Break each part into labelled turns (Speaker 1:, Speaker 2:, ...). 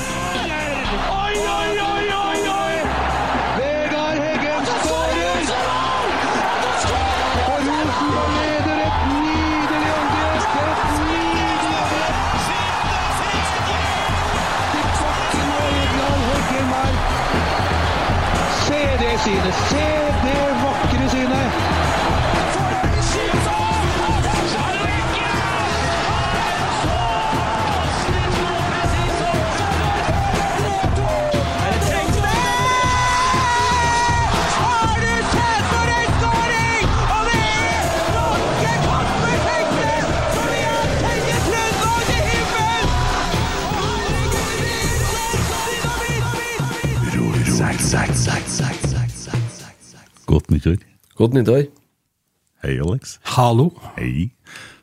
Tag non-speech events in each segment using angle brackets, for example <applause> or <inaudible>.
Speaker 1: Oi, oi, oi, oi, oi! Vegard Heggen skårer! Og Rosenborg leder et nydelig angrep! Et nydelig angrep! Til bakken og Egeland Heggen der. Se det synet! Se det vakre synet!
Speaker 2: Godt nyttår.
Speaker 3: Godt nyttår.
Speaker 2: Hei, Alex.
Speaker 4: Hallo.
Speaker 2: Hei.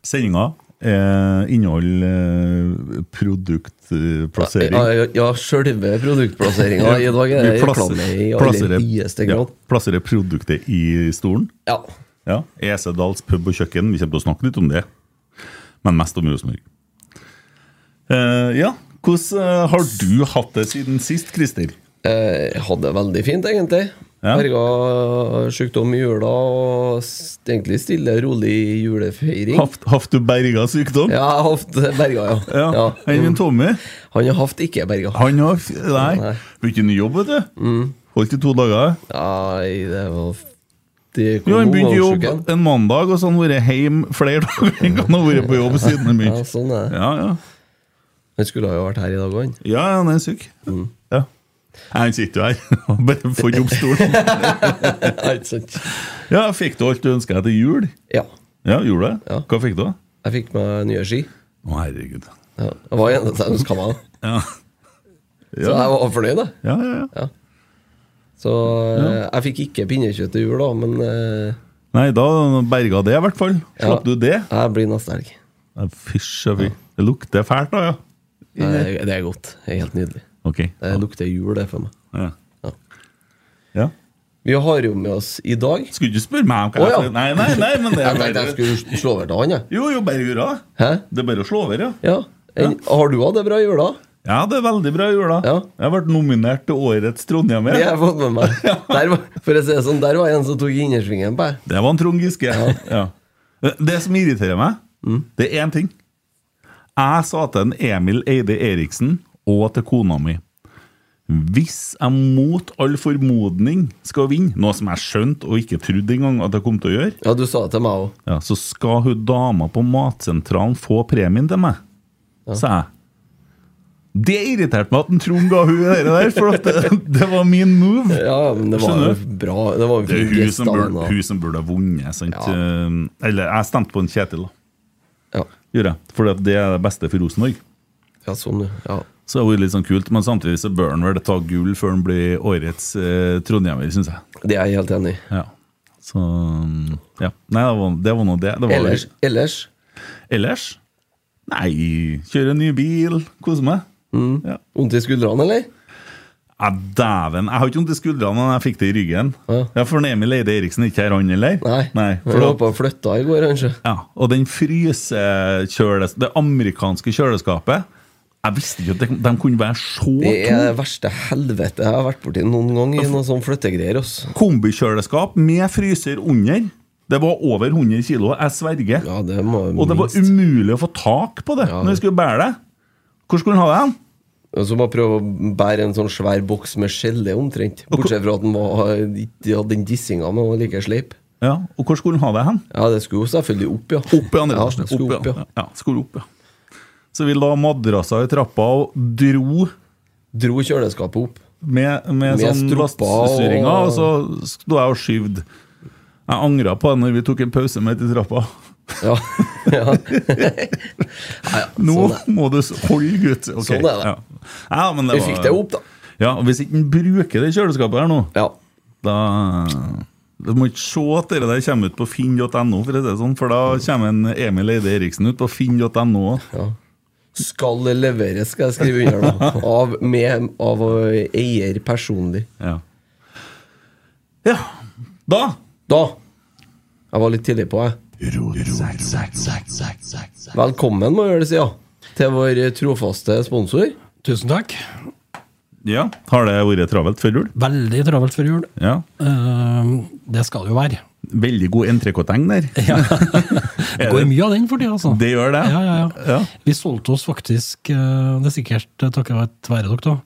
Speaker 2: Sendinga eh, inneholder eh, produktplassering.
Speaker 3: Ja, ja, ja sjølve produktplasseringa i dag er
Speaker 2: Vi plasser-
Speaker 3: reklame i aller høyeste
Speaker 2: ja,
Speaker 3: grad.
Speaker 2: plasserer produktet i stolen.
Speaker 3: Ja.
Speaker 2: Ja. EC Dals pub og kjøkken. Vi kommer til å snakke litt om det, men mest om Rosenborg. Eh, ja, hvordan eh, har du hatt det siden sist, Christer?
Speaker 3: Jeg Eh, hadde det veldig fint, egentlig.
Speaker 2: Ja.
Speaker 3: Berga sjukdom i jula og s- egentlig stille, rolig julefeiring.
Speaker 2: Haft, haft du berga sykdom?
Speaker 3: Ja, jeg har hatt berga, ja.
Speaker 2: Ja.
Speaker 3: Ja.
Speaker 2: Enn min Tommy?
Speaker 3: Han har hatt ikke berga.
Speaker 2: Han har f- Nei.
Speaker 3: Nei. Mm.
Speaker 2: Begynte ny jobb, vet du. Holdt i to dager.
Speaker 3: Nei, det var f- Det kom
Speaker 2: Jo, han begynte jobb
Speaker 3: omgangsuken.
Speaker 2: en mandag, og så har han vært hjemme flere <laughs> dager enn han har vært på jobb siden han
Speaker 3: Ja,
Speaker 2: begynte.
Speaker 3: sånn er det.
Speaker 2: Ja, ja.
Speaker 3: Han skulle ha jo vært her i dag òg, han. <laughs>
Speaker 2: Ja, ja, han er syk.
Speaker 3: Mm.
Speaker 2: Ja. Nei, Han sitter jo her. <laughs> Han Bare får jobbstolen.
Speaker 3: <laughs> Ja, ikke sant?
Speaker 2: Ja, fikk du alt du ønska deg til jul?
Speaker 3: Ja.
Speaker 2: Ja, gjorde du det?
Speaker 3: Ja.
Speaker 2: Hva fikk du? da?
Speaker 3: Jeg fikk meg nye ski.
Speaker 2: Å, herregud.
Speaker 3: Ja. Jeg var eneste jeg ønska meg. da.
Speaker 2: Ja.
Speaker 3: Så
Speaker 2: Ja,
Speaker 3: jeg var fornøyd, jeg.
Speaker 2: ja, ja. ja.
Speaker 3: Så eh, jeg fikk ikke pinnekjøtt til jul, da, men eh,
Speaker 2: Nei, da berga det, i hvert fall. Slapp du det?
Speaker 3: jeg blir neste helg.
Speaker 2: Ja, Fysj og fy. Det lukter fælt, da, ja.
Speaker 3: Nei, Det det er godt. Det er helt nydelig.
Speaker 2: Ok.
Speaker 3: Det lukter jul, det, for meg.
Speaker 2: Ja.
Speaker 3: Ja.
Speaker 2: ja.
Speaker 3: Vi har jo med oss i dag
Speaker 2: Skulle ikke spørre meg om hva
Speaker 3: Å, ja.
Speaker 2: jeg Nei, nei, nei, men
Speaker 3: <laughs>
Speaker 2: det
Speaker 3: Jeg
Speaker 2: er
Speaker 3: tenkte jeg
Speaker 2: bare
Speaker 3: skulle slå over til han, jeg.
Speaker 2: Jo, jo, bare hurra.
Speaker 3: Hæ?
Speaker 2: Det er bare å slå over, ja.
Speaker 3: Ja. En, Har du hatt det bra i jula?
Speaker 2: Ja, det er veldig bra jula.
Speaker 3: Ja.
Speaker 2: Jeg ble nominert til Årets Trondheimer.
Speaker 3: Det har jeg fått med
Speaker 2: <laughs>
Speaker 3: meg. Der, var- for å si det sånn, der var en som tok innersvingen på deg.
Speaker 2: Det var en Trond Giske. Ja. Det som irriterer meg,
Speaker 3: Mm.
Speaker 2: det er én ting. Jeg sa til en Emil Eide Eriksen og til kona mi Hvis jeg mot all formodning skal vinne, noe som jeg skjønte og ikke trodde engang at jeg kom til å gjøre,
Speaker 3: Ja, du sa det til meg òg.
Speaker 2: ja, så skal hun dama på matsentralen få premien til meg, sa jeg. Det irriterte meg at en Trond ga hun det der, for at det, det var min move.
Speaker 3: Ja, ja, men det var jo
Speaker 2: Skjønner
Speaker 3: bra. Det var jo
Speaker 2: Det er
Speaker 3: fin
Speaker 2: hun
Speaker 3: gest
Speaker 2: som,
Speaker 3: av
Speaker 2: burde,
Speaker 3: henne.
Speaker 2: hun som burde ha vunnet. Sant?
Speaker 3: Ja.
Speaker 2: Eh, Eller jeg stemte på en Kjetil, da.
Speaker 3: da. Ja.
Speaker 2: Gjorde jeg. For det er det beste for Rosenborg.
Speaker 3: ja, sånn, ja.
Speaker 2: Så det har vært litt sånn kult, men samtidig så bør han vel ta gull før han blir årets eh, trondhjemmer, syns jeg.
Speaker 3: Det er jeg helt enig i.
Speaker 2: Ja. Så mm, ja. Nei, det var, det var nå det. det var,
Speaker 3: Ellers, ellers
Speaker 2: ellers? Nei, kjøre en ny bil, kose meg.
Speaker 3: Mm.
Speaker 2: Ja.
Speaker 3: Vondt i skuldrene, eller?
Speaker 2: Ja, Dæven. Jeg har ikke vondt i skuldrene, men jeg fikk det i ryggen. Ja,
Speaker 3: Ja.
Speaker 2: For Emil Eide Eriksen er ikke her, han heller?
Speaker 3: Nei.
Speaker 2: Nei
Speaker 3: for
Speaker 2: for
Speaker 3: du
Speaker 2: da,
Speaker 3: håpa flytta i går, kanskje?
Speaker 2: Ja, og den frysekjøles... Det amerikanske kjøleskapet Jeg visste ikke at de, de kunne være så
Speaker 3: Det er det
Speaker 2: tunge.
Speaker 3: verste helvete jeg har vært borti noen gang i noe sånn flyttegreier. Ass.
Speaker 2: Kombikjøleskap med fryser under. Det var over 100 kilo, jeg sverger.
Speaker 3: Ja, det må
Speaker 2: Og det var um-
Speaker 3: minst.
Speaker 2: umulig å få tak på det
Speaker 3: Ja.
Speaker 2: når vi skulle bære det. Hvor skulle han ha det? hen?
Speaker 3: Og Så bare prøve å bære en sånn svær boks med skjelle, omtrent. Bortsett fra at den var, de hadde den dissinga, men den var like sleip.
Speaker 2: Ja, og hvor skulle han ha det hen?
Speaker 3: Ja, det skulle jo selvfølgelig opp, ja.
Speaker 2: Opp i andre
Speaker 3: ja,
Speaker 2: etasjen.
Speaker 3: det skulle
Speaker 2: Opp,
Speaker 3: opp, ja.
Speaker 2: ja. ja, skulle opp, ja. Så vi la madrasser i trappa og dro
Speaker 3: Dro kjøleskapet opp.
Speaker 2: med, med,
Speaker 3: Med
Speaker 2: sånn
Speaker 3: stropper
Speaker 2: lastestyringa, og...
Speaker 3: og-
Speaker 2: så sto jeg og skyvde. Jeg angra på det når vi tok en pause midt i trappa. <laughs>
Speaker 3: Ja. ja. Nei, ja,
Speaker 2: Nå
Speaker 3: sånn er det.
Speaker 2: må du s- holde ut! Ok,
Speaker 3: Sånn er det.
Speaker 2: Ja. Ja, men det
Speaker 3: Vi
Speaker 2: var-
Speaker 3: fikk det opp, da.
Speaker 2: Ja, og Hvis ikke han bruker det kjøleskapet her nå,
Speaker 3: Ja.
Speaker 2: da Du må ikke se at det der kommer ut på finn.no, for, å si det sånn, for da kommer en Emil Eide Eriksen ut på finn.no.
Speaker 3: Ja. Skal leveres, skal jeg skrive under nå.
Speaker 2: <laughs>
Speaker 3: Av, med, av eh, eier personlig.
Speaker 2: Ja. ja. Da
Speaker 3: Da Jeg var litt tidlig på, jeg. Velkommen, må jeg gjøre det, sida. til vår trofaste sponsor.
Speaker 4: Tusen takk.
Speaker 2: Ja, Har det vært travelt før jul?
Speaker 4: Veldig travelt før jul.
Speaker 2: Ja.
Speaker 4: Eh, det skal det jo være.
Speaker 2: Veldig god entrecôte-egn der.
Speaker 4: <laughs>
Speaker 2: <laughs>
Speaker 4: Det går mye av den for tida, altså.
Speaker 2: Det gjør det.
Speaker 4: Ja, ja, ja.
Speaker 2: Ja.
Speaker 4: Vi solgte oss faktisk eh, Det er sikkert eh, takket være dere, da.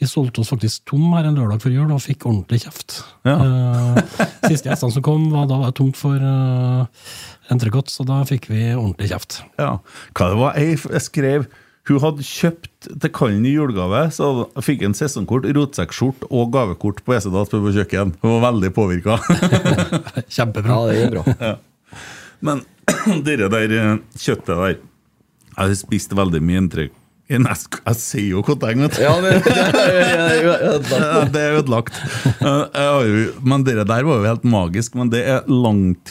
Speaker 4: Vi solgte oss faktisk tom her en lørdag før jul og fikk ordentlig kjeft. Eh, siste gjestene som kom, var, da var det tomt for uh, entrecôte, så da fikk vi ordentlig kjeft.
Speaker 2: Ja. Hva det var jeg, f- jeg skrev Hun hadde kjøpt til kallen i julegave, så fikk en sesongkort, rotsekkskjort og gavekort på Esedals pub og kjøkken. Hun var veldig påvirka. <laughs>
Speaker 4: Kjempebra.
Speaker 3: Ja, det er
Speaker 4: <laughs>
Speaker 3: bra.
Speaker 2: Men <clears throat> det der eh, kjøttet der Jeg har spist veldig mye inntrykk. Jeg, jeg, jeg sier jo kotteng, vet du.
Speaker 3: Ja, det, det, det, det,
Speaker 2: Ja, Det er <laughs> ødelagt. Eh, jeg har jo- Men det der var jo helt magisk. Men det er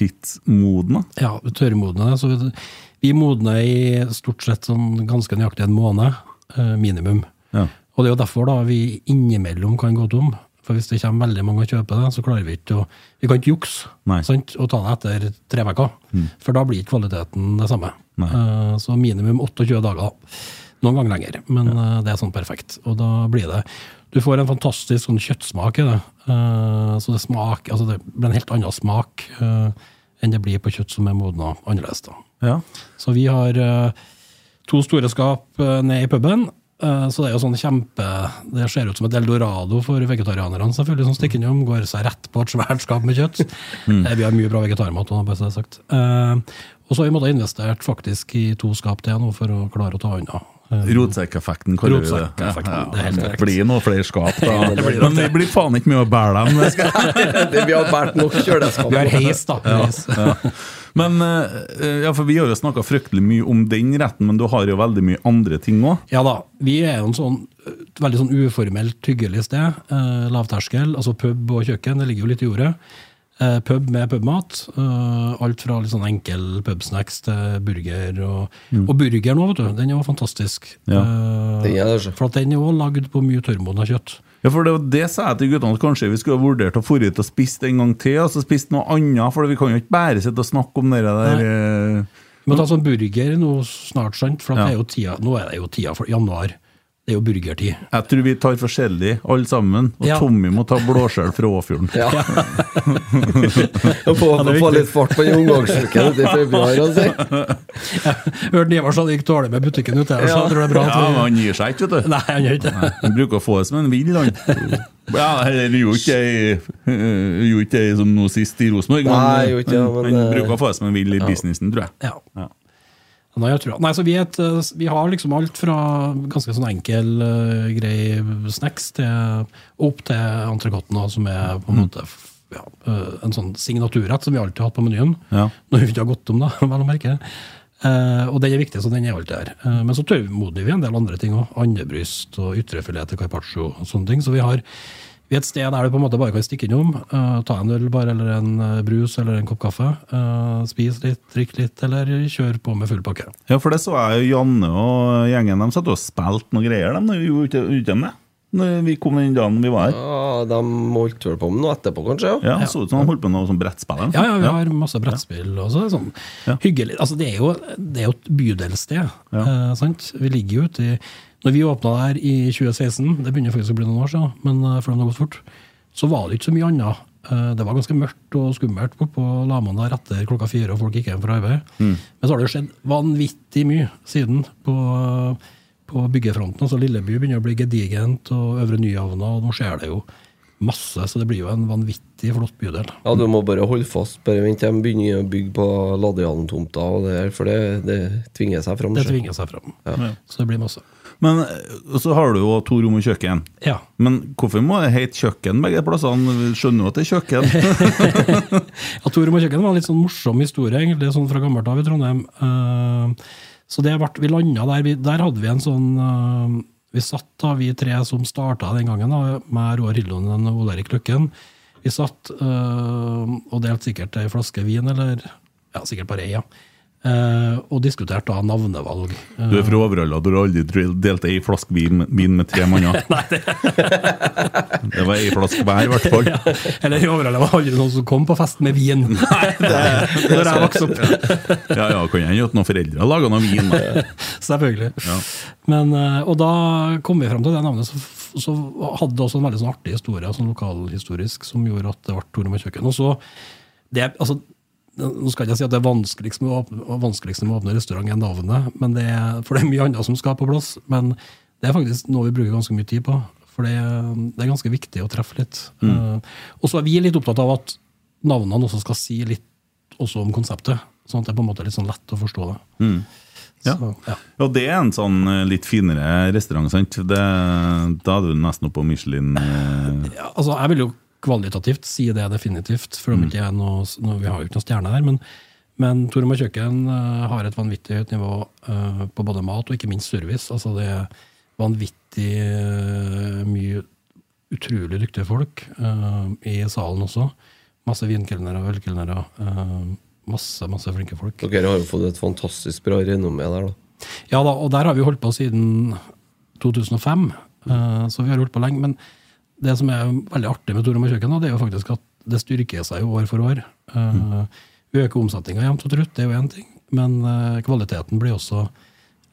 Speaker 2: langtidsmodna.
Speaker 4: Ja, tørrmodne. Så vi, vi modner i stort sett sånn ganske nøyaktig en måned, eh, minimum.
Speaker 2: Ja.
Speaker 4: Og det er jo derfor da vi innimellom kan gå tom. For hvis det kommer veldig mange og kjøper det, så klarer vi ikke å Vi kan ikke
Speaker 2: Nei.
Speaker 4: jukse sant, og ta det etter tre uker. For da blir ikke kvaliteten det samme.
Speaker 2: Mm. Nei.
Speaker 4: Eh, Så minimum 28 dager. Noen ganger lenger, men eh, det er sånn perfekt. Og da blir det Du får en fantastisk sånn kjøttsmak i det. Eh, Så det smak, altså det blir en helt annen smak eh, enn det blir på kjøtt som er modna annerledes. da.
Speaker 2: Ja.
Speaker 4: Så vi har eh, to store skap eh, ned i puben. eh, så det er jo sånn kjempe Det ser ut som et eldorado for vegetarianerne, selvfølgelig, som stikker innom. Går seg rett på et svært skap med kjøtt. <laughs> Eh, vi har mye bra vegetarmat. da, Bare så det er sagt. Eh, og så har vi måttet investert faktisk i to skap til nå for å klare å ta unna. eh,
Speaker 2: Rotsekkeffekten, kaller vi det.
Speaker 4: Rotsekkeffekten, det er helt korrekt.
Speaker 2: blir noe flere skap, <laughs> da. Men det blir faen ikke mye å bære dem. Det skal
Speaker 3: det, vi har båret nok kjøleskap.
Speaker 4: vi har heis, da. Heis.
Speaker 2: <laughs> Men eh, ja, for Vi har jo snakka fryktelig mye om den retten, men du har jo veldig mye andre ting òg.
Speaker 4: Ja da. Vi er jo en sånn, et veldig sånn uformelt, hyggelig sted. Eh, lavterskel. altså Pub og kjøkken, det ligger jo litt i jordet. Eh, pub med pubmat. Eh, alt fra litt sånn enkel pubsnacks til burger. Og,
Speaker 2: Mm.
Speaker 4: og burger nå, vet du. Den er jo fantastisk. Eh,
Speaker 3: Den er det, altså. så.
Speaker 4: for at den er jo lagd på mye tørrmodna kjøtt.
Speaker 2: Ja, for det, var det sa jeg til guttene at kanskje vi skulle ha vurdert å dra ut og spise en gang til, og så spise noe annet, for vi kan jo ikke bare sitte og snakke om det der eh,
Speaker 4: Men ta sånn burger nå snart, sant? for at
Speaker 2: Ja.
Speaker 4: det er jo tida, nå er det jo tida for januar. Det er jo burgertid. <laughs>
Speaker 2: Jeg tror vi tar forskjellig, alle sammen. Og
Speaker 4: Ja.
Speaker 2: Tommy må ta blåskjell fra Åfjorden.
Speaker 3: Ja. <laughs> Få, få litt fart på den omgangsuken
Speaker 4: <laughs>
Speaker 3: ute i februar. Altså.
Speaker 4: Hørte Ivar sa det gikk dårlig med butikken ute, så jeg tror det er bra
Speaker 2: Ja,
Speaker 4: at vi
Speaker 2: men han gir seg ikke, vet du.
Speaker 4: Nei, han gjør ikke det.
Speaker 2: Nei, Han bruker å få det som en vill, han. Ja, eller gjorde ikke jeg- øh, gjorde ikke jeg som nå sist i Rosenborg, men,
Speaker 3: Nei, gjorde ikke, ja,
Speaker 2: han,
Speaker 3: men,
Speaker 2: han
Speaker 3: eh,
Speaker 2: bruker å få det som en vill i businessen, tror jeg.
Speaker 4: Ja.
Speaker 2: Ja.
Speaker 4: Nei, jeg tror, nei, så vi, er et, eh, vi har liksom alt fra ganske sånn enkel, eh, grei snacks til, opp til entrecôten, da, som er på en måte f- ja, eh, en sånn signaturrett som vi alltid har hatt på menyen.
Speaker 2: Ja.
Speaker 4: Når vi ikke har gått om, da, <laughs> vel å merke. Eh, og den er viktig, så den er alltid her. Eh, men så tørrmodner vi en del andre ting òg. Andebryst og ytrefilet til carpaccio og sånne ting. Så vi har vi er et sted der du på en måte bare kan stikke innom, eh, ta en øl bare, eller en eh, brus eller en kopp kaffe. eh, spis litt, drikk litt, eller kjør på med full pakke.
Speaker 2: Ja, for det så jeg jo Janne og gjengen dem satt og spilte noen greier dem når vi var ute ute med. Når vi kom den dagen vi var her.
Speaker 3: Ja, Ah, de holdt vel på med noe etterpå, kanskje?
Speaker 2: Ja,
Speaker 3: Ja.
Speaker 2: det Så ut som han holdt på med noe sånn brettspill. eller noe
Speaker 4: Ja, ja, vi
Speaker 2: sånt.
Speaker 4: har masse brettspill og så er det sånn hyggelig. Altså, det er jo, det er jo et bydelssted, eh, sant? Vi ligger jo ute i Når vi åpna der i 2016, det begynner faktisk å bli noen år siden, men eh, for det har gått fort, så var det ikke så mye annet. Eh, Det var ganske mørkt og skummelt bort på Laman der etter klokka fire, og folk gikk hjem fra arbeid. Men så har det jo skjedd vanvittig mye siden på, på byggefronten. altså Lilleby begynner å bli gedigent, og Øvre Nyhavna, og nå skjer det jo masse. Så det blir jo en vanvittig flott bydel.
Speaker 3: du må bare holde fast. Bare vent til de begynner å bygge på Ladehallen-tomta, og det der, for det, det tvinger seg fram.
Speaker 4: Det
Speaker 3: sjø.
Speaker 4: tvinger seg fram. Så det blir masse.
Speaker 2: Men eh, så har du jo to rom og kjøkken.
Speaker 4: Ja.
Speaker 2: Men hvorfor må det hete kjøkken begge plassene? Vi skjønner jo at det er <laughs> kjøkken.
Speaker 4: ja Torum og kjøkken var en litt sånn morsom historie, egentlig, sånn fra gammelt av i Trondheim. Eh, så det ble, vi landa der. Vi, der hadde vi en sånn eh, Vi satt da, vi tre som starta den gangen, da, meg, Roar Hildonen og Ole Erik Løkken. Vi satt eh, og delte sikkert ei flaske vin, eller ja, sikkert bare ei, ja. eh, og diskuterte da navnevalg. Eh,
Speaker 2: Du er fra Overhalla, du har aldri dr- delt ei flaske vin vin med tre <laughs> manner. det var ei flaske hver, i
Speaker 4: <laughs>
Speaker 2: hvert fall.
Speaker 4: Eller i overall, det var aldri noen som kom på fest med vin.
Speaker 2: <laughs> Da jeg vokste opp. Ja, ja, kan hende at noen foreldre laga noe vin. da.
Speaker 4: <laughs> Selvfølgelig. Men, eh, og da kom vi fram til det navnet, så, f- så hadde det også en veldig sånn artig historie, sånn lokalhistorisk, som gjorde at det ble Tore med kjøkken. Og så, det, altså, nå skal jeg ikke si at det er vanskeligst med å åpne, vanskeligst med å åpne restaurant enn navnet, men det er, for det er mye annet som skal på plass. Men det er faktisk noe vi bruker ganske mye tid på, for det, det er ganske viktig å treffe litt. Eh, og så er vi litt opptatt av at navnene også skal si litt også om konseptet, sånn at det er på en måte litt sånn lett å forstå det.
Speaker 2: Ja.
Speaker 4: Så, ja.
Speaker 2: Ja, det er en sånn eh, litt finere restaurant, sant? Det, da er du nesten oppe på Michelin. eh,
Speaker 4: Ja, altså, jeg vil jo kvalitativt si det definitivt, for om ikke jeg er noe, nå- vi har jo ikke noen stjerne her. Men, men Tormar kjøkken eh, har et vanvittig høyt nivå eh, på både mat og ikke minst service. Altså, det er vanvittig eh, mye utrolig dyktige folk eh, i salen også. Masse vinkelnere og ølkelnere. eh, masse, masse flinke folk.
Speaker 3: Dere har jo fått et fantastisk bra renommé der, da.
Speaker 4: Ja da, og der har vi holdt på siden 2005, eh, så vi har holdt på lenge. Men det som er veldig artig med Torom og kjøkken, da, det er jo faktisk at det styrker seg jo år for år. Eh, Vi øker omsetninga jevnt og trutt, det er jo én ting. Men eh, kvaliteten blir også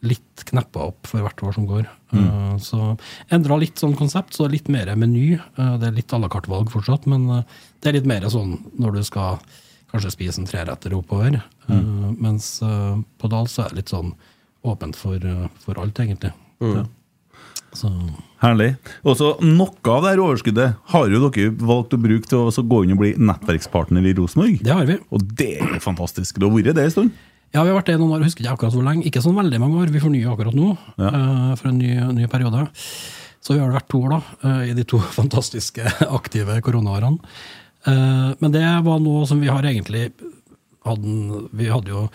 Speaker 4: litt kneppa opp for hvert år som går. Eh, Så endra litt sånn konsept, så litt mer meny. Eh, Det er litt à la carte-valg fortsatt, men eh, det er litt mer sånn når du skal kanskje spise en treretter oppover. eh, Mens eh, på Dal så er det litt sånn åpent for, eh, for alt, egentlig. Ja. Så
Speaker 2: Herlig. Og så Noe av det her overskuddet har jo dere valgt å bruke til å så gå inn og bli nettverkspartner i Rosenborg.
Speaker 4: det har vi.
Speaker 2: Og det er jo fantastisk. Det har vært det en stund.
Speaker 4: Ja, vi har vært det i noen år, husker ikke akkurat hvor lenge. Ikke sånn veldig mange år, vi fornyer akkurat nå eh, for en ny, ny periode. Så vi har vært to år da, eh, i de to <laughs> fantastiske aktive koronaårene. Eh, men det var noe som vi har egentlig hadde, en- Vi hadde jo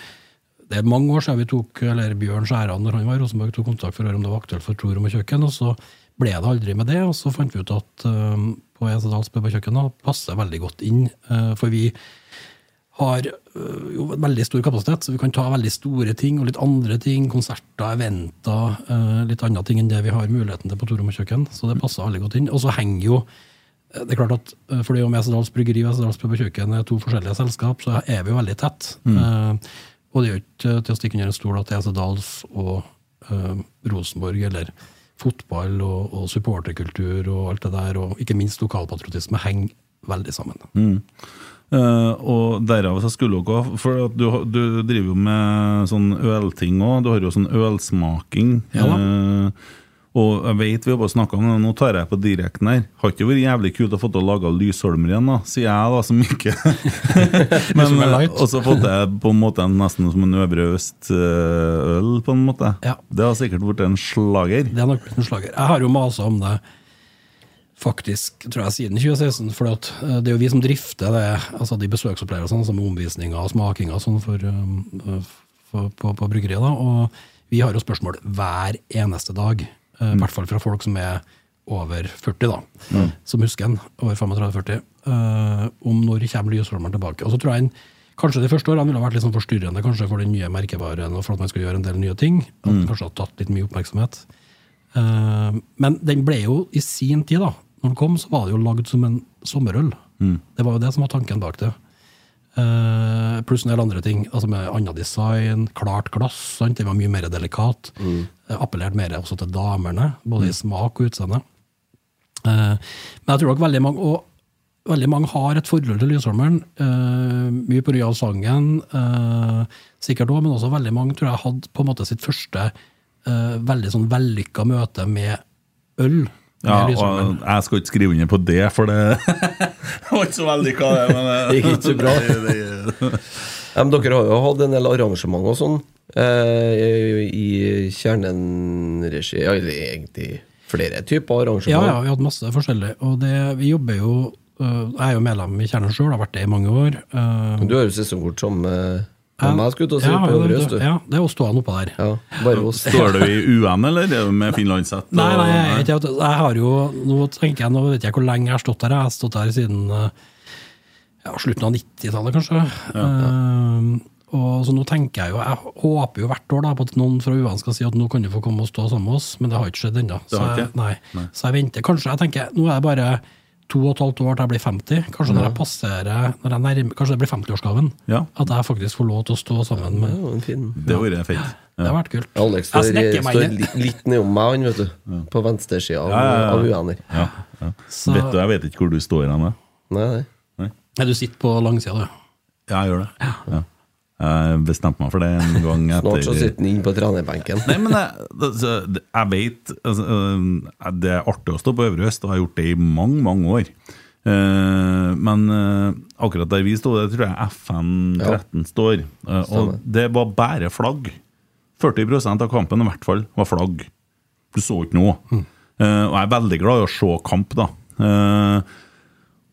Speaker 4: det er mange år siden vi tok, eller Bjørn Skjæran når han var i Rosenborg, tok kontakt for å høre om det var aktuelt for Tor om kjøkken, og så ble det aldri med det. Og så fant vi ut at eh, på Esedals pub og kjøkken da, passer veldig godt inn, eh, for vi har øh, jo en veldig stor kapasitet, så vi kan ta veldig store ting og litt andre ting. Konserter, eventer, øh, litt andre ting enn det vi har muligheten til på Torom og kjøkken. Så det passer veldig godt inn. Og så henger jo øh, det er klart at øh, fordi om Esedals Bryggeri og Esedals Pub og Kjøkken er to forskjellige selskap, så er vi jo veldig tett. Eh, og det er jo ikke til å stikke under en stol at Esedals og øh, Rosenborg eller fotball og, og supporterkultur og alt det der, og ikke minst lokalpatriotisme, henger veldig sammen.
Speaker 2: Eh, og derav så skulle dere ha For at du, har- du driver jo med sånn ølting òg. Du har jo sånn ølsmaking.
Speaker 4: Ja da.
Speaker 2: Eh, og jeg vet vi har bare snakka om det, nå tar jeg på direkten her. Har ikke vært jævlig kult å få til å lage Lysholmer igjen, da, sier jeg da, som <laughs> ikke Men eh,
Speaker 4: Lysholmer light.
Speaker 2: Og så fått jeg på en måte en, nesten som en Øvre Øst-øl, på en måte.
Speaker 4: Ja.
Speaker 2: Det har sikkert blitt en slager.
Speaker 4: Det er nok blitt en slager. Jeg har jo masa om det faktisk, tror jeg, siden 2016. For at, eh, det er jo vi som drifter det, altså de besøksopplevelsene som omvisninger og smakinger og sånn for, um, eh, for, på, på bryggeriet. da, Og vi har jo spørsmål hver eneste dag. eh, I hvert fall fra folk som er over 40, da. Som husker en. Over 35-40. eh, om når kommer Lysholmeren tilbake. Og så tror jeg en, Kanskje de første årene ville ha vært litt sånn forstyrrende kanskje for den nye merkevaren og for at man skulle gjøre en del nye ting. At den kanskje har tatt litt mye oppmerksomhet. Eh, Men den ble jo i sin tid, da når den kom, så var det jo lagd som en sommerøl. Det var jo det som var tanken bak det. Eh, pluss en del andre ting, altså med annet design, klart glass. Sant? Det var mye mer delikat.
Speaker 2: Mm.
Speaker 4: Eh, appellerte mer også til damene, både i smak og utseende. Eh, men jeg tror nok veldig mange, og veldig mange har et forhold til Lysholmeren. Eh, mye på grunn av sangen, eh, sikkert òg, men også veldig mange tror jeg hadde på en måte sitt første eh, veldig sånn vellykka møte med øl. Med
Speaker 2: Ja,
Speaker 4: Lysholmeren.
Speaker 2: og jeg skal ikke skrive under på det, for det <laughs> Det var ikke så veldig hva det men
Speaker 3: Det gikk ikke så bra.
Speaker 2: <laughs> Det- det-
Speaker 3: Ja, men dere har jo hatt en del arrangement og sånn eh, i Kjernen-regi. Ja, eller egentlig flere typer
Speaker 4: Ja,
Speaker 3: arrangement.
Speaker 4: ja, vi har hatt masse forskjellig. Og det, vi jobber jo øh, Jeg er jo medlem i Kjernen sjøl, har vært det i mange år. øh,
Speaker 3: Du har jo sesongkort som eh, med meg, skulle jeg til å si,
Speaker 4: ja,
Speaker 3: på
Speaker 4: ja,
Speaker 3: Øvre
Speaker 4: det-
Speaker 3: Øst, du.
Speaker 4: Ja, det er oss to oppå der.
Speaker 3: Ja, bare oss.
Speaker 2: Står du i UN, eller er du med finlandshett? og-
Speaker 4: Nei, nei, jeg, jeg, jeg, jeg har jo Nå tenker jeg, nå vet jeg hvor lenge jeg har stått her. Jeg har stått her siden eh, ja, slutten av 90-tallet, kanskje. Eh, Og så nå tenker Jeg jo, jeg håper jo hvert år da, på at noen fra UAN skal si at nå kan du få komme og stå sammen med oss, men det har ikke skjedd ennå.
Speaker 2: Det
Speaker 4: Så,
Speaker 2: har
Speaker 4: jeg-
Speaker 2: ikke?
Speaker 4: nei. så jeg venter. Kanskje jeg tenker, nå er det bare to og et halvt år til jeg blir 50. Kanskje når jeg passerer, når jeg nærmer, kanskje det blir 50-årsgaven.
Speaker 2: Ja.
Speaker 4: At jeg faktisk får lov til å stå sammen
Speaker 3: Det
Speaker 4: med
Speaker 3: var en fin
Speaker 2: Det hadde vært fint.
Speaker 4: Det har vært kult.
Speaker 3: Alex
Speaker 4: Jeg
Speaker 3: står,
Speaker 4: snekker meg
Speaker 3: står
Speaker 4: ned.
Speaker 3: li- litt nedom meg, han, vet du. På venstresida av,
Speaker 2: Ja, ja, ja.
Speaker 3: av uener.
Speaker 2: Ja, ja.
Speaker 4: Så-
Speaker 2: Vet du, jeg vet ikke hvor du står hen. jeg.
Speaker 3: Nei, nei.
Speaker 4: Nei, du sitter på langsida, du.
Speaker 2: Ja, jeg gjør det. Ja. Jeg bestemte meg for det en gang
Speaker 3: Snart så
Speaker 2: etter
Speaker 3: sitter han inne på trenerbenken.
Speaker 2: Nei, men jeg, altså, jeg vet altså, øh, Det er artig å stå på Øvre Øst, og jeg har gjort det i mange, mange år. Eh, Men eh, akkurat der vi sto, det tror jeg FN13 står. Eh, Og
Speaker 3: Stemmer.
Speaker 2: det var bare flagg. 40 av kampen i hvert fall var flagg. Du så ikke noe. Eh, Og jeg er veldig glad i å se kamp, da. Eh,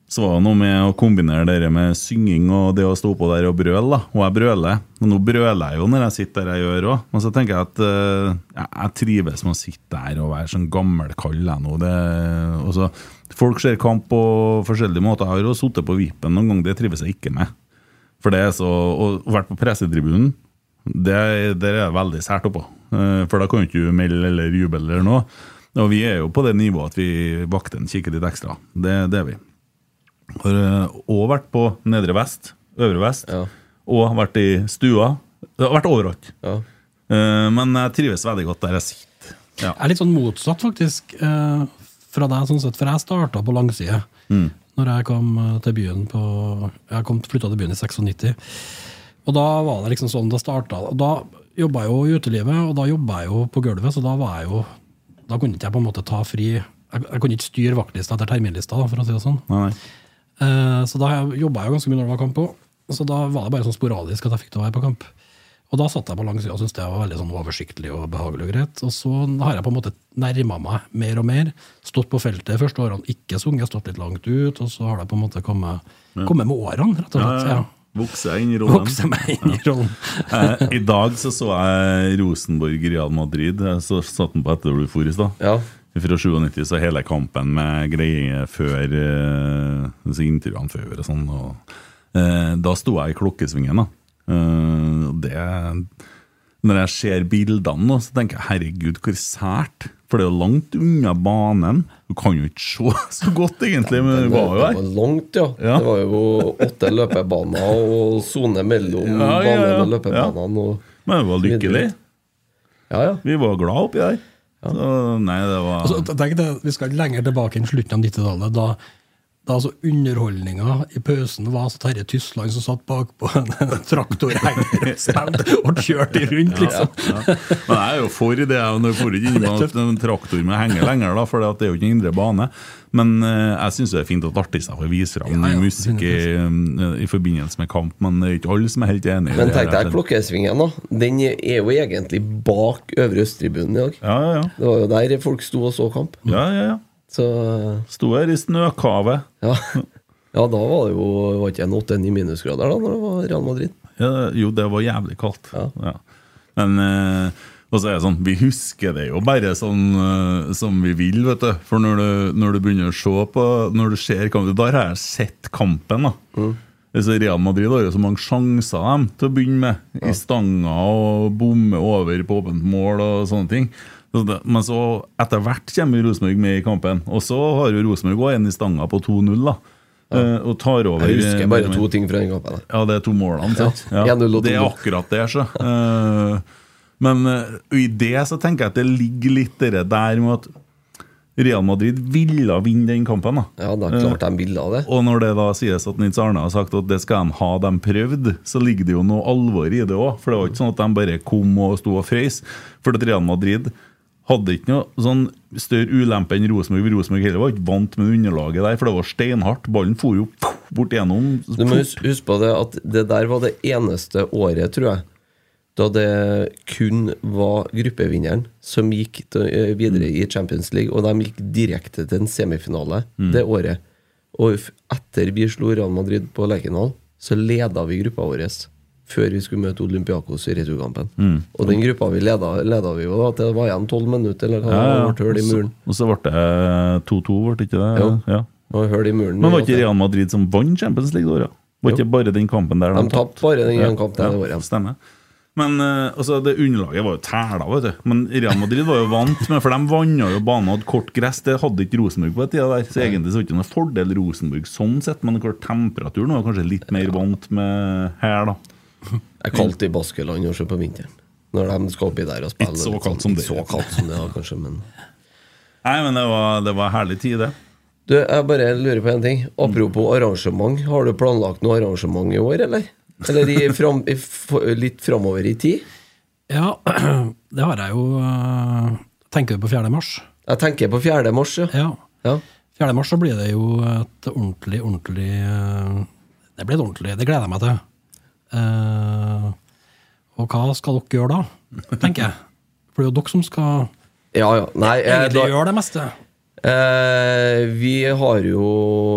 Speaker 2: så var det noe med å kombinere det der med synging og det å stå oppå der og brøle. da. Og jeg brøler. Og nå brøler jeg jo når jeg sitter der jeg gjør òg. Men så tenker jeg at eh, jeg- jeg trives med å sitte der og være sånn gammelkald, jeg nå. Det- og så- Folk ser kamp på forskjellige måter. Jeg har jo sittet på vippen noen ganger, det trives jeg ikke med. For det er så Og vært på pressetribunen, det, det er veldig sært oppå. Eh, For da kan jo ikke du melde eller juble eller noe. Og vi er jo på det nivået at vi vakter en kikker litt ekstra. Det, det er vi. Har òg vært på Nedre Vest, Øvre Vest,
Speaker 3: Ja.
Speaker 2: og vært i stua. Det har vært overalt.
Speaker 3: Ja.
Speaker 2: Eh, Men jeg trives veldig godt der jeg sitter. Ja.
Speaker 4: Jeg er litt sånn motsatt, faktisk, eh, fra deg, sånn sett, for jeg starta på langside. Når jeg kom eh, til byen på Jeg kom flytta til byen i 96. Og da var det liksom sånn det starta. Da jobba jeg jo i utelivet, og da jobba jeg jo på gulvet, så da var jeg jo Da kunne ikke jeg på en måte ta fri Jeg, jeg kunne ikke styre vaktlista etter terminlista, da, for å si det sånn.
Speaker 2: Nei, nei.
Speaker 4: Eh, Så da jobba jeg jo ganske mye når det var kamp òg. Så da var det bare sånn sporadisk at jeg fikk til å være på kamp. Og da satt jeg på lang side og syntes det var veldig sånn oversiktlig og behagelig og greit. Og så har jeg på en måte nærma meg mer og mer. Stått på feltet de første årene, ikke sunget, stått litt langt ut. Og så har det på en måte kommet, kommet med årene, rett
Speaker 2: Ja,
Speaker 4: og
Speaker 2: ja,
Speaker 4: slett. Ja.
Speaker 2: ja. Eh, Vokser jeg inn i rollen.
Speaker 4: Vokse meg inn i rollen.
Speaker 2: Eh, I dag så, så jeg Rosenborg Real Madrid. Jeg Så satt den på etter du for i stad.
Speaker 3: ja.
Speaker 2: Fra 97 så hele kampen med greier før eh, altså intervjuene før og sånn. Og, eh, da sto jeg i klokkesvingen, da. Eh, og det Når jeg ser bildene nå, så tenker jeg herregud, hvor sært. For det er jo langt unna banen. Du kan jo ikke se <laughs> så godt, egentlig, men du var jo
Speaker 3: Det
Speaker 2: her.
Speaker 3: var langt, ja.
Speaker 2: Ja.
Speaker 3: Det var jo åtte løpebaner og sone mellom
Speaker 2: Ja, ja, ja.
Speaker 3: banen og
Speaker 2: Ja.
Speaker 3: løpebanene. Og...
Speaker 2: Men jeg var lykkelig.
Speaker 3: Ja, ja.
Speaker 2: Vi var glad oppi der. Så nei, det var
Speaker 4: Altså, tenk det, vi skal lenger tilbake enn slutten av 90-tallet. Da, da altså underholdninga i pausen var altså Terje Tysland som satt bakpå en <laughs> traktorhenger og spilte og kjørte rundt, liksom.
Speaker 2: Ja. Men jeg er jo for det. Jeg når jeg får ikke inngang en traktor med
Speaker 4: <laughs>
Speaker 2: henger lenger, da, for det er jo ikke en indre bane. Men eh, jeg syns det er fint at artister får vise fram
Speaker 4: Ja, ja,
Speaker 2: musikk i, eh, i forbindelse med kamp, men det er ikke alle som er helt enig. i
Speaker 3: Men
Speaker 2: det
Speaker 3: tenk
Speaker 2: her,
Speaker 3: deg klokkesvingen, da. Den er jo egentlig bak Øvre Østtribunen i dag.
Speaker 2: Ja, ja, ja.
Speaker 3: Det var jo der folk sto og så kamp.
Speaker 2: ja, ja, ja.
Speaker 3: Så
Speaker 2: Sto her i snøkavet.
Speaker 3: ja. Ja, da var det jo det var ikke en åtte-ni minusgrader da når det var Real Madrid.
Speaker 2: Ja, jo, det var jævlig kaldt. Ja.
Speaker 3: Ja.
Speaker 2: Men eh, og så er det sånn, vi husker det jo bare sånn eh, som vi vil, vet du. For når du, når du begynner å se på Når du ser kampen Da har jeg sett kampen, da.
Speaker 3: Mm.
Speaker 2: Altså, Real Madrid har jo så mange sjanser dem, til å begynne med. I stanga og bomme over på åpent mål og sånne ting. Så det, men så etter hvert kommer Rosenborg med i kampen. Og så har jo Rosenborg òg en i stanga på 2-0, da. Eh, og tar over
Speaker 3: Jeg husker bare
Speaker 2: eh,
Speaker 3: to ting fra den kampen.
Speaker 2: ja, det er to målene. sant?
Speaker 3: Ja,
Speaker 2: Ja,
Speaker 3: 1-0 og
Speaker 2: det er
Speaker 3: 2-0.
Speaker 2: akkurat det. Så. Eh, men eh, i det så tenker jeg at det ligger litt det der med at Real Madrid ville vinne den kampen. da. Eh,
Speaker 3: Ja, da klarte de bildet av det.
Speaker 2: Og når det da sies at Nils Arne har sagt at det skal de ha, de prøvd, så ligger det jo noe alvor i det òg. For det var ikke sånn at de bare kom og sto og frøys. For at Real Madrid hadde ikke noe sånn større ulempe enn Rosenborg. Rosenborg heller var ikke vant med underlaget der, for det var steinhardt. Ballen for jo bort gjennom.
Speaker 3: Du må hus- huske på det at det der var det eneste året, tror jeg, da det kun var gruppevinneren som gikk til, eh, videre
Speaker 2: Mm.
Speaker 3: i Champions League, og de gikk direkte til en semifinale
Speaker 2: Mm.
Speaker 3: det året. Og f- etter vi slo Real Madrid på Lerkendal, så leda vi gruppa vår før vi skulle møte Olympiakos i returkampen.
Speaker 2: Mm.
Speaker 3: Og den gruppa vi leda, leda vi jo da til det var igjen tolv minutter, eller hva det var, det ble hull i muren.
Speaker 2: Og så ble det 2-2, ble det ikke det?
Speaker 3: Jo.
Speaker 2: Ja.
Speaker 3: Det var hull i muren.
Speaker 2: Men var ikke Real Madrid som vant Champions League da? Ja. Var ikke bare den kampen der
Speaker 3: De tapte bare den ene kampen
Speaker 2: Ja,
Speaker 3: det året.
Speaker 2: Stemmer. Men eh, altså, det underlaget var jo tæla, vet du. Men Real Madrid var jo vant med For de vanna jo banen og hadde kort gress. Det hadde ikke Rosenborg på den tida der. Så egentlig så var det ikke noen fordel Rosenborg sånn sett, men klart temperaturen var kanskje litt mer vant med her, da.
Speaker 3: Det er kaldt i Baskeland også på vinteren. Når de skal oppi der og spille.
Speaker 2: Ikke så
Speaker 3: litt
Speaker 2: kaldt
Speaker 3: sånn-
Speaker 2: som det.
Speaker 3: Ikke Så kaldt som det, ja, kanskje, men
Speaker 2: Nei, men det var, det var herlig tid, det.
Speaker 3: Du, jeg bare lurer på en ting. Apropos arrangement. Har du planlagt noe arrangement i år, eller? Eller i fram, i, f- litt framover i tid?
Speaker 4: Ja, <clears throat> det har jeg jo eh, Tenker du på 4. mars?
Speaker 3: Jeg tenker på 4. mars, ja.
Speaker 4: Ja.
Speaker 3: ja.
Speaker 4: 4. mars så blir det jo et ordentlig, ordentlig eh, Det blir et ordentlig Det gleder jeg meg til. Eh, og hva skal dere gjøre da, tenker jeg. For det er jo dere som skal
Speaker 3: Ja, ja. Nei, jeg,
Speaker 4: egentlig
Speaker 3: da,
Speaker 4: gjøre det meste.
Speaker 3: Eh, vi har jo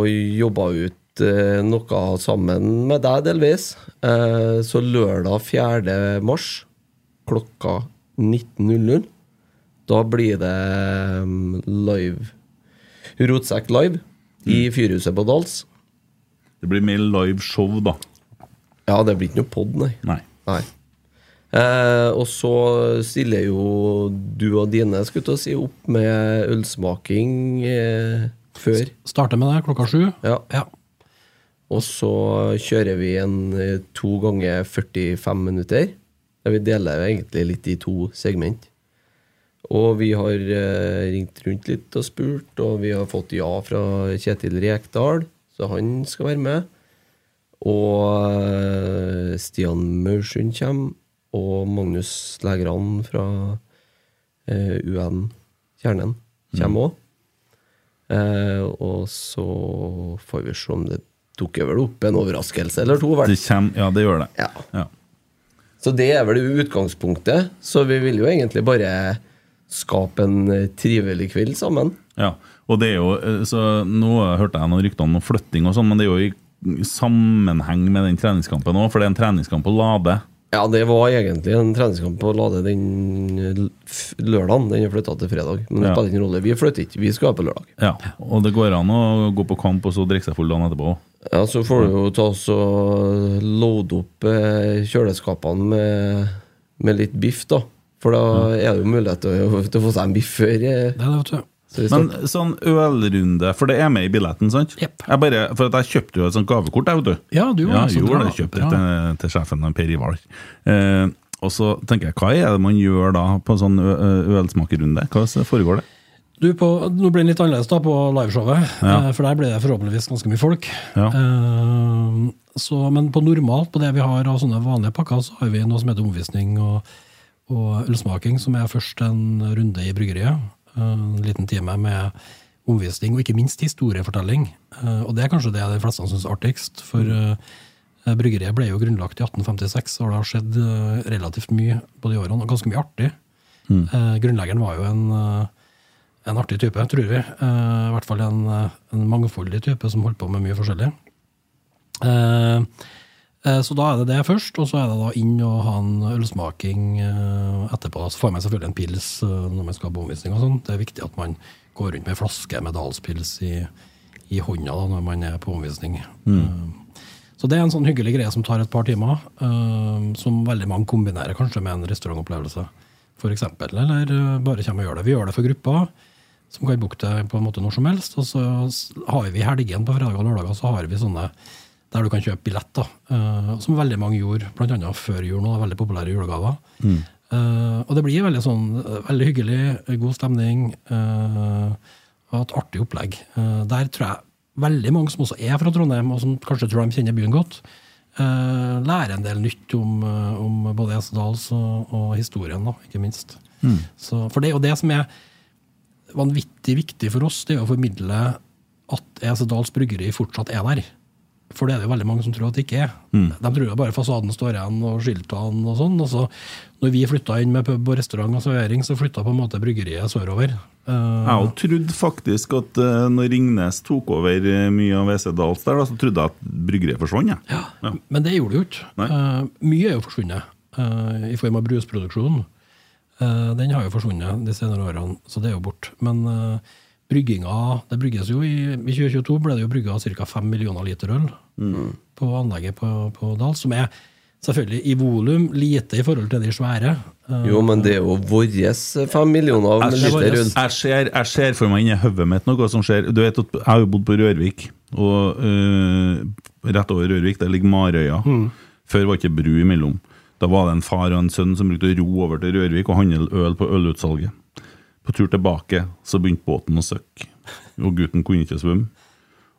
Speaker 3: jobba ut eh, noe sammen med deg, delvis. Eh, så lørdag 4. mars klokka 19.00 Da blir det mm, live. Rotsekk live i Fyrhuset på Dals.
Speaker 2: Det blir mer live show, da.
Speaker 3: Ja, det blir ikke noe pod, nei.
Speaker 2: Nei.
Speaker 3: Nei. Eh, og så stiller jo du og dine skulle jeg til å si, opp med ølsmaking eh, før.
Speaker 4: Starter med det klokka sju.
Speaker 3: Ja.
Speaker 4: Ja.
Speaker 3: Og så kjører vi en eh, to ganger 45 minutter. Der vi deler egentlig litt i to segment. Og vi har eh, ringt rundt litt og spurt, og vi har fått ja fra Kjetil Rekdal, så han skal være med. Og eh, Stian Maursund kommer, og Magnus Lægran fra eh, UN Kjernen kommer òg. Eh, og så får vi se om det dukker vel opp en overraskelse eller to. Vel?
Speaker 2: Det kommer, ja, det gjør det.
Speaker 3: Ja.
Speaker 2: Ja.
Speaker 3: Så det er vel utgangspunktet. Så vi vil jo egentlig bare skape en eh, trivelig kveld sammen.
Speaker 2: Ja, og det er jo, eh, så Nå hørte jeg noen rykter om noe flytting, og sånn, men det er jo i sammenheng med den treningskampen òg, for det er en treningskamp på Lade.
Speaker 3: Ja, det var egentlig en treningskamp på Lade den l- f- lørdagen. Den er flytta til fredag. Men det
Speaker 2: Ja.
Speaker 3: spiller ingen rolle. Vi flytter ikke. Vi skal være på lørdag.
Speaker 2: Ja, Og det går an å gå på kamp og så drikke seg full dagen etterpå òg.
Speaker 3: Ja, så får du jo ta oss og loade opp eh, kjøleskapene med, med litt biff, da. For da er det jo mulighet til å, til å få seg en biff før. eh,
Speaker 4: Det er det, vet du.
Speaker 3: Så vi
Speaker 2: Men
Speaker 3: starter.
Speaker 2: sånn ølrunde, for det er med i billetten, sant?
Speaker 4: Jepp.
Speaker 2: Jeg bare, for at jeg kjøpte jo et sånt gavekort, jeg, vet du.
Speaker 4: Ja, du gjorde
Speaker 2: ja,
Speaker 4: det, så
Speaker 2: jeg
Speaker 4: bra.
Speaker 2: gjorde det. Jeg Kjøpte det
Speaker 4: Bra.
Speaker 2: til, til sjefen, Per Ivar. Eh, og så tenker jeg, hva er det man gjør da på sånn ø- ø- ølsmakerrunde? Hva foregår det?
Speaker 4: Du, på, nå blir det litt annerledes da på liveshowet, eh, for der blir det forhåpentligvis ganske mye folk.
Speaker 2: Ja.
Speaker 4: Eh, så, men på normalt, på det vi har av sånne vanlige pakker, så har vi noe som heter omvisning og, og ølsmaking, som er først en runde i bryggeriet. eh, En liten time med omvisning, og ikke minst historiefortelling. Eh, og det er kanskje det de fleste syns er artigst, for eh, bryggeriet ble jo grunnlagt i 1856, og det har skjedd eh, relativt mye på de årene, og ganske mye artig. Eh, grunnleggeren var jo en eh, en artig type, tror vi. Eh, I hvert fall en, eh, en mangfoldig type som holdt på med mye forskjellig. Eh, eh, så da er det det først, og så er det da inn og ha en ølsmaking eh, etterpå. Så får man selvfølgelig en pils eh, når man skal på omvisning og sånn. Det er viktig at man går rundt med en flaske med dalspils i, i hånda da, når man er på omvisning. Eh, så det er en sånn hyggelig greie som tar et par timer, eh, som veldig mange kombinerer kanskje med en restaurantopplevelse, f.eks. Eller eh, bare kommer og gjør det. Vi gjør det for grupper som kan booke det på en måte når som helst. Og så s- har vi i helgen på fredager og lørdager så har vi sånne der du kan kjøpe billett, da, eh, som veldig mange gjorde, bl.a. før jul. nå, Veldig populære julegaver. Eh, og det blir veldig, sånn, eh, veldig hyggelig, god stemning eh, og et artig opplegg. Eh, der tror jeg veldig mange som også er fra Trondheim, og som kanskje tror de kjenner byen godt, eh, lærer en del nytt om, eh, om både Esedals og, og historien, da, ikke minst. Så, for det er jo det som er vanvittig viktig for oss, det er å formidle at Esedals bryggeri fortsatt er der. For det er det jo veldig mange som tror at det ikke er. De tror jo bare fasaden står igjen, og skiltene og sånn. Og så, når vi flytta inn med pub og restaurant og servering, så flytta på en måte bryggeriet sørover. Eh,
Speaker 2: Jeg også trodde faktisk at eh, når Ringnes tok over eh, mye av WC Dals der, da, så trodde jeg at bryggeriet forsvant. Jeg. Ja.
Speaker 4: Men det gjorde det jo ikke.
Speaker 2: Nei.
Speaker 4: Eh, mye er jo forsvunnet eh, i form av brusproduksjon. Eh, den har jo forsvunnet de senere årene, så det er jo borte. Men eh, brygginga Det brygges jo i, i 2022 ble det jo brygga ca. 5 millioner liter øl
Speaker 2: Mm.
Speaker 4: på anlegget på, på Dal, som er selvfølgelig i volum lite i forhold til de svære. Eh,
Speaker 3: Jo, men det er jo våres fem millioner
Speaker 2: Jeg ser-
Speaker 3: liter øl.
Speaker 2: Jeg ser, jeg ser for meg inni hodet mitt noe som skjer. Du vet at Jeg har jo bodd på Rørvik, og eh, rett over Rørvik der ligger Marøya. Før var det ikke bru imellom. Da var det en far og en sønn som brukte å ro over til Rørvik og handle øl på ølutsalget. På tur tilbake så begynte båten å søkke, og gutten kunne ikke svømme.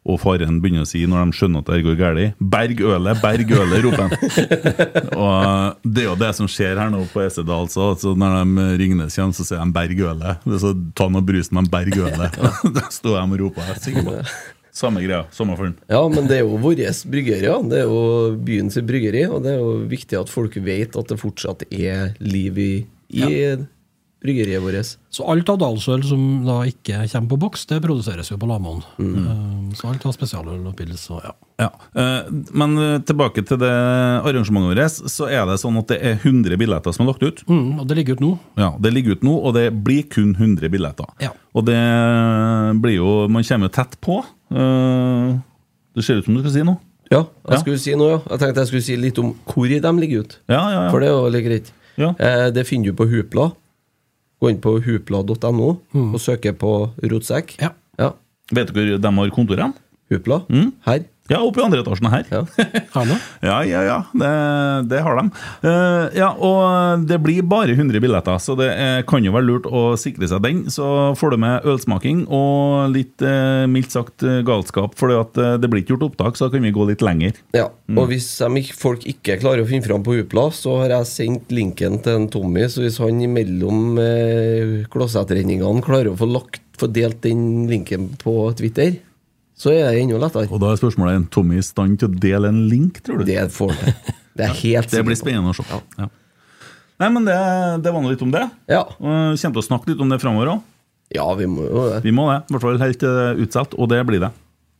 Speaker 2: Og faren begynner å si, når de skjønner at det her går galt, 'Berg ølet, berg ølet', roper han. Og det er jo det som skjer her nå på Esedal. Så, så når de Ringnes kommer, så sier de 'berg ølet'. Det er så, Ta nå brusen, men 'berg
Speaker 3: <laughs>
Speaker 2: ølet'. Da står de og roper. Jeg er sikker på det. Samme greia. Samme fyren.
Speaker 3: Ja, men det er jo våres bryggeri. ja. Det er jo byens bryggeri, og det er jo viktig at folk vet at det fortsatt er liv i, i bryggeriet vårt.
Speaker 4: Så alt av dalsøl som da ikke kommer på boks, det produseres jo på Lamoen.
Speaker 2: Mm.
Speaker 4: Eh, Så alt av spesialøl og pils og ja.
Speaker 2: Ja. eh, Men eh, tilbake til det arrangementet vårt, så er det sånn at det er 100 billetter som er lagt ut.
Speaker 4: Mm, og det ligger ut nå.
Speaker 2: Ja, Det ligger ut nå, og det blir kun 100 billetter.
Speaker 4: Ja.
Speaker 2: Og det blir jo Man kommer jo tett på. Eh, Det ser ut som du skal si noe.
Speaker 3: Ja, jeg
Speaker 2: Ja.
Speaker 3: skulle si noe, ja. Jeg tenkte jeg skulle si litt om hvor de ligger ut.
Speaker 2: Ja, ja, ja.
Speaker 3: For det er jo litt greit.
Speaker 2: Ja.
Speaker 3: Eh, det finner du på Hupla. Gå inn på hupla.no og søke på rotsekk.
Speaker 4: Ja.
Speaker 2: Vet dere de har kontorene?
Speaker 3: Hupla. Her.
Speaker 2: Ja, oppe i andre etasjen her.
Speaker 3: Ja.
Speaker 4: Herne.
Speaker 2: Ja, ja, ja. Det, det har de. Eh, ja, og det blir bare 100 billetter, så det eh, kan jo være lurt å sikre seg den. Så får du med ølsmaking og litt eh, mildt sagt eh, galskap, for eh, det blir ikke gjort opptak, så da kan vi gå litt lenger.
Speaker 3: Ja,
Speaker 2: Mm.
Speaker 3: Og hvis de ikke, folk ikke klarer å finne fram på Hupla, så har jeg sendt linken til en Tommy. Så hvis han imellom eh, klossettrenningene klarer å få lagt, få delt den linken på Twitter, så er det enda lettere.
Speaker 2: Og da er spørsmålet er Tommy i stand til å dele en link, tror du?
Speaker 3: Det får han til. Det er helt
Speaker 2: Det blir
Speaker 3: sikker på.
Speaker 2: spennende å se. Ja. Nei, men det, det var nå litt om det.
Speaker 3: Ja.
Speaker 2: Og jeg Kommer til å snakke litt om det framover òg.
Speaker 3: ja, vi må jo det.
Speaker 2: Vi må det. I hvert fall helt eh, utsatt, og det blir det.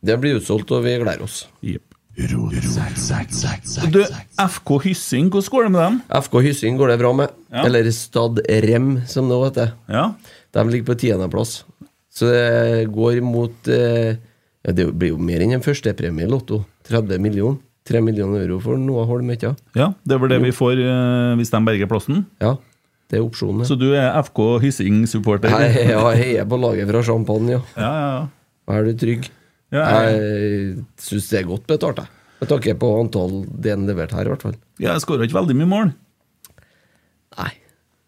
Speaker 3: Det blir utsolgt, og vi gleder oss.
Speaker 2: Du, FK Hyssing, hvordan går det med dem?
Speaker 3: FK Hyssing går det bra med.
Speaker 2: Ja.
Speaker 3: Eller Stad Rem, som det heter.
Speaker 2: Ja,
Speaker 3: De ligger på tiendeplass. Så det går mot eh, ja, Det blir jo mer enn en førstepremie i Lotto. 30 millioner. 3 millioner euro for Noah Holm, ikke sant?
Speaker 2: ja det er vel det vi får eh, hvis de berger plassen.
Speaker 3: Ja. Det er opsjonen.
Speaker 2: Så du er FK Hyssing-supporter?
Speaker 3: Jeg
Speaker 2: Ja,
Speaker 3: ja, jeg heier på laget fra Champagne, ja.
Speaker 2: ja, ja.
Speaker 3: Er du trygg?
Speaker 2: Ja, jeg,
Speaker 3: Jeg syns det er godt betalt, jeg. Med tanke på antall det han leverte her, i hvert fall.
Speaker 2: jeg skårer ikke veldig mye mål.
Speaker 3: Nei.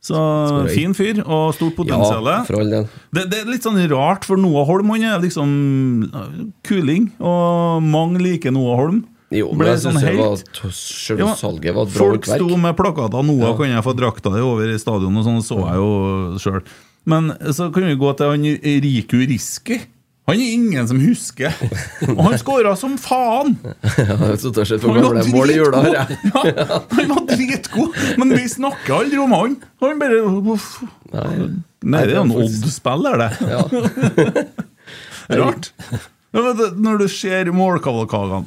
Speaker 2: Så
Speaker 3: jeg.
Speaker 2: fin fyr og stort
Speaker 3: Ja,
Speaker 2: potensial.
Speaker 3: for all del.
Speaker 2: Det, det er litt sånn rart, for Noah Holm han er liksom eh, kuling, og mange liker Noah Holm.
Speaker 3: Jo,
Speaker 2: Ble
Speaker 3: men jeg
Speaker 2: sånn
Speaker 3: syns
Speaker 2: helt-
Speaker 3: sjøl
Speaker 2: Ja,
Speaker 3: salget var et bra
Speaker 2: Folk
Speaker 3: håndverk.
Speaker 2: sto med plakater 'Noah, kan jeg få drakta di over i stadion?' og sånn, så jeg jo sjøl. Men så kan vi gå til han Riku Riski. Han er ingen som husker. Og han skåra som faen!
Speaker 3: <laughs> Ja, så tar jeg sett på
Speaker 2: Han var
Speaker 3: gamle mål i jula her, jeg.
Speaker 2: dritgod! <laughs> Ja, han var dritgod! Men vi snakker aldri om han. Han bare uff. Nei, det er jo en Odd-spiller, det. <laughs> Rart. Ja, men det- Når du ser målkavalkadene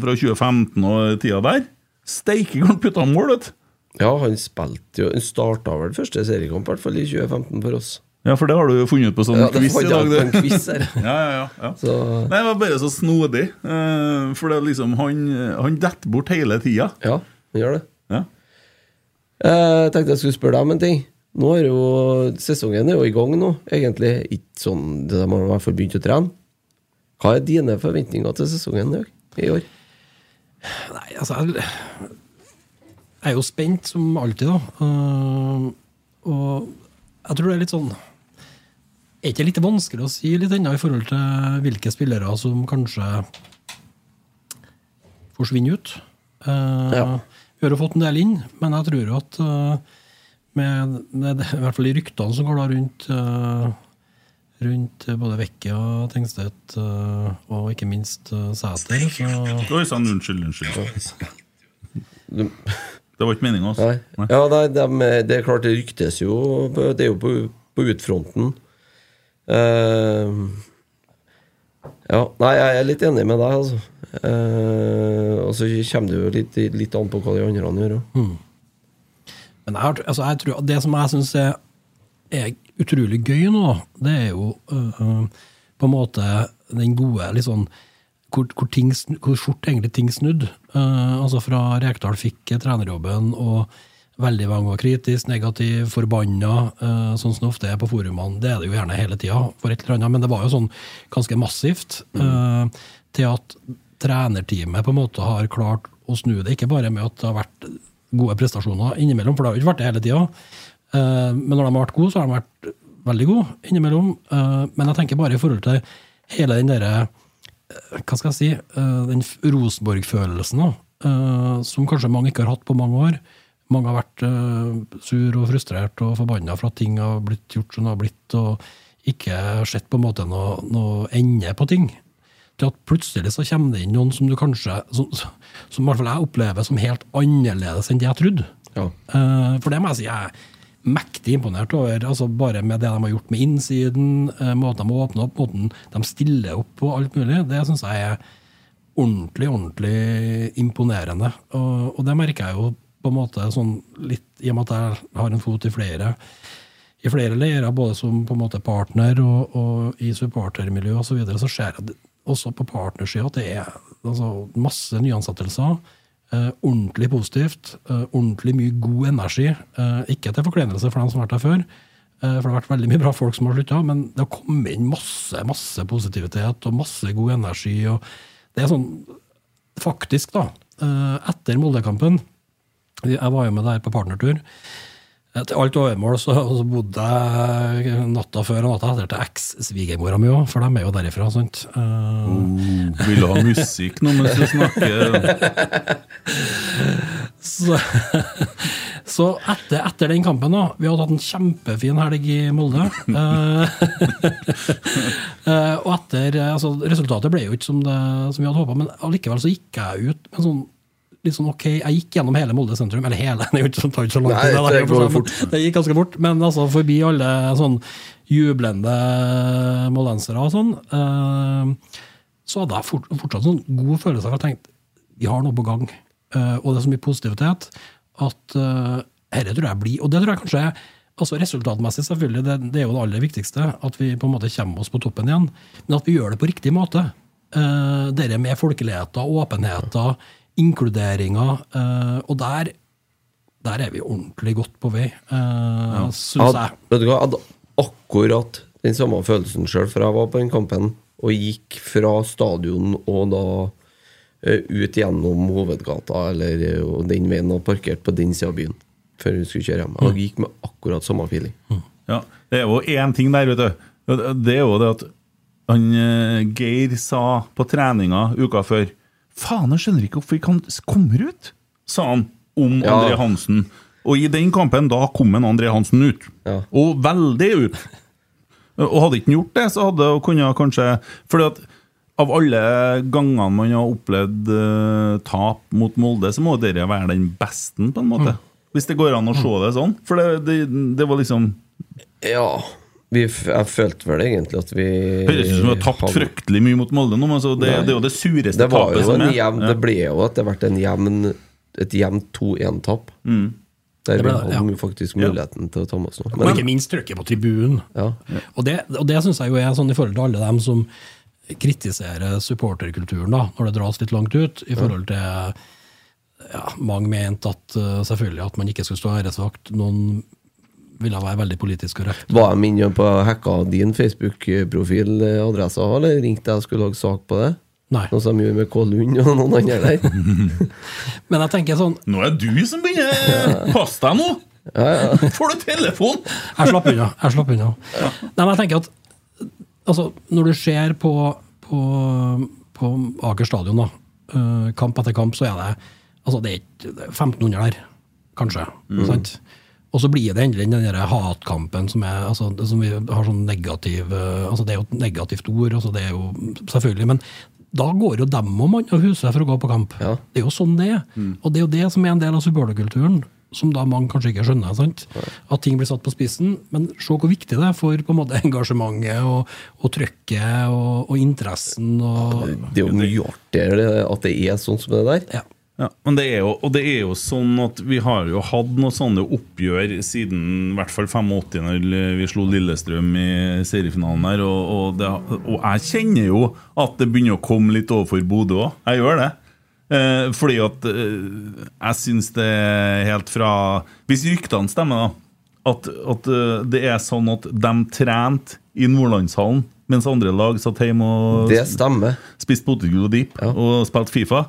Speaker 2: fra 2015 og tida der Steike kan putte han mål, vet du.
Speaker 3: Ja, han spilte jo Han starta vel første seriekamp, i hvert fall i 2015 for oss.
Speaker 2: Ja, for det har du jo funnet på sånn
Speaker 3: Ja, det
Speaker 2: quiz i
Speaker 3: fant
Speaker 2: dag.
Speaker 3: jeg på en
Speaker 2: du.
Speaker 3: quiz her.
Speaker 2: <laughs> Ja, ja, ja, ja.
Speaker 3: Så
Speaker 2: Nei, det var bare så snodig. eh, for det er liksom Han, han detter bort hele tida.
Speaker 3: ja, han gjør det. Eh,
Speaker 2: Ja.
Speaker 3: Jeg tenkte jeg skulle spørre deg om en ting. Nå er jo Sesongen er jo i gang nå, egentlig. Ikke sånn De har i hvert fall begynt å trene. Hva er dine forventninger til sesongen i år- i år?
Speaker 4: Nei, altså jeg, jeg er jo spent som alltid, da. Eh, og jeg tror det er litt sånn Er ikke det litt vanskelig å si litt ennå i forhold til hvilke spillere som kanskje forsvinner ut? Eh,
Speaker 3: Ja.
Speaker 4: Vi har jo fått en del inn, men jeg tror jo at eh, med, med det- i hvert fall de ryktene som går da rundt eh, rundt både Vekke og Tengstedt, eh, og ikke minst eh, Sæter, så
Speaker 2: Oi sann, unnskyld, unnskyld. Det var ikke meninga, altså.
Speaker 3: Nei. Ja, nei, dem, det er klart det ryktes jo på- Det er jo på, på utfronten. Eh, ja, nei, jeg er litt enig med deg, altså. Eh, og så kommer det jo litt, litt an på hva de andre gjør. også.
Speaker 4: Men jeg, har- altså, jeg tror, det som jeg syns er, er utrolig gøy nå, det er jo øh, øh, på en måte den gode litt sånn hvor, hvor, ting, snu- hvor fort egentlig ting snudde. Eh, altså fra Rekdal fikk eh, trenerjobben, og veldig mange var kritisk, negativ, forbanna, eh, sånn som det ofte er på forumene. Det er det jo gjerne hele tida, for et eller annet, men det var jo sånn ganske massivt. eh, til at trenerteamet på en måte har klart å snu det, ikke bare med at det har vært gode prestasjoner innimellom, for det har jo ikke vært det hele tida. Eh, Men når de har vært gode, så har de vært veldig gode innimellom. Eh, Men jeg tenker bare i forhold til hele den derre eh, Hva skal jeg si? eh, Den f- Rosenborg-følelsen, da. eh, Som kanskje mange ikke har hatt på mange år. Mange har vært eh, sur og frustrert og forbanna for at ting har blitt gjort som det har blitt, og ikke sett på en måte noe, noe ende på ting. Til at plutselig så kommer det inn noen som du kanskje Som, som i hvert fall jeg opplever som helt annerledes enn det jeg trodde.
Speaker 3: Ja.
Speaker 4: Eh, For det må jeg si jeg er mektig imponert over. altså Bare med det de har gjort med innsiden, eh, måten de åpner opp, måten de stiller opp på, alt mulig. Det syns jeg er ordentlig, ordentlig imponerende. Og, og det merker jeg jo på en måte sånn litt, i og med at jeg har en fot i flere i flere leirer, både som på en måte partner og, og i supportermiljø osv., så, videre, så ser jeg at det- også på partnersida at det er altså, masse nyansettelser. Eh, ordentlig positivt. Eh, ordentlig mye god energi. Eh, ikke til forklenelse for dem som har vært der før, eh, for det har vært veldig mye bra folk som har slutta, men det har kommet inn masse, masse positivitet og masse god energi. og det er sånn faktisk, da, eh, etter Molde-kampen Jeg var jo med der på partnertur. Eh, Til alt overmål så, så bodde jeg natta før og natta etter til eks-svigermora mi òg, for de er jo derifra. sant? Eh,
Speaker 2: Oh, vil du ha musikk nå mens du snakker?
Speaker 4: Så, <laughs> så etter, etter den kampen, da Vi hadde hatt en kjempefin helg i Molde. Eh, <laughs> eh, og etter eh, altså, Resultatet ble jo ikke som, det, som vi hadde håpa, men allikevel så gikk jeg ut med en sånn litt sånn ok, Jeg gikk gjennom hele Molde sentrum. Eller hele, <laughs> det er jo ikke, sånn, det tar jo ikke så lang
Speaker 3: Nei,
Speaker 4: tid. da,
Speaker 3: det
Speaker 4: er jo
Speaker 3: går
Speaker 4: for seg,
Speaker 3: fort.
Speaker 4: men <laughs> Det gikk ganske fort. Men altså forbi alle sånn jublende moldensere og sånn. eh, så hadde jeg fort, fortsatt sånn god følelse av at jeg tenkte vi har noe på gang. Eh, og det er så mye positivitet at uh, dette tror jeg blir Og det tror jeg kanskje er altså Resultatmessig selvfølgelig, det, det er jo det aller viktigste. At vi på en måte kommer oss på toppen igjen. Men at vi gjør det på riktig måte. Uh, dette med folkeligheter, åpenheter, inkluderinger. eh, og der, der er vi ordentlig godt på vei, uh, syns jeg.
Speaker 3: Had, vet du hva, jeg hadde akkurat den samme følelsen sjøl, for jeg var på den kampen og gikk fra stadion og da eh, ut gjennom hovedgata eller eh, og den veien og parkert på den sida av byen før vi skulle kjøre hjem. Jeg gikk med akkurat samme feeling.
Speaker 2: Ja, det er jo én ting der, vet du. Det er jo det at han eh, Geir sa på treninga uka før Faen, jeg skjønner ikke hvorfor ikke han s- kommer ut, sa han om
Speaker 3: Ja.
Speaker 2: André Hansen. Og i den kampen, da kom en André Hansen ut.
Speaker 3: Ja.
Speaker 2: Og veldig ut. Og hadde ikke han gjort det, så hadde hun kunnet kanskje Fordi at av alle gangene man har opplevd eh, tap mot Molde, så må dette være den besten, på en måte.
Speaker 3: Mm.
Speaker 2: Hvis det går an å se det sånn. For det, det, det var liksom
Speaker 3: Ja, vi, f- jeg følte vel egentlig at vi
Speaker 2: Høres ut som du har tapt
Speaker 3: hadde-
Speaker 2: fryktelig mye mot Molde nå, men altså, det,
Speaker 3: Nei.
Speaker 2: det er jo det sureste
Speaker 3: Det var
Speaker 2: tapet
Speaker 3: jo
Speaker 2: som
Speaker 3: en
Speaker 2: er.
Speaker 3: jevn
Speaker 2: Ja.
Speaker 3: Det ble jo etter hvert en jevn et jevnt 2-1-tap.
Speaker 2: Mm.
Speaker 3: Der
Speaker 4: Det ble
Speaker 3: vi
Speaker 4: det,
Speaker 3: hadde
Speaker 4: ja.
Speaker 3: jo faktisk muligheten til å ta med oss noe.
Speaker 4: Og ikke minst trykket på tribunen.
Speaker 3: Ja.
Speaker 4: Og det, og det syns jeg jo er sånn i forhold til alle dem som kritiserer supporterkulturen, da, når det dras litt langt ut. i forhold til ja, Mange mente at eh, selvfølgelig at man ikke skulle stå æresvakt. Noen ville være veldig politisk korrekt.
Speaker 3: Var jeg inne på hacka din Facebook-profil eh, adressa, eller ringte jeg og skulle lage sak på det?
Speaker 4: Nei.
Speaker 3: Noe som gjorde med K. Lund og noen andre
Speaker 2: <laughs>
Speaker 3: der.
Speaker 4: Men jeg tenker sånn,
Speaker 2: Nå er det du som
Speaker 3: <laughs>
Speaker 2: begynner! Pass deg nå! Får du telefon?!
Speaker 4: Jeg slapp unna. Jeg slapp unna. Nei, men jeg tenker at altså, Når du ser på, på, på Aker stadion, da, eh, kamp etter kamp, så er det altså det er ikke det er 1500 der, kanskje. sant? Og så blir det endelig den der hatkampen som, er, altså, det som vi har sånn negativ eh, altså Det er jo et negativt ord, altså det er jo selvfølgelig, men da går jo dem og mann av huset for å gå på kamp.
Speaker 3: Ja.
Speaker 4: Det er jo sånn det er. Og det er jo det som er en del av supporterkulturen, som da mange kanskje ikke skjønner. sant? At ting blir satt på spissen. Men se hvor viktig det er for på en måte <laughs> engasjementet og, og trykket og, og interessen. og...
Speaker 3: Det er jo mye artigere det- at det er sånn som det der.
Speaker 4: Ja.
Speaker 2: Ja, men det er jo, og det er jo sånn at vi har jo hatt noen sånne oppgjør siden i hvert fall 85, når vi slo Lillestrøm i seriefinalen her. Og, og, det, og jeg kjenner jo at det begynner å komme litt overfor Bodø òg. Jeg gjør det. Eh, fordi at eh, jeg syns det er helt fra Hvis ryktene stemmer, da. At, at eh, det er sånn at de trente i Nordlandshallen, mens andre lag satt hjemme og
Speaker 3: Det stemmer.
Speaker 2: spist potetgull og dip
Speaker 3: Ja.
Speaker 2: og spilt Fifa.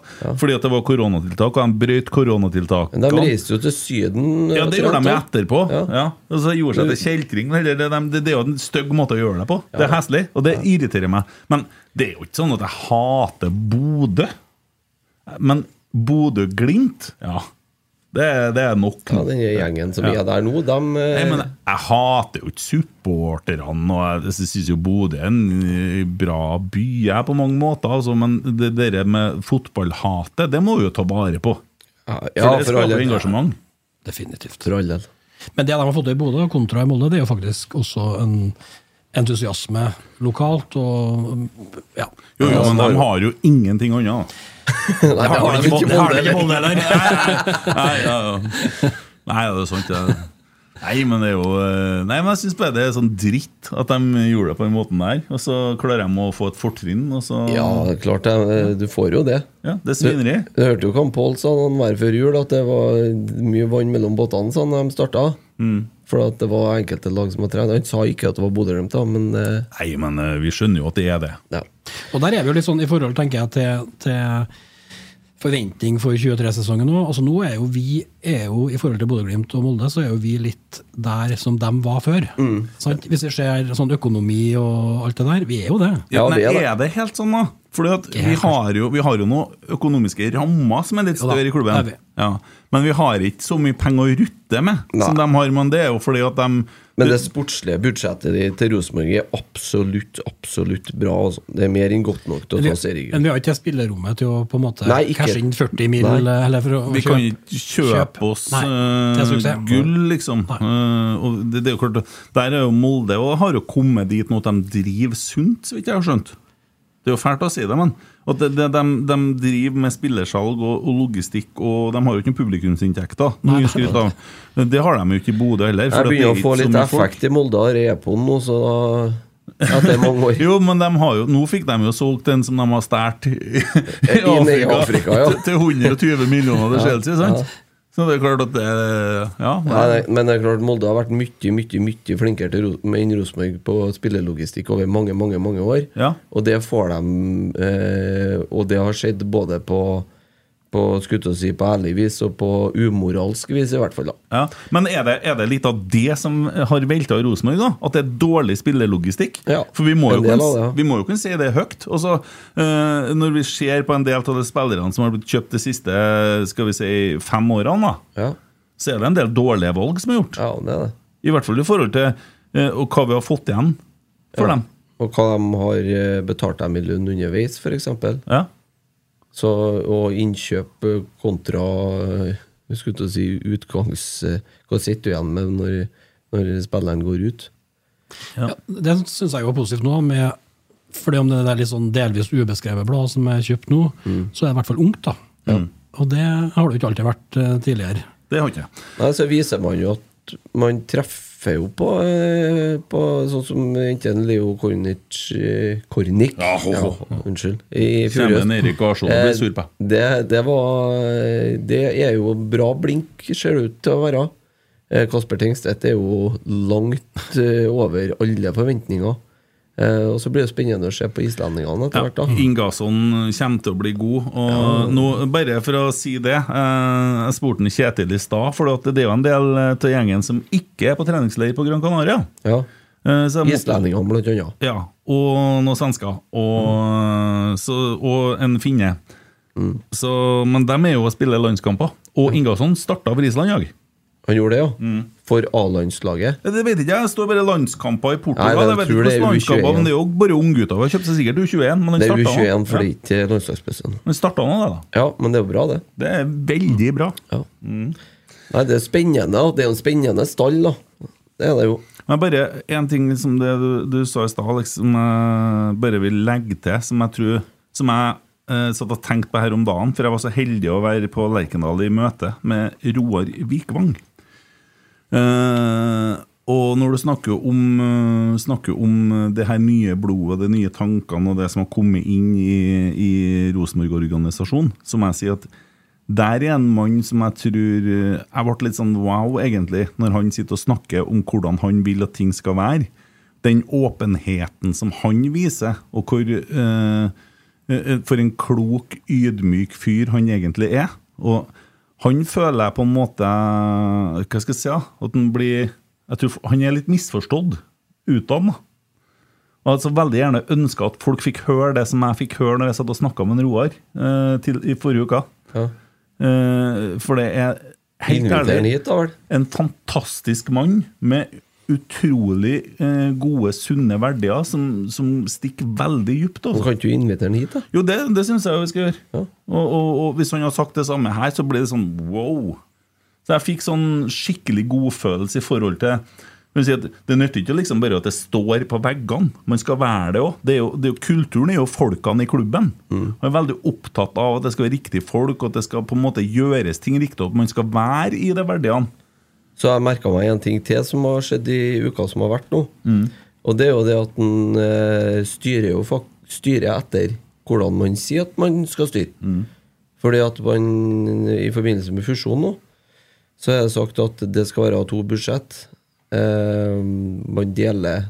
Speaker 2: Fordi at det var koronatiltak, og de brøt
Speaker 3: Men de
Speaker 2: koronatiltakene.
Speaker 3: reiste jo til Syden.
Speaker 2: ja, det
Speaker 3: til
Speaker 2: gjorde de
Speaker 3: Toronto.
Speaker 2: etterpå. Ja.
Speaker 3: Ja.
Speaker 2: Og så gjorde seg til kjeltring. men Det, det, det, det er jo en stygg måte å gjøre det på. Det er heslig, og det irriterer meg. Men det er jo ikke sånn at jeg hater Bodø. Men Bodø-Glimt, ja. Det, er- det er nok.
Speaker 3: Ja, den gjengen som
Speaker 2: Ja.
Speaker 3: er der nå, de eh,
Speaker 2: Nei, men jeg hater jo ikke supporterne, og jeg syns jo Bodø er en eh, bra by jeg på mange måter, altså, men det der med fotballhatet, det må vi jo ta vare på.
Speaker 3: ja,
Speaker 2: For
Speaker 3: ja,
Speaker 2: det
Speaker 3: for
Speaker 2: skaper
Speaker 3: all del.
Speaker 2: engasjement.
Speaker 4: Definitivt.
Speaker 3: For
Speaker 2: <laughs>
Speaker 3: all del.
Speaker 4: Men det de har fått til i Bodø, kontra i Molde, det er jo faktisk også en entusiasme lokalt. Og ja.
Speaker 2: Jo, jo, men de har jo ingenting annet. da.
Speaker 3: Nei, det har de ikke.
Speaker 2: Har de ikke
Speaker 3: Molde, eller?
Speaker 2: Molde, eller? Nei,
Speaker 3: <laughs>
Speaker 2: Nei, ja, ja. Nei, det er sant, det. Nei, men det er jo eh, Nei, men jeg syns bare det er sånn dritt at de gjorde det på den måten der. Og så klarer de å få et fortrinn, og så
Speaker 3: Ja, det er klart det. eh, Du får jo det.
Speaker 2: Ja, det sviner i.
Speaker 3: Du hørte jo hva Pål sa han var før jul, at det var mye vann mellom båtene sånn, da de starta.
Speaker 2: Mm.
Speaker 3: For at det var enkelte lag som hadde trent. Han sa ikke at det var Bodø-Glimt, da, men eh,
Speaker 2: Nei, men eh, vi skjønner jo at det er det.
Speaker 3: ja.
Speaker 4: Og der er vi jo litt sånn i forhold, tenker jeg, til, til forventning for 23-sesongen nå. Altså nå er jo vi, er jo, i forhold til Bodø-Glimt og Molde, så er jo vi litt der som dem var før.
Speaker 3: Mm.
Speaker 4: Sant? Hvis vi ser sånn økonomi og alt det der, vi er jo det.
Speaker 2: Ja,
Speaker 3: Ja,
Speaker 2: men
Speaker 3: det er
Speaker 2: er,
Speaker 3: det.
Speaker 2: det helt sånn, da? Fordi at vi
Speaker 4: helt,
Speaker 2: har, jo, vi har jo noen økonomiske rammer som er litt
Speaker 4: Jo da,
Speaker 2: større i klubben.
Speaker 4: det er vi.
Speaker 2: Ja. Men vi har ikke så mye penger å rutte med
Speaker 3: Nei.
Speaker 2: som de har. Men det er jo fordi at de
Speaker 3: Men det sportslige budsjettet de- til Rosenborg er absolutt, absolutt bra. Altså. Det er mer enn godt nok til å ta
Speaker 4: Men
Speaker 3: seriegull.
Speaker 4: vi har ikke det spillerommet til å på en måte
Speaker 3: Nei, ikke.
Speaker 4: cashe inn 40 mil.
Speaker 3: Nei.
Speaker 4: Eller for å
Speaker 2: Vi kan ikke kjøpe
Speaker 4: Kjøp.
Speaker 2: oss
Speaker 4: Nei, det er
Speaker 2: eh,
Speaker 4: suksess.
Speaker 2: gull, liksom. Eh, og det, det er jo klart, der er jo Molde og har jo kommet dit nå at de driver sunt, så vidt jeg har skjønt. Det er jo fælt å si det, men at det, det, de, de driver med spillersalg og, og logistikk, og de har jo ikke noen publikumsinntekter. Noe å skryte av. Det har de jo ikke i Bodø heller. for at det
Speaker 3: Jeg
Speaker 2: er
Speaker 3: begynner å
Speaker 2: ikke
Speaker 3: få
Speaker 2: så
Speaker 3: litt
Speaker 2: mye folk.
Speaker 3: effekt i Molde av repoen nå, så da Etter mange år.
Speaker 2: Jo, men de har jo, nå fikk de jo solgt den som de har stært i
Speaker 3: <laughs>
Speaker 2: i
Speaker 3: I Afrika, ja.
Speaker 2: <laughs> til- til 120 millioner til Chelsea, sant? Så det er klart at det Ja.
Speaker 3: Nei, nei, men det er klart Molde har vært mye mye, mye flinkere til Ro- enn Rosenborg på spillelogistikk over mange mange, mange år.
Speaker 2: Ja.
Speaker 3: Og det får de eh, Og det har skjedd både på, på skulle til å si, på ærlig vis og på umoralsk vis, i hvert fall. da
Speaker 2: Ja. Men er det, er det litt av det som har velta Rosenborg, da? At det er dårlig spillelogistikk?
Speaker 3: Ja,
Speaker 2: For vi må,
Speaker 3: en
Speaker 2: jo
Speaker 3: del
Speaker 2: kunne,
Speaker 3: av det, ja.
Speaker 2: vi må jo kunne si det høyt. Og så, eh, når vi ser på en del av de spillerne som har blitt kjøpt de siste skal vi si, fem årene, da,
Speaker 3: Ja,
Speaker 2: så er det en del dårlige valg som er gjort.
Speaker 3: ja det er det.
Speaker 2: I hvert fall i forhold til eh, og hva vi har fått igjen for dem.
Speaker 3: Og hva de har eh, betalt dem i lønn underveis, f.eks.
Speaker 2: Ja.
Speaker 3: Så, og innkjøp eh, kontra eh, jeg skulle til å si utgangs... eh, Hva sitter du igjen med når, når spilleren går ut?
Speaker 4: Ja, det syns jeg jo er positivt nå. Med, fordi om det er litt sånn delvis ubeskrevet blad som er kjøpt nå, så er det i hvert fall ungt. da. Og det har det jo ikke alltid vært eh, tidligere.
Speaker 2: Det har ikke jeg.
Speaker 3: Nei, så viser man jo at man treffer jo på, eh, på sånn som enten Leo Kornic eh, Kornic,
Speaker 2: Ja, ho, ho.
Speaker 3: unnskyld. I fjor
Speaker 2: Kjenner
Speaker 3: høst.
Speaker 2: en Erik Arsson og
Speaker 3: Eh,
Speaker 2: blir sur på.
Speaker 3: Det, det var eh, Det er jo bra blink, ser det ut til å være. Eh, Kasper Tengstedt er jo langt eh, over alle forventninger. Eh, Og så blir det spennende å se på islendingene etter hvert, da.
Speaker 2: Ingasson kommer til å bli god. Og nå, bare for å si det eh, Jeg spurte en Kjetil i stad, for at det er jo en del eh, av gjengen som ikke er på treningsleir på Gran Canaria.
Speaker 3: Ja.
Speaker 2: Eh, så jeg måtte-
Speaker 3: Islendingene, blant annet.
Speaker 2: ja, og noen svensker. Og,
Speaker 3: Mm.
Speaker 2: så, og en finne. Så, men de er jo og spiller landskamper. Og Ingasson starta for Island i dag.
Speaker 3: Han gjorde det, ja.
Speaker 2: Mm.
Speaker 3: For A-landslaget.
Speaker 2: Det vet ikke jeg. Det står bare landskamper i Portugal.
Speaker 3: Nei, men jeg
Speaker 2: jeg vet
Speaker 3: tror
Speaker 2: ikke
Speaker 3: det er
Speaker 2: hvordan landskamper,
Speaker 3: U21,
Speaker 2: men det er jo bare unggutter. Han kjøpte seg sikkert U21, men han
Speaker 3: Det er
Speaker 2: starta
Speaker 3: U21, for
Speaker 2: nå.
Speaker 3: det er ikke landslagsbussen.
Speaker 2: Ja, han startet nå, det, da.
Speaker 3: Ja, men det er jo bra, det.
Speaker 2: Det er veldig bra.
Speaker 3: Ja. Nei, det er spennende. Det er jo en spennende stall, da. Det er det jo.
Speaker 2: Men bare én ting som det du, du sa i stad, Alex, som jeg bare vil legge til, som jeg tror Som jeg eh, satt og tenkte på her om dagen, for jeg var så heldig å være på Lerkendal i møte med Roar Vikvang. Eh, og når du snakker om, eh, snakker om det her nye blodet, de nye tankene og det som har kommet inn i, i Rosenborg-organisasjonen, så må jeg si at der er en mann som jeg tror eh, Jeg ble litt sånn wow, egentlig, når han sitter og snakker om hvordan han vil at ting skal være. Den åpenheten som han viser, og hvor eh, eh, For en klok, ydmyk fyr han egentlig er. Og han føler jeg på en måte Hva skal jeg si? ja, At han blir Jeg tror han er litt misforstått utad. da. Og hadde så veldig gjerne ønska at folk fikk høre det som jeg fikk høre når jeg satt og snakka med en Roar eh, til, i forrige uke.
Speaker 3: Ja.
Speaker 2: Eh, for det er helt
Speaker 3: Inviter han
Speaker 2: ærlig
Speaker 3: hit, da vel?
Speaker 2: en fantastisk mann med utrolig eh, gode, sunne verdier som, som stikker veldig dypt.
Speaker 3: Nå
Speaker 2: Altså.
Speaker 3: kan ikke du invitere han hit, da?
Speaker 2: Jo, det, det syns jeg vi skal gjøre.
Speaker 3: Ja.
Speaker 2: Og, og, og hvis han har sagt det samme her, så blir det sånn wow. Så jeg fikk sånn skikkelig godfølelse i forhold til jeg vil si at Det nytter ikke liksom bare at det står på veggene. Man skal være det òg. Det er jo, det er jo, kulturen er jo folkene i klubben.
Speaker 3: Mm.
Speaker 2: Man er veldig opptatt av at det skal være riktige folk, og at det skal på en måte gjøres ting riktig. og At man skal være i de verdiene.
Speaker 3: Så jeg merka meg en ting til som har skjedd i uka som har vært nå. Og det er jo det at en eh, styrer jo fak styrer etter hvordan man sier at man skal styre. Fordi at man i forbindelse med fusjon nå, så er det sagt at det skal være to budsjett. Eh, man deler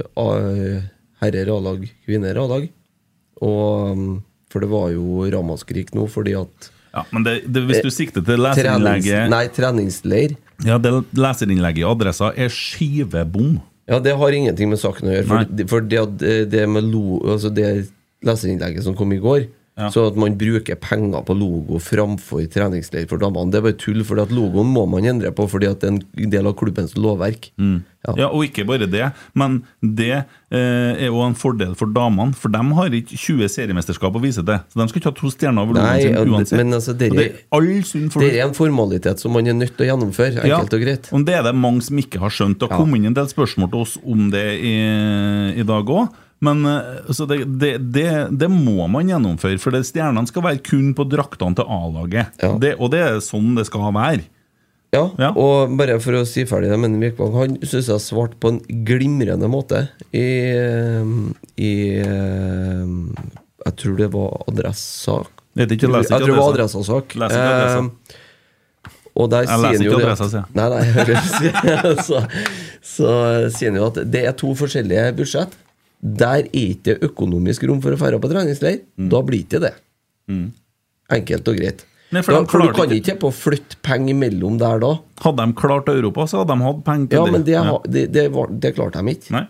Speaker 3: eh, A- herrer A-lag, kvinner A-lag. Og mm, For det var jo ramaskrik nå fordi at
Speaker 2: Ja, men det, det, hvis du sikter til
Speaker 3: trenings,
Speaker 2: leserinnlegget
Speaker 3: Eh, nei, treningsleir
Speaker 2: Ja, det leserinnlegget i Adressa er skivebom.
Speaker 3: Ja, det har ingenting med saken å gjøre. For, for det, at, eh, det med lo, altså det leserinnlegget som kom i går
Speaker 2: Ja.
Speaker 3: Så at man bruker penger på logo framfor treningsleir for damene, det er bare tull. For logoen må man endre på, fordi at det er en del av klubbens lovverk. Ja.
Speaker 2: Ja, og ikke bare det, men det eh, er jo en fordel for damene, for de har ikke 20 seriemesterskap å vise til. Så de skal ikke ha to stjerner over
Speaker 3: Nei,
Speaker 2: logoen
Speaker 3: og det-
Speaker 2: sin uansett.
Speaker 3: men altså, dere-
Speaker 2: og det er all sunn
Speaker 3: Det
Speaker 2: fornuft.
Speaker 3: er en formalitet som man er nødt til å gjennomføre, enkelt og greit.
Speaker 2: og det er det mange som ikke har skjønt. Det har
Speaker 3: Ja.
Speaker 2: kommet inn en del spørsmål til oss om det i, i dag òg. Men eh, så det, det, det, det må man gjennomføre, for det- stjernene skal være kun på draktene til A-laget.
Speaker 3: Ja.
Speaker 2: Det- Og det er sånn det skal være.
Speaker 3: Ja,
Speaker 2: Ja.
Speaker 3: og bare for å si ferdig det med Vikvang, han syns jeg svarte på en glimrende måte i, eh, i eh, Jeg tror det var adressesak.
Speaker 2: Jeg vet ikke, jeg
Speaker 3: jeg
Speaker 2: leser ikke
Speaker 3: tror det var
Speaker 2: Adressa.
Speaker 3: adressesak.
Speaker 2: Leser ikke Adressa.
Speaker 3: og der sier
Speaker 2: leser
Speaker 3: han jo
Speaker 2: ikke
Speaker 3: det
Speaker 2: Adressa, sier jeg.
Speaker 3: Nei, <laughs> nei, jeg hører det. så, så sier han jo at det er to forskjellige budsjett. Der er ikke det økonomisk rom for å dra på treningsleir.
Speaker 2: Mm.
Speaker 3: Da blir ikke det. Enkelt og greit.
Speaker 2: Nei, for
Speaker 3: for, da,
Speaker 2: de
Speaker 3: for du
Speaker 2: klarer
Speaker 3: kan
Speaker 2: ikke-
Speaker 3: ikke på å flytte penger mellom der da.
Speaker 2: Hadde de klart Europa, så hadde de hatt penger til
Speaker 3: Ja, men det,
Speaker 2: Ja.
Speaker 3: har- det, det, var, det klarte de ikke.
Speaker 2: Nei.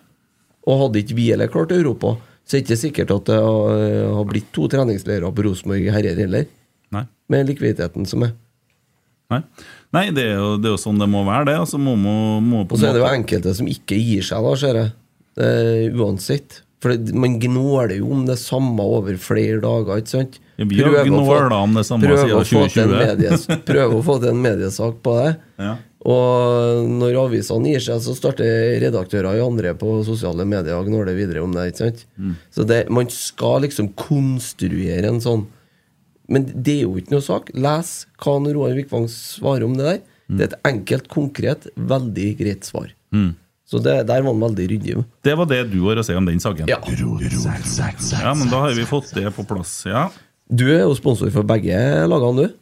Speaker 3: Og hadde ikke vi heller klart Europa, så er det ikke sikkert at det har, eh, har blitt to treningsleirer på Rosenborg herrer heller,
Speaker 2: Nei.
Speaker 3: med likviditeten som er.
Speaker 2: Nei, Nei det, er jo, det er jo sånn det må være, det. Altså, må, må, må på en
Speaker 3: Og så er det jo
Speaker 2: måte-
Speaker 3: enkelte som ikke gir seg, da, ser jeg. Eh, uansett. For det, man gnåler jo om det samme over flere dager, ikke sant?
Speaker 2: Ja, vi har
Speaker 3: Prøver å få-
Speaker 2: gnåla om det samme
Speaker 3: prøver
Speaker 2: siden
Speaker 3: å få til en
Speaker 2: 2020.
Speaker 3: medies- Prøver å få til en mediesak på det.
Speaker 2: Ja.
Speaker 3: Og når avisene gir seg, så starter redaktører i andre på sosiale medier og gnåler videre om det. ikke sant?
Speaker 2: Mm.
Speaker 3: Så det, man skal liksom konstruere en sånn Men det er jo ikke noe sak. Les hva han Roar Vikvang svarer om det der.
Speaker 2: Mm.
Speaker 3: Det er et enkelt, konkret, veldig greit svar. Så det, der var han veldig ryddig. med.
Speaker 2: Det var det du har å si om den saken.
Speaker 3: Ja.
Speaker 2: Ja, men da har vi fått det på plass. Ja.
Speaker 3: Du er jo sponsor for begge lagene, du.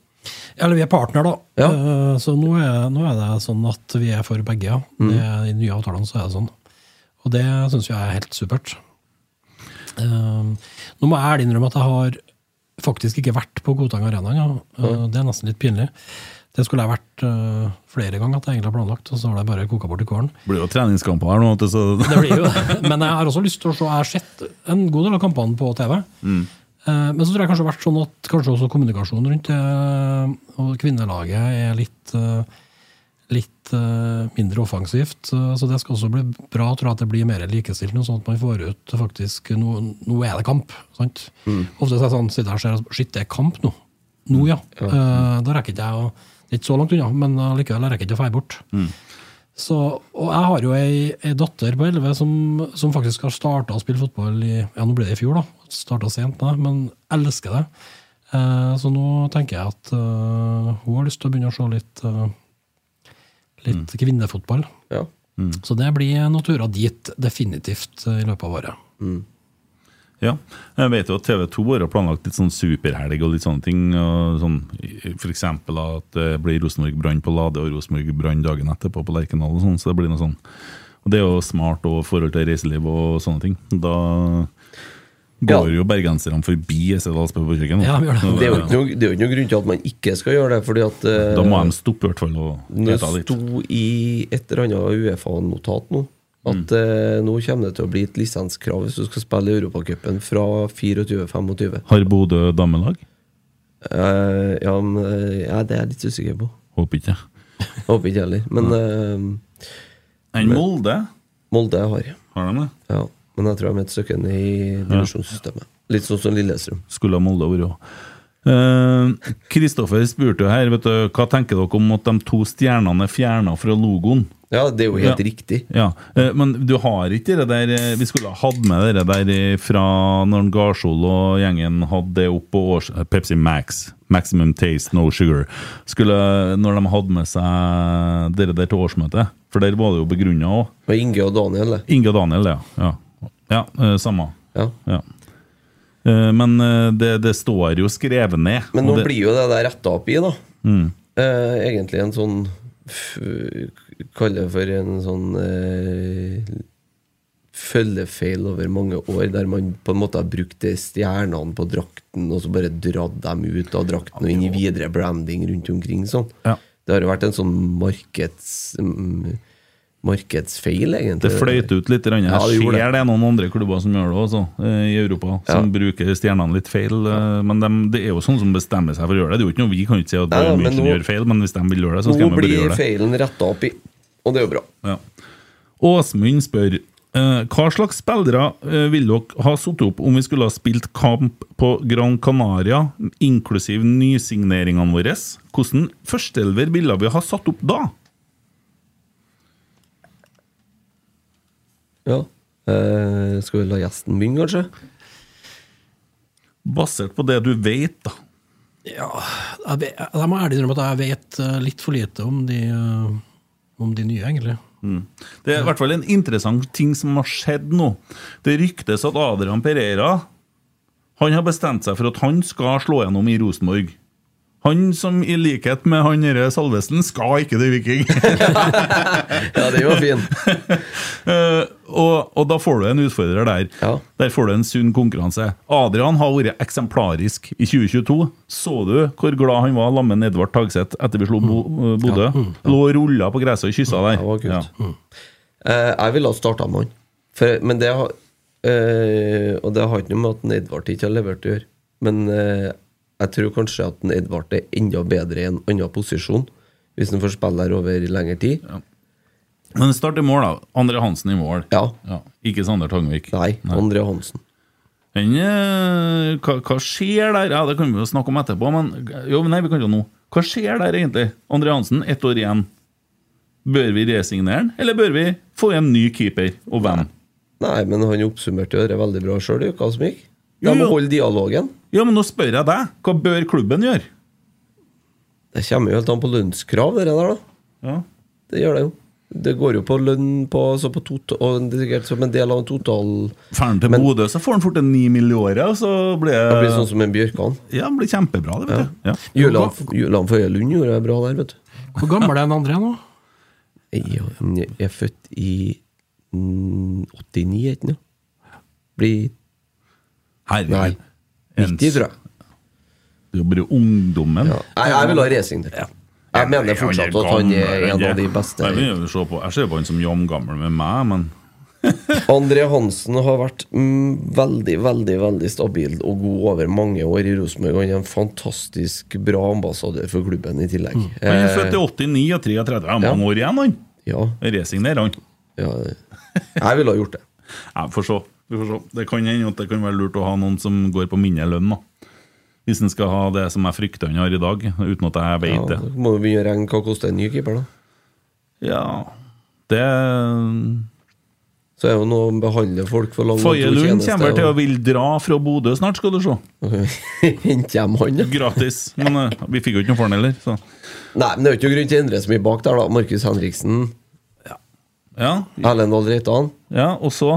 Speaker 4: Eller vi er partner, da.
Speaker 3: Ja.
Speaker 4: Eh, Så nå er, nå er det sånn at vi er for begge. Ja. Det, I de nye avtalene så er det sånn. Og det syns jeg er helt supert. Eh, Nå må jeg ærlig innrømme at jeg har faktisk ikke vært på Kotang Arena ennå. Eh, Det er nesten litt pinlig. Det skulle jeg vært eh, flere ganger at jeg egentlig har planlagt, og så har det bare koka bort i kålen.
Speaker 2: Det blir jo treningskamper her nå. vet du, Så.
Speaker 4: Det blir jo <laughs> det. Men jeg har også lyst til å se Jeg har sett en god del av kampene på TV. Eh, Men så tror jeg kanskje det har vært sånn at kanskje også kommunikasjonen rundt det eh, og kvinnelaget er litt eh, Litt eh, mindre offensivt. eh, Så det skal også bli bra tror jeg, at det blir mer likestilt, nå, sånn at man får ut faktisk Nå, nå er det kamp. sant? Ofte så er det sånn, sitter jeg og ser at, Shit, det er kamp nå. Nå, ja. Eh, Da rekker ikke jeg å Det er ikke så langt unna, men eh, likevel jeg rekker ikke å feie bort. Så, og jeg har jo ei, ei datter på 11 som, som faktisk har starta å spille fotball i ja, nå ble det i fjor, da. Starta sent, da, men elsker det. Eh, så nå tenker jeg at eh, hun har lyst til å begynne å se litt, eh, litt kvinnefotball.
Speaker 3: Ja.
Speaker 4: Så det blir noen turer dit, definitivt, eh, i løpet av året.
Speaker 2: Ja. Jeg vet jo at TV 2 har planlagt litt sånn superhelg og litt sånne ting. Og sånn, for eksempel at det blir Rosenborg-brann på Lade og Rosenborg-brann dagen etterpå på Lerkendal. Og sånn, så det blir noe sånn. Og det er jo smart og forhold til reiseliv og sånne ting. Da
Speaker 3: Ja.
Speaker 2: går jo bergenserne forbi Esedalsbø på kjøkkenet.
Speaker 4: Ja, de gjør det.
Speaker 3: Det er jo ikke noe, det er jo ikke noe grunn til at man ikke skal gjøre det, fordi at eh,
Speaker 2: Da må de stoppe i hvert fall og
Speaker 3: Det
Speaker 2: hete litt.
Speaker 3: sto i et eller annet Uefa-notat nå at
Speaker 2: Mm.
Speaker 3: eh, nå kommer det til å bli et lisenskrav hvis du skal spille i Europacupen fra 24-25.
Speaker 2: Har Bodø damelag?
Speaker 3: Eh, ja, men, eh, ja, det er jeg litt usikker på.
Speaker 2: Håper ikke.
Speaker 3: Håper ikke heller. Men eh,
Speaker 2: Enn Molde?
Speaker 3: Molde har.
Speaker 2: Har de det?
Speaker 3: Ja, men jeg tror de er et stykke ned i divisjonssystemet. Litt sånn som Lillestrøm.
Speaker 2: skulle ha Molde vært òg. Kristoffer spurte jo her vet du, hva tenker dere om at de to stjernene er fjerna fra logoen.
Speaker 3: Ja, det er jo helt
Speaker 2: Ja.
Speaker 3: riktig.
Speaker 2: Ja, eh, Men du har ikke det der eh, Vi skulle ha hatt med det der eh, fra når Garsol og gjengen hadde det opp på års... eh, Pepsi Max. Maximum Taste No Sugar. Skulle, Når de hadde med seg det der til årsmøtet. For der var det jo begrunna òg.
Speaker 3: Og Inge og Daniel, det.
Speaker 2: Inge og Daniel, ja. Ja, ja eh, samme.
Speaker 3: Ja.
Speaker 2: Ja. Eh, Men eh, det, det står jo skrevet ned.
Speaker 3: Men
Speaker 2: og
Speaker 3: nå
Speaker 2: det, mm,
Speaker 3: blir jo det der retta opp i, da. Eh, egentlig en sånn f- Kalle det for en sånn eh, følgefeil over mange år, der man på en måte har brukt de stjernene på drakten, og så bare dratt dem ut av drakten og inn i videre branding rundt omkring. sånn.
Speaker 2: Ja.
Speaker 3: Det har jo vært en sånn markeds, mm, markedsfeil, egentlig.
Speaker 2: Det fløyt ut litt. grann.
Speaker 3: Ja, det
Speaker 2: Jeg
Speaker 3: gjorde
Speaker 2: ser det er noen andre klubber som gjør det også, eh, i Europa. Som bruker stjernene litt feil. eh, Men dem- det er jo sånn som bestemmer seg for å gjøre det. Det er jo ikke noe Vi kan jo ikke si at
Speaker 3: Nei,
Speaker 2: Bayern
Speaker 3: men
Speaker 2: München
Speaker 3: nå-
Speaker 2: gjør feil, men hvis de vil gjøre det, så skal de
Speaker 3: Nå
Speaker 2: bare
Speaker 3: blir
Speaker 2: gjøre det.
Speaker 3: feilen retta opp i, og det er jo bra.
Speaker 2: Ja. Åsmund spør eh, hva slags spillere eh, ville dere ha satt opp om vi skulle ha spilt kamp på Gran Canaria, inklusiv nysigneringene våre? Hvordan førsteelver ville vi ha satt opp da?
Speaker 3: Ja. Eh, skal vi la gjesten begynne, kanskje?
Speaker 2: Basert på det du vet, da.
Speaker 4: Ja, jeg, vet- jeg må ærlig innrømme at jeg vet eh, litt for lite om de, eh, om de nye, egentlig.
Speaker 2: Det er i hvert fall en interessant ting som har skjedd nå. Det ryktes at Adrian Pereira Han har bestemt seg for at han skal slå gjennom i Rosenborg. Han som i likhet med han derre Salvesen skal ikke til Viking.
Speaker 3: Ja, den var fin.
Speaker 2: Eh, og, og da får du en utfordrer der.
Speaker 3: Ja.
Speaker 2: Der får du en sunn konkurranse. Adrian har vært eksemplarisk i 2022. Så du hvor glad han var sammen med Edvard Tagseth etter vi slo Bo
Speaker 3: Mm.
Speaker 2: eh, Bodø? Lå og rulla på gresset og kyssa der.
Speaker 3: Det var kult.
Speaker 2: Ja.
Speaker 3: Eh, jeg ville ha starta med han. For, men det har eh, Og det har ikke noe med at en Edvard ikke har levert å gjøre. Men eh, jeg tror kanskje at en Edvard er enda bedre i en annen posisjon. Hvis han får spille her over lengre tid.
Speaker 2: Men start i mål, da. Andre Hansen i mål.
Speaker 3: Ja.
Speaker 2: Ja. Ikke Sander Tangvik.
Speaker 3: Nei, André Hansen.
Speaker 2: Men, eh, hva, hva skjer der? Ja, Det kan vi jo snakke om etterpå, men jo, nei, vi kan jo nå. Hva skjer der egentlig? André Hansen, ett år igjen. Bør vi resignere den, eller bør vi få en ny keeper, og hvem?
Speaker 3: Nei, men han oppsummerte jo det veldig bra sjøl i uka som gikk.
Speaker 2: Jo,
Speaker 3: De må
Speaker 2: jo.
Speaker 3: holde dialogen.
Speaker 2: Ja, men nå spør jeg deg. Hva bør klubben gjøre?
Speaker 3: Det kommer jo helt an på lønnskrav, det der, da.
Speaker 2: Ja.
Speaker 3: Det gjør det jo. Det går jo på lønn på, altså på tot, og det er sikkert som en del av en total
Speaker 2: Drar han til
Speaker 3: Men-
Speaker 2: Bodø, så får han fort en ni mill. i året, og så blir
Speaker 3: Det blir
Speaker 2: det
Speaker 3: sånn som en Bjørkan.
Speaker 2: Ja, det blir kjempebra, det, vet du. Ja.
Speaker 3: Julian Julian Føye Lund gjorde det bra der, vet du.
Speaker 4: Hvor gammel er den andre nå?
Speaker 3: Jeg jeg er født i mm, 89, er ikke noe? Blir Nei.
Speaker 2: Herregud.
Speaker 3: 90, tror jeg.
Speaker 2: Det er jo bare ungdommen.
Speaker 3: Ja. Nei, jeg vil ha racing der. Jeg mener fortsatt at han er en av de beste.
Speaker 2: Nei, vi må jo se på. Jeg ser på han som jamgammel med meg, men
Speaker 3: André Hansen har vært mm, veldig, veldig veldig stabil og god over mange år i Rosenborg. Han er en fantastisk bra ambassadør for klubben i tillegg.
Speaker 2: han er
Speaker 3: Eh,
Speaker 2: født i 89 og 33. Det er mange
Speaker 3: ja.
Speaker 2: år igjen, han.
Speaker 3: ja,
Speaker 2: Resignerer han.
Speaker 3: ja. Jeg ville ha gjort det.
Speaker 2: Ja, vi får se. Vi får se. Det kan hende at det kan være lurt å ha noen som går på mindre lønn, da. Hvis en skal ha det som jeg frykter han har i dag, uten at jeg
Speaker 3: Ja,
Speaker 2: vet
Speaker 3: da
Speaker 2: det.
Speaker 3: må vi begynne å regne hva koster en ny keeper, da.
Speaker 2: Ja Det
Speaker 3: Så er det jo noe om å behandle folk for lang
Speaker 2: Faye Lund kommer til å vil dra fra Bodø snart, skal du se.
Speaker 3: <laughs> Hente hjem han, ja.
Speaker 2: Gratis. <laughs> Men eh, vi fikk jo ikke noe for den heller, så
Speaker 3: Nei, men det er jo ikke noe grunn til å endre så mye bak der, da. Markus Henriksen,
Speaker 2: ja.
Speaker 3: Erlend Dahl Reitan.
Speaker 2: ja og så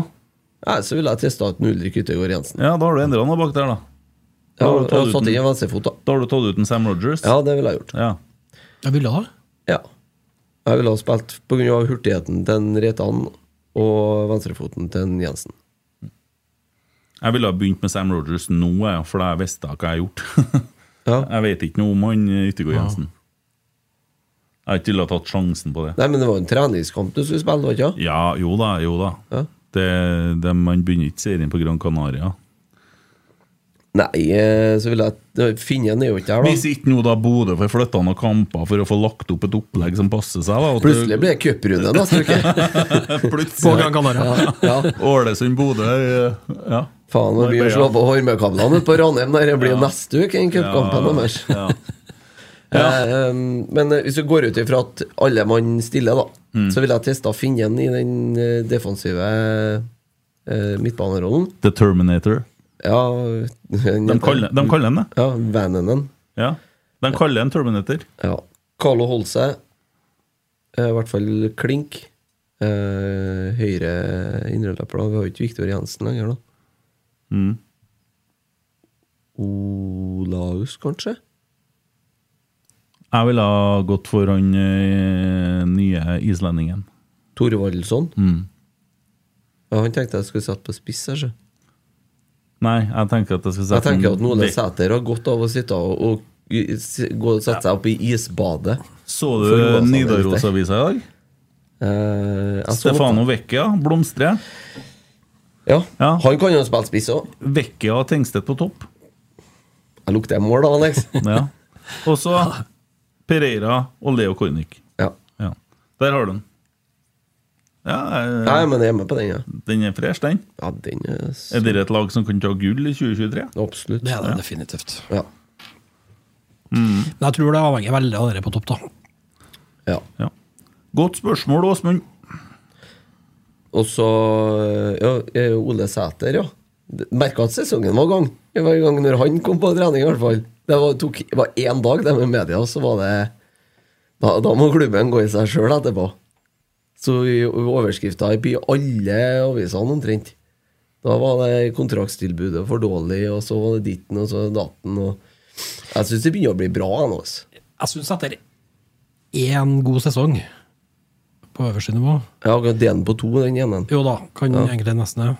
Speaker 3: Nei, så ville jeg testa ut med Ulrik Yttergård Jensen.
Speaker 2: Ja, da har du endra noe bak der, da.
Speaker 3: Ja,
Speaker 2: har du
Speaker 3: jeg
Speaker 2: tatt
Speaker 3: har
Speaker 2: ut
Speaker 3: satt
Speaker 2: den.
Speaker 3: inn en venstrefot, da.
Speaker 2: Da har du tatt ut en Sam Rogers.
Speaker 3: Ja, det ville jeg gjort.
Speaker 2: Ja.
Speaker 4: Jeg ville da.
Speaker 3: Ja. Jeg ville ha spilt pga. hurtigheten til en Reitan og venstrefoten til en Jensen.
Speaker 2: Jeg ville ha begynt med Sam Rogers nå, jeg, for da jeg visste jeg hva jeg har gjort. <laughs>
Speaker 3: Ja.
Speaker 2: jeg vet ikke noe om han eh, Yttergård Jensen. Jeg har ikke villet ha tatt sjansen på det.
Speaker 3: Nei, men det var en treningskamp du skulle spille, var det ikke?
Speaker 2: Ja, jo da, jo da.
Speaker 3: Ja.
Speaker 2: Det, det, man begynner ikke serien på Gran Canaria.
Speaker 3: Nei, eh, så ville jeg Finnen er jo ikke der,
Speaker 2: Hvis
Speaker 3: da.
Speaker 2: ikke nå da Bodø får flytta noen kamper for å få lagt opp et opplegg som passer seg, da. at
Speaker 3: Plutselig blir det cuprunde neste
Speaker 2: <laughs>
Speaker 3: uke.
Speaker 2: det- <laughs> plutselig.
Speaker 4: På Gran Canaria.
Speaker 3: Ja, ja.
Speaker 2: Ålesund-Bodø, eh, ja.
Speaker 3: Faen, det blir å slå på hormekablene ute på Ranheim der det blir neste uke, den cupkampen
Speaker 2: Ja,
Speaker 3: deres.
Speaker 2: ja.
Speaker 3: Eh, eh, Men eh, hvis du går ut ifra at alle mann stiller, da,
Speaker 2: Mm.
Speaker 3: så ville jeg testa Finnen i den eh, defensive eh, midtbanerollen.
Speaker 2: The Terminator.
Speaker 3: Ja,
Speaker 2: De kaller, de kaller den det.
Speaker 3: Ja, Vananen.
Speaker 2: Ja. De kaller den Terminator.
Speaker 3: Ja. Carlo Holse. Eh, I hvert fall klink. Eh, høyre indreløper, da. Vi har jo ikke Viktor Jensen lenger, da.
Speaker 2: Mm.
Speaker 3: Olaus, kanskje?
Speaker 2: Jeg ville ha gått for han eh, nye islendingen.
Speaker 3: Thorvaldsson?
Speaker 2: Mm.
Speaker 3: Ja, han tenkte jeg skulle sette på spiss. her, så.
Speaker 2: Nei, jeg tenker at jeg skal
Speaker 3: Jeg
Speaker 2: sette
Speaker 3: tenker at
Speaker 2: den-
Speaker 3: Ole
Speaker 2: Det-
Speaker 3: Sæter har godt av å sitte og, og i- s- gå og sette seg opp i isbadet.
Speaker 2: Så
Speaker 3: for Jonas
Speaker 2: du
Speaker 3: Andersen.
Speaker 2: Nidaros-avisa i dag?
Speaker 3: Eh, jeg så-
Speaker 2: Stefano Vecchia blomstrer.
Speaker 3: Ja.
Speaker 2: Ja.
Speaker 3: Han kan jo spille spiss òg.
Speaker 2: Vecchia og Tengstedt på topp.
Speaker 3: Jeg lukter mål, da, Alex.
Speaker 2: Ja. Og så Pereira og Leo Kornic.
Speaker 3: ja.
Speaker 2: <laughs> Ja. Der har du den. Ja,
Speaker 3: Nei,
Speaker 2: eh,
Speaker 3: men jeg er med på den, ja.
Speaker 2: den er fresh, den.
Speaker 3: ja den er s-
Speaker 2: Er dere et lag som kan ta gull i 2023?
Speaker 3: Absolutt.
Speaker 4: Det er det definitivt.
Speaker 3: Ja.
Speaker 4: Men jeg tror det avhenger veldig av dere på topp, da.
Speaker 3: ja.
Speaker 2: Ja. Godt spørsmål, Åsmund.
Speaker 3: Og så ja, eh, Ole Sæter, ja. Merka at sesongen var i gang. Jeg var i gang når han kom på trening, i hvert fall. Det var, tok, det var én dag det med media, så var det Da, da må klubben gå i seg sjøl etterpå. Så i- i overskrifta i alle avisene omtrent. Da var det kontraktstilbudet for dårlig, og så var det ditten, og så datten, og Jeg syns det begynner å bli bra nå, altså.
Speaker 4: Jeg syns etter én god sesong på øverste nivå
Speaker 3: Ja, D-en på to, den ene.
Speaker 4: Jo da, kan egentlig nesten det.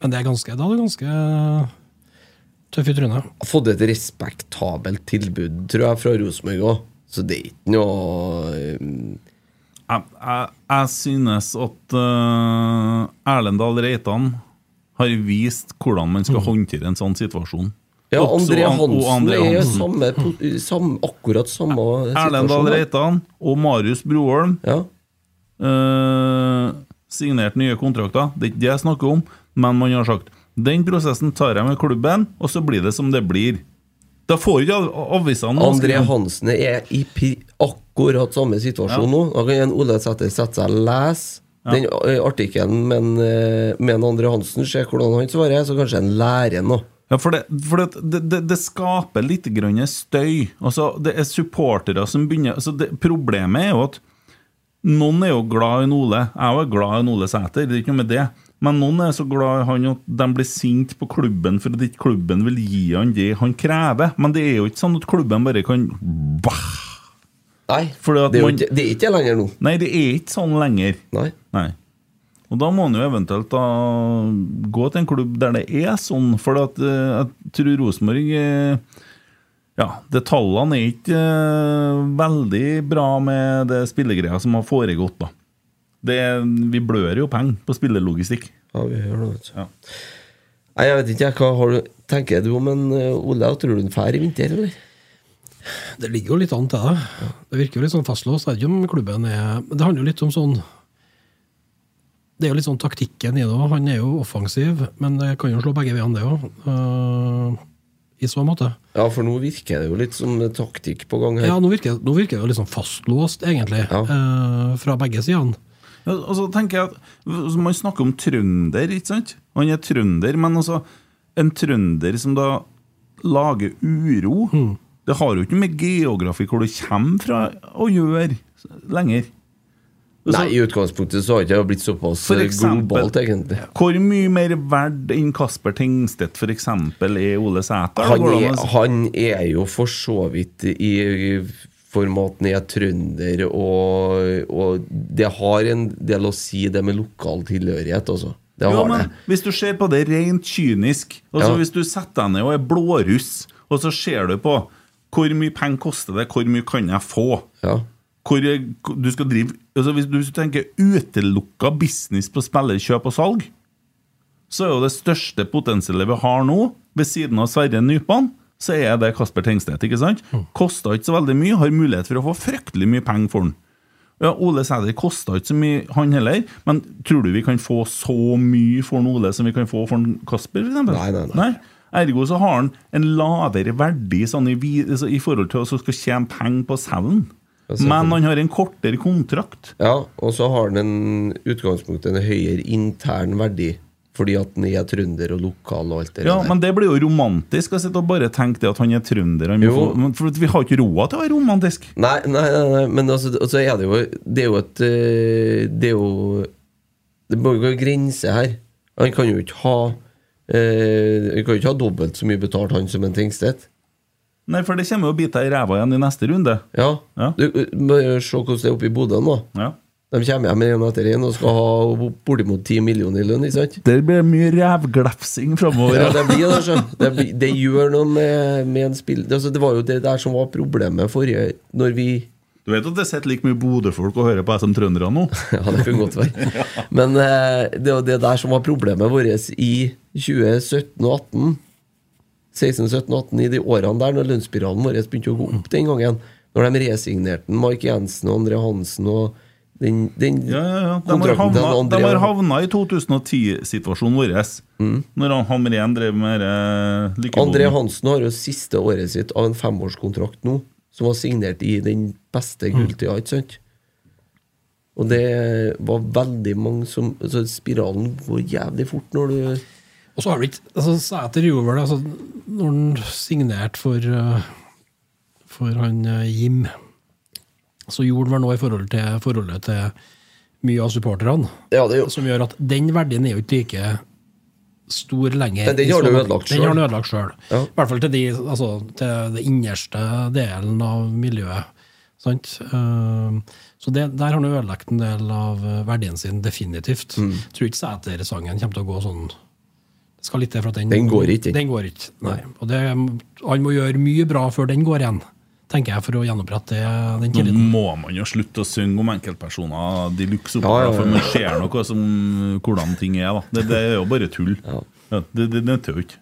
Speaker 4: Men det er ganske, da er det ganske eh, tøff i trynet.
Speaker 3: har fått et respektabelt tilbud, tror jeg, fra Rosenborg òg. Så det er ikke noe um,
Speaker 2: Jeg, jeg, jeg synes at uh, Erlend Dahl Reitan har vist hvordan man skal håndtere en sånn situasjon.
Speaker 3: Mm. Ja,
Speaker 2: Også
Speaker 3: André
Speaker 2: An- og
Speaker 3: Hansen
Speaker 2: André
Speaker 3: er sånn jo
Speaker 2: Hansen.
Speaker 3: samme, po- samme, akkurat samme
Speaker 2: Erlend Dahl
Speaker 3: da.
Speaker 2: Reitan og Marius Broholm
Speaker 3: Ja.
Speaker 2: eh, signerte nye kontrakter. Det er ikke det jeg snakker om, men man har sagt den prosessen tar jeg med klubben, og så blir det som det blir. Da får ikke av- avisene noe
Speaker 3: André
Speaker 2: skrive.
Speaker 3: Hansen er i pri akkurat samme situasjon nå. Da kan en Ole Sæther sette seg og lese den ø, artikkelen med, en, ø, med en André Hansen, se hvordan han svarer, så kanskje han lærer noe.
Speaker 2: Ja, for det, for det, det, det, det skaper litt grann støy. Altså, det er supportere som begynner altså det, Problemet er jo at noen er jo glad i en Ole. Jeg er jo glad i en Ole Sæter, det er ikke noe med det. Men noen er så glad i han at de blir sinte på klubben for at ikke klubben vil gi han det han krever. Men det er jo ikke sånn at klubben bare kan bah!
Speaker 3: Nei,
Speaker 2: Fordi at
Speaker 3: det, er jo
Speaker 2: man-
Speaker 3: ikke, det er ikke det lenger nå.
Speaker 2: Nei, det er ikke sånn lenger.
Speaker 3: Nei.
Speaker 2: Nei. Og da må han jo eventuelt da gå til en klubb der det er sånn, for at, eh, jeg tror Rosenborg eh, Ja, det tallene er ikke eh, veldig bra med det spillergreia som har foregått, da. Det, vi blør jo penger på spillerlogistikk.
Speaker 3: Ja, vi hører det, vet du.
Speaker 2: Ja.
Speaker 3: Nei, jeg vet ikke, jeg, hva har du, tenker du om en ø, Ole? Tror du han drar i vinter, eller?
Speaker 4: Det ligger jo litt an til det. Det virker jo litt sånn fastlåst. Jeg vet ikke om klubben er Men det handler jo litt om sånn Det er jo litt sånn taktikken i det òg. Han er jo offensiv, men det kan jo slå begge veiene, det òg. I så måte.
Speaker 3: Ja, for nå virker det jo litt som taktikk på gang her.
Speaker 4: Ja, nå virker, nå virker det jo litt sånn fastlåst, egentlig.
Speaker 3: Ja.
Speaker 4: eh, fra begge sidene.
Speaker 2: Ja, Og så tenker jeg at Man snakker om trønder, ikke sant? Og Han er trønder, men altså En trønder som da lager uro Det har jo ikke med geografi hvor du kommer fra å gjøre lenger.
Speaker 3: Nei, i utgangspunktet så har det ikke blitt såpass
Speaker 2: altså-
Speaker 3: eh,
Speaker 2: For eksempel-
Speaker 3: globalt, egentlig.
Speaker 2: Hvor mye mer verd enn Kasper Tingstedt for eksempel er Ole Sæter?
Speaker 3: Han
Speaker 2: Går det an å
Speaker 3: er,
Speaker 2: si?
Speaker 3: han er jo for så vidt i i formaten er trønder, og, og det har en del å si, det med lokal tilhørighet, altså. Det har
Speaker 2: Jo, men
Speaker 3: det.
Speaker 2: Hvis du ser på det rent kynisk altså
Speaker 3: Ja.
Speaker 2: Hvis du setter deg ned og er blåruss, og så ser du på hvor mye penger koster det, hvor mye kan jeg få?
Speaker 3: Ja.
Speaker 2: hvor jeg, du skal drive altså Hvis du hvis du tenker utelukka business på spillerkjøp og salg, så er jo det største potensialet vi har nå, ved siden av Sverre Nypan, så er det Kasper Tengstedt. ikke sant? Kosta ikke så veldig mye, har mulighet for å få fryktelig mye penger for den. Ja, Ole Sæder kosta ikke så mye, han heller, men tror du vi kan få så mye for en Ole som vi kan få for en Kasper, f.eks.?
Speaker 3: Nei, nei, nei.
Speaker 2: Ergo så har han en lavere verdi sånn i, vi- altså, i forhold til å så skal tjene penger på å selge den.
Speaker 3: selvfølgelig.
Speaker 2: Men han har en kortere kontrakt.
Speaker 3: ja, og så har den en utgangspunkt en høyere intern verdi, fordi at den er trønder og lokal og alt det
Speaker 2: Ja,
Speaker 3: der.
Speaker 2: Men det blir jo romantisk å sitte og bare tenke det at han er trønder. Han må få,
Speaker 3: Jo.
Speaker 2: men for vi har ikke råd til å være romantisk.
Speaker 3: Nei, nei, nei, nei. men altså, altså er det, jo, det er jo et eh, Det er jo Det må jo gå en grense her. Han kan jo ikke ha eh, Han kan jo ikke ha dobbelt så mye betalt, han, som en Tingstedt.
Speaker 2: Nei, for det kommer jo å bite deg i ræva igjen i neste runde.
Speaker 3: Ja.
Speaker 2: Ja.
Speaker 3: Du, eh, må jo se hvordan det er oppe i Bodø nå.
Speaker 2: Ja.
Speaker 3: De kommer hjem en etter en og skal ha bortimot 10 millioner i lønn, ikke sant?
Speaker 2: Det blir mye rævglefsing framover.
Speaker 3: Ja, det blir det, altså. Det, blir- det gjør noe med, med en spill... Det, altså, det var jo det der som var problemet forrige Når vi <laughs>
Speaker 2: Du vet at det sitter like mye Bodø-folk og hører på jeg som trøndere nå?
Speaker 3: Ja, det kan godt være. Men eh, det var det der som var problemet vårt i 2017 og 18 16, 17 og 18, i de årene der når lønnsspiralen vår begynte å gå opp den gangen. Når de resignerte den, Mark Jensen og André Hansen og den, den
Speaker 2: Ja, ja, ja. De har
Speaker 3: kontrakten til
Speaker 2: havna, de
Speaker 3: André
Speaker 2: har havna i 2010-situasjonen vår. Når han Hamren drev med eh,
Speaker 3: Mm. André
Speaker 2: lykkeboden.
Speaker 3: Hansen har jo siste året sitt av en femårskontrakt nå, som var signert i den
Speaker 2: Mm.
Speaker 3: beste gulltida, ikke sant? Og det var veldig mange som Så spiralen går jævlig fort når du
Speaker 4: Og så har det ikke altså, Sæter gjorde vel det altså, Når han signerte for eh, For han eh, Jim, så gjorde han vel noe i forhold til, forholdet til mye av supporterne,
Speaker 3: Ja, det er jo
Speaker 4: som gjør at den verdien er jo ikke like stor lenger.
Speaker 3: Nei, den
Speaker 4: i
Speaker 3: har du
Speaker 4: så måte.
Speaker 3: ødelagt
Speaker 4: Den har
Speaker 3: selv.
Speaker 4: du ødelagt sjøl.
Speaker 3: Ja.
Speaker 4: I hvert fall til, de, altså, til det innerste delen av miljøet. Sant? Eh, Så det, der har han ødelagt en del av eh, verdien sin, definitivt.
Speaker 3: Mm.
Speaker 4: Jeg tror ikke Sæter-sangen kommer til å gå sånn Det skal litt til for at den
Speaker 3: Den går ikke.
Speaker 4: Den går ikke. Nei. Og det, han må gjøre mye bra før den går igjen, tenker jeg, for å gjenopprette det-
Speaker 2: Nå
Speaker 4: den
Speaker 3: Mm.
Speaker 4: tilliten.
Speaker 2: må man jo slutte å synge om enkeltpersoner de luxe opp,
Speaker 3: Ja, ja, ja.
Speaker 2: for man ser noe som hvordan ting er. da Det, det er jo bare tull.
Speaker 3: Ja.
Speaker 2: Ja, det det, det tør jo ikke.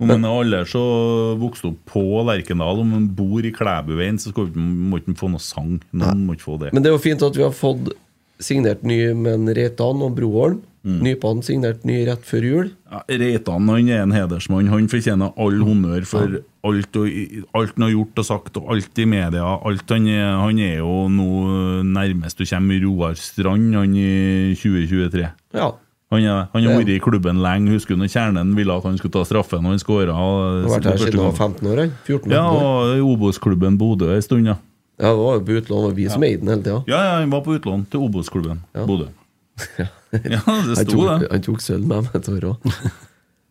Speaker 2: Om man er alle så vokst opp på Lerkendal, om man bor i Klæbuveien, så skal, vi ikke- må ikke man få noe sang. Noen må ikke få det.
Speaker 3: Men det er jo fint at vi har fått signert ny med en Reitan og Broholm.
Speaker 2: Mm.
Speaker 3: Nypan signert ny rett før jul.
Speaker 2: Ja, Reitan han er en hedersmann. Han fortjener all honnør for alt, og, alt han har gjort og sagt, og alt i media. Alt han, er, han er jo nå nærmest du kommer Roar Strand han i 2023.
Speaker 3: Ja.
Speaker 2: Han er- han har
Speaker 3: Det-
Speaker 2: vært i klubben lenge. Husker du når Kjernen ville at han skulle ta straffen, og han skåra?
Speaker 3: Han har vært her siden han var 15 år. han. 14
Speaker 2: Ja,
Speaker 3: år.
Speaker 2: og i Obos-klubben Bodø en stund, ja.
Speaker 3: Ja, det var jo på utlån, og vi som eide den hele tida.
Speaker 2: Ja, ja, han var på utlån til Obos-klubben Bodø. <laughs> Ja, det
Speaker 3: Han,
Speaker 2: sto
Speaker 3: tok-
Speaker 2: det.
Speaker 3: han tok sølv med meg et
Speaker 2: <laughs>
Speaker 3: år òg.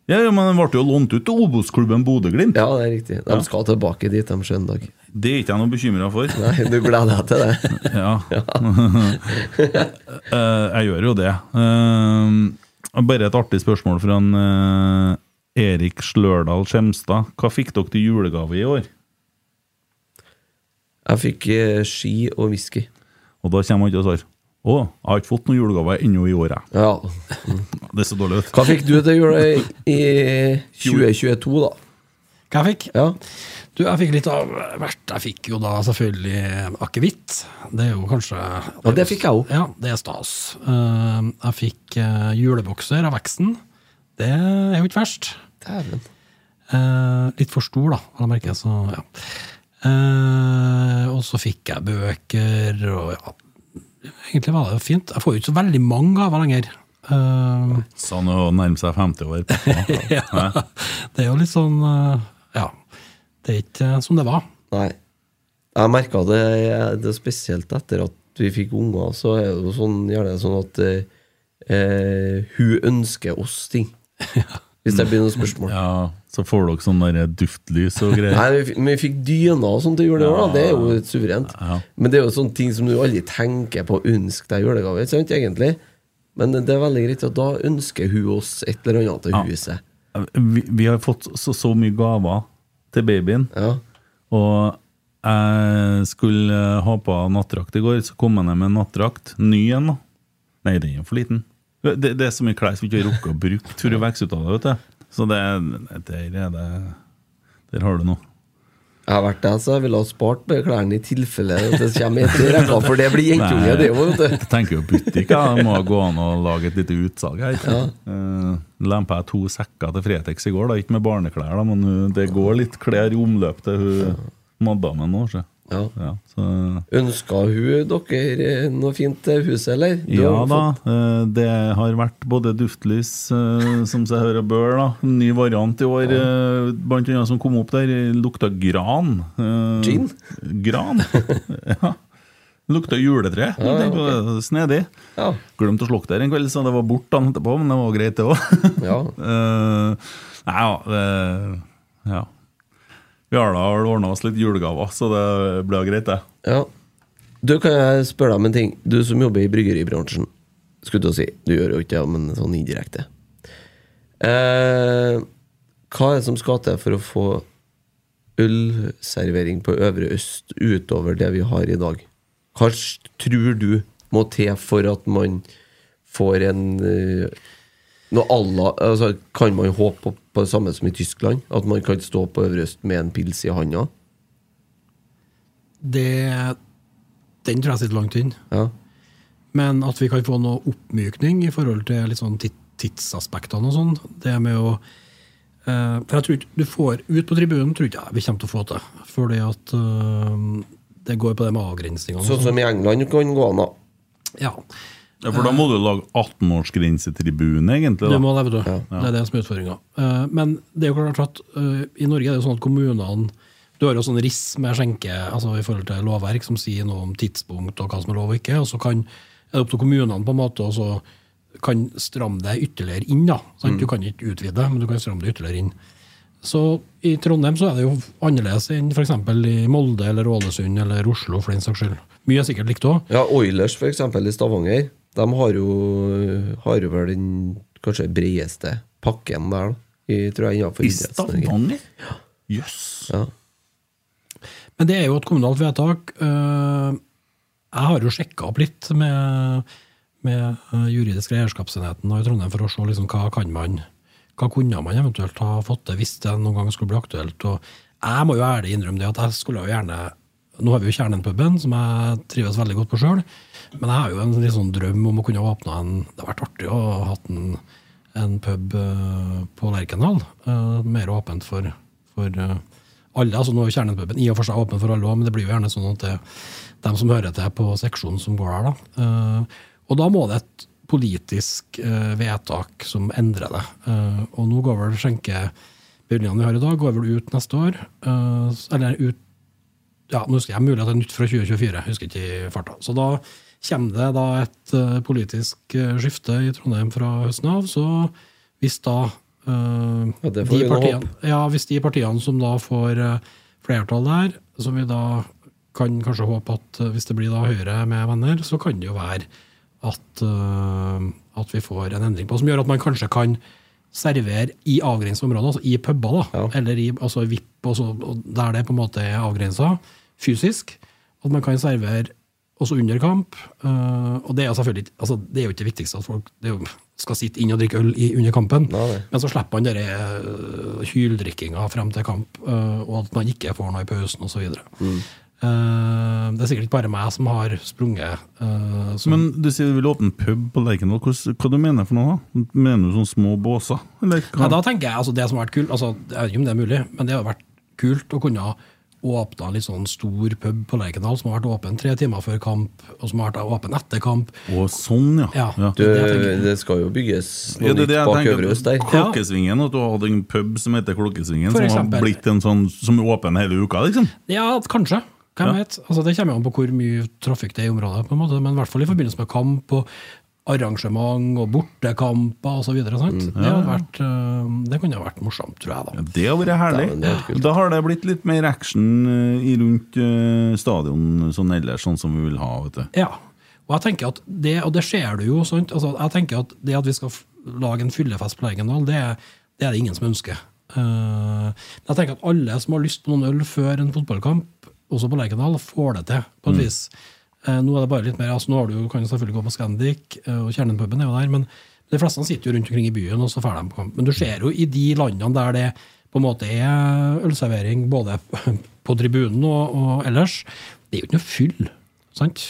Speaker 2: Ja, ja, Men han ble jo lånt ut til Obos-klubben Bodø-Glimt.
Speaker 3: Ja, det er riktig. De skal tilbake dit de søndag.
Speaker 2: Det er ikke jeg noe bekymra for.
Speaker 3: Nei, du gleder deg til det?
Speaker 2: <laughs> Ja. <laughs> Eh, jeg gjør jo det. Eh, bare et artig spørsmål fra en, eh, Erik Slørdal Skjemstad. Hva fikk dere til julegave i år?
Speaker 3: Jeg fikk eh, ski og whisky.
Speaker 2: Og da kommer han til å svare. Å, jeg har ikke fått noen julegave ennå i år, jeg.
Speaker 3: Ja.
Speaker 2: Det er så dårlig ut.
Speaker 3: Hva fikk du til jul i i 2022, da?
Speaker 4: Hva jeg fikk?
Speaker 3: Ja.
Speaker 4: Du, jeg fikk litt av hvert. Jeg fikk jo da selvfølgelig akevitt. Det er jo kanskje
Speaker 3: Ja, det fikk jeg også.
Speaker 4: Ja, det er stas. Eh, Jeg fikk eh, julebokser av Veksten. Det er jo ikke verst.
Speaker 3: Dæven.
Speaker 4: Eh, Litt for stor, da, vel å merke. Så, ja. Eh, Og så fikk jeg bøker og ja, egentlig var det jo fint. Jeg får jo ikke så veldig mange gaver lenger. Eh, <laughs>
Speaker 2: Sånn å nærme seg 50 år. etterpå.
Speaker 4: ja. Det er jo litt sånn eh, Ja. Det er ikke eh, som det var.
Speaker 3: Nei. Jeg merka det, det er spesielt etter at vi fikk unger, så er det jo sånn, gjerne sånn at eh, eh, hun ønsker oss ting. Hvis det blir noe spørsmål.
Speaker 2: Ja, Så får dere sånn der duftlys og
Speaker 3: Nei,
Speaker 2: greier.
Speaker 3: vi fikk- men vi fikk dyner og sånt til julegave. da. Det er jo litt suverent. Men det er jo sånne ting som du aldri tenker på å ønske deg i julegave. ikke sant, egentlig? Men det er veldig greit at da ønsker hun oss et eller annet til huset.
Speaker 2: Vi, vi har fått så, så mye gaver til babyen.
Speaker 3: Ja.
Speaker 2: Og jeg skulle eh, ha på nattdrakt i går, så kom jeg ned med en nattdrakt. Ny en, da. Nei, den er jo for liten. Det, det er så mye klær som ikke vi rekker å bruke. Tror jeg vokser ut av det, vet du. Så det, der er det Der har du noe.
Speaker 3: Jeg har vært der, så jeg ville ha spart med klærne i tilfelle det kommer etter rekka, for det blir jentunge, det òg, vet du.
Speaker 2: Jeg tenker jo butikk, ja. Det må gå an å lage et lite utsalg her. Ja. Lempa jeg to sekker til Fretex i går, da. ikke med barneklær, da, men uh, det går litt klær i omløp til hun madammen nå. Så.
Speaker 3: Ja.
Speaker 2: Ja, så
Speaker 3: Ønska hun dere eh, noe fint til huset, eller? Du
Speaker 2: ja
Speaker 3: har
Speaker 2: da,
Speaker 3: fått-
Speaker 2: eh, det har vært både duftlys, eh, som seg hører bør, da. En ny variant i år, eh, blant annet som kom opp der, eh, lukta gran. Eh,
Speaker 3: Gin?
Speaker 2: Gran. ja. Lukta juletre. Det var Snedig.
Speaker 3: Ja.
Speaker 2: Glemte å slukke der en kveld, så det var bort dagen etterpå, men det var greit, det òg. <laughs>
Speaker 3: ja.
Speaker 2: nei, ja, eh, ja. Vi har da ordna oss litt julegaver, så det ble greit, det.
Speaker 3: ja. Du, kan jeg spørre deg om en ting? Du som jobber i bryggeribransjen, skulle til å si. Du gjør jo ikke det, men sånn indirekte. Eh, hva er det som skal til for å få ølservering på Øvre Øst utover det vi har i dag? Hva s- tror du må til for at man får en eh, noe alla, altså, Kan man håpe på, på det samme som i Tyskland? At man kan stå på Øvre Øst med en pils i handa?
Speaker 4: Det, den tror jeg sitter langt inn.
Speaker 3: Ja.
Speaker 4: Men at vi kan få noe oppmykning i forhold til litt sånn tid- tidsaspektene og sånn. Det med å eh, For jeg tror ikke du får ut på tribunen, tror ikke jeg vi kommer til å få til. Fordi at eh, det går på det med avgrensningene. sånn.
Speaker 3: Sånn som i England kan gå an, da.
Speaker 4: Ja.
Speaker 2: Ja, For da må du lage 18-årsgrensetribune, egentlig.
Speaker 4: Du
Speaker 2: Da.
Speaker 4: må det, vet du. Det er det som er utfordringa. Men det er jo klart at eh, i Norge er det jo sånn at kommunene Du har jo sånn riss med skjenke altså i forhold til lovverk som sier noe om tidspunkt og hva som er lov og ikke. Og så kan, er det opp til kommunene på en måte og så kan stramme det ytterligere inn. da.
Speaker 2: Mm.
Speaker 4: Sant? Du kan ikke utvide, men du kan stramme det ytterligere inn. Så i Trondheim så er det jo annerledes enn f.eks. i Molde eller Ålesund eller Oslo for den saks skyld. Mye er sikkert likt òg.
Speaker 3: Ja, Oilers for eksempel i Stavanger De har jo, har jo vel den kanskje bredeste pakken der da, i, Tror jeg innenfor
Speaker 2: I
Speaker 3: idrettsnøringen
Speaker 2: Stavanger? Jøss.
Speaker 3: ja.
Speaker 4: Men det er jo et kommunalt vedtak. Eh, Jeg har jo sjekka opp litt med, med eh, juridisk eierskapsenheten da i Trondheim for å se liksom hva kan man hva kunne man eventuelt ha fått til hvis det noen gang skulle bli aktuelt. Og jeg må jo ærlig innrømme det at jeg skulle jo gjerne Nå har vi jo Kjernen-puben, som jeg trives veldig godt på sjøl, men jeg har jo en litt sånn drøm om å kunne åpne en Det har vært artig å ha hatt en, en pub eh, på Lerkendal. eh, Mer åpent for, for eh, alle. altså Nå er jo Kjernen-puben i og for seg åpen for alle òg, men det blir jo gjerne sånn at det, dem som hører til på seksjonen som går der, da. eh, Og da må det et politisk eh, vedtak som endrer det. Eh, og nå går vel skjenkebevilgningene vi har i dag, går vel ut neste år. eh, s- eller ut ja, nå husker jeg mulig at det er nytt fra 2024, husker ikke i farta. Så da kommer det da et eh, politisk eh, skifte i Trondheim fra høsten av. Så hvis da eh,
Speaker 3: Ja, det får
Speaker 4: de
Speaker 3: vi nå
Speaker 4: partiene, ja, hvis de partiene som da får eh, flertall der, som vi da kan kanskje håpe at eh, hvis det blir da Høyre med venner, så kan det jo være at, eh, at vi får en endring på, som gjør at man kanskje kan servere i avgrensede områder, altså i puber, da,
Speaker 3: Ja.
Speaker 4: eller i altså i VIP, og så- og der det på en måte er avgrensa fysisk. At man kan servere også under kamp. eh, og det er jo selvfølgelig ikke- altså, det er jo ikke det viktigste at folk det er jo, skal sitte inn og drikke øl i, under kampen.
Speaker 3: Nei, nei.
Speaker 4: Men så slipper man denne hyldrikkinga frem til kamp, eh, og at man ikke får noe i pausen osv. Mm. Eh, det er sikkert ikke bare meg som har sprunget. eh, som,
Speaker 2: Men du sier du vil åpne pub på Lerkendal. Hvordan- Hva du mener du for noe? da? Mener du sånne små båser? Eller hva?
Speaker 4: Nei, da tenker jeg altså, det som har vært kult altså, Jeg vet ikke om det er mulig, men det har vært kult å kunne åpna en litt sånn stor pub på Lerkendal som har vært åpen tre timer før kamp, og som har vært åpen etter kamp.
Speaker 2: Og sånn, ja.
Speaker 4: Ja.
Speaker 2: ja.
Speaker 3: Du,
Speaker 4: Det jeg tenker.
Speaker 3: det skal jo bygges noe
Speaker 2: Ja, det er det
Speaker 3: nytt
Speaker 2: jeg
Speaker 3: bak
Speaker 2: tenker.
Speaker 3: Øvre Øst der.
Speaker 4: Ja.
Speaker 2: Klokkesvingen, at du hadde en pub som heter Klokkesvingen,
Speaker 4: For
Speaker 2: som
Speaker 4: eksempel.
Speaker 2: har blitt en sånn som er åpen hele uka, liksom.
Speaker 4: Ja, kanskje. Hvem
Speaker 2: Ja.
Speaker 4: vet? Altså, det kommer jo an på hvor mye trafikk det er i området, på en måte, men i hvert fall i forbindelse med kamp og arrangement og bortekamper osv. sant? Det, hadde vært, eh, det kunne ha vært morsomt, tror jeg. da.
Speaker 2: Det har vært herlig.
Speaker 3: Dæven, det er helt kult.
Speaker 2: da har det blitt litt mer action eh, i rundt eh, stadion sånn ellers, sånn som vi vil ha, vet du.
Speaker 4: Ja. Og jeg tenker at det, og det ser du jo, sant? Altså, jeg tenker at det at vi skal f- lage en fyllefest på Lerkendal, det, er- det er det ingen som ønsker. Eh, men jeg tenker at alle som har lyst på noen øl før en fotballkamp, også på Lerkendal, får det til, på et vis. Eh, nå er det bare litt mer, altså nå har du, jo- kan du selvfølgelig gå på Scandic, eh, og Kjernen-puben er jo der, men de fleste sitter jo rundt omkring i byen, og så får de på kamp. Men du ser jo i de landene der det på en måte er ølservering, både <laughs> på tribunen og, og ellers, det er jo ikke noe fyll, sant?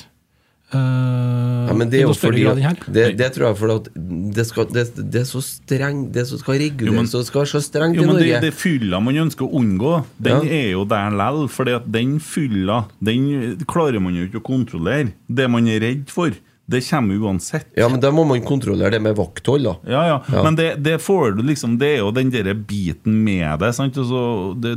Speaker 4: Uh,
Speaker 3: Ja, men det er jo fordi
Speaker 4: her.
Speaker 3: det, det tror jeg fordi at det, skal, det, det er så streng Det som skal
Speaker 2: Jo, men-
Speaker 3: reguleres og skal være så strengt
Speaker 2: Jo,
Speaker 3: i
Speaker 2: men det,
Speaker 3: Norge.
Speaker 2: det fylla man ønsker å unngå, den
Speaker 3: Ja.
Speaker 2: er jo der lell. For den fylla den klarer man jo ikke å kontrollere. Det man er redd for, det kommer uansett.
Speaker 3: Ja, men da må man kontrollere det med vakthold, da.
Speaker 2: Ja, ja.
Speaker 3: Ja.
Speaker 2: Men det, det får du liksom Det er jo den derre biten med det, sant? Og så, det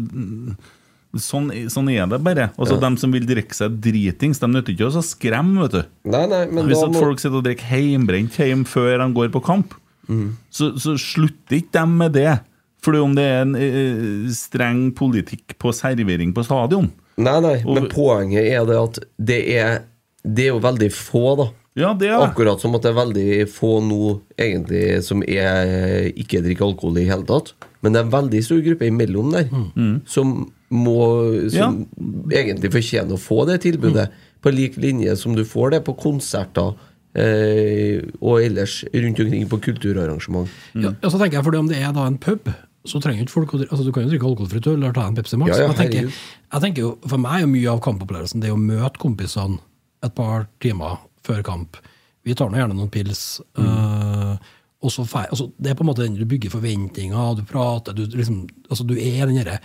Speaker 2: sånn, sånn er det bare. Altså,
Speaker 3: Ja.
Speaker 2: De som vil drikke seg dritings, de nytter ikke å så skremme, vet du.
Speaker 3: Nei, nei, men
Speaker 2: Hvis
Speaker 3: da
Speaker 2: at
Speaker 3: må
Speaker 2: folk sitter og drikker heimbrent hjem før de går på kamp,
Speaker 4: Mm.
Speaker 2: så, så slutter ikke de med det. Fordi om det er en eh, streng politikk på servering på stadion
Speaker 3: Nei, nei, men
Speaker 2: Og-
Speaker 3: poenget er det at det er Det er jo veldig få, da.
Speaker 2: Ja, det er det.
Speaker 3: Akkurat som at det er veldig få nå egentlig som er, ikke drikker alkohol i hele tatt. Men det er en veldig stor gruppe imellom der som må Som egentlig fortjener å få det tilbudet. På lik linje som du får det på konserter eh, og ellers rundt omkring på kulturarrangement.
Speaker 4: Ja, og så tenker jeg, fordi om det er da en pub, så trenger ikke folk å dri- altså Du kan jo drikke alkoholfritt øl eller ta en Pepsi Max.
Speaker 3: Ja, ja,
Speaker 4: men jeg,
Speaker 3: herregud.
Speaker 4: tenker, jeg tenker jo, For meg er jo mye av kampopplevelsen det å møte kompisene et par timer før kamp. Vi tar nå gjerne noen pils.
Speaker 3: Mm.
Speaker 4: øh, og så fe- altså, det er på en måte den du bygger forventninger, du prater, du, liksom, altså, du er den derre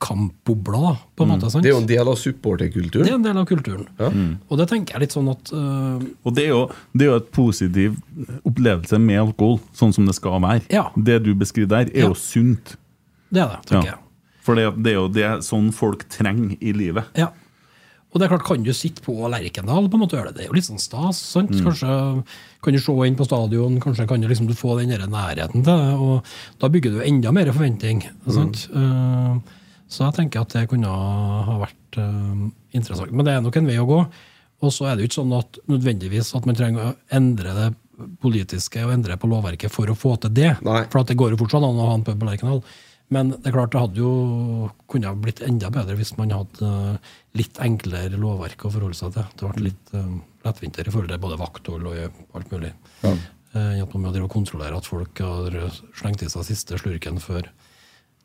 Speaker 4: kampbobla, da, på en måte. sant?
Speaker 3: Mm. Det er jo en
Speaker 4: Det
Speaker 3: del av
Speaker 4: er
Speaker 3: supporterkulturen.
Speaker 4: en del av kulturen.
Speaker 3: Ja.
Speaker 4: Og det tenker jeg litt sånn at øh,
Speaker 2: Og det er, jo, det er jo et positiv opplevelse med alkohol, sånn som det skal være.
Speaker 4: Ja.
Speaker 2: Det du beskriver der, er
Speaker 4: Ja.
Speaker 2: jo sunt.
Speaker 4: Det er det, tenker jeg.
Speaker 2: For det, det er jo det sånn folk trenger i livet.
Speaker 4: Ja. Og det er klart, kan du sitte på Lerkendal, på en måte gjøre det. Det er jo litt sånn stas. sant? Kanskje kan du se inn på stadion, kanskje kan du liksom du få den der nærheten til det. Og da bygger du enda mer forventning. sant? Eh, så jeg tenker at det kunne ha vært eh, interessant. Men det er nok en vei å gå. Og så er det jo ikke sånn at nødvendigvis at man trenger å endre det politiske og endre på lovverket for å få til det.
Speaker 3: Nei.
Speaker 4: For at det går jo sånn, fortsatt an å ha en pub på Lerkendal. Men det er klart det hadde jo kunne ha blitt enda bedre hvis man hadde eh, litt enklere lovverk å forholde seg til. Det ble litt uh, lettvintere i forhold til både vakthold og alt mulig. Ja. at man må drive og kontrollere at folk har slengt i seg siste slurken før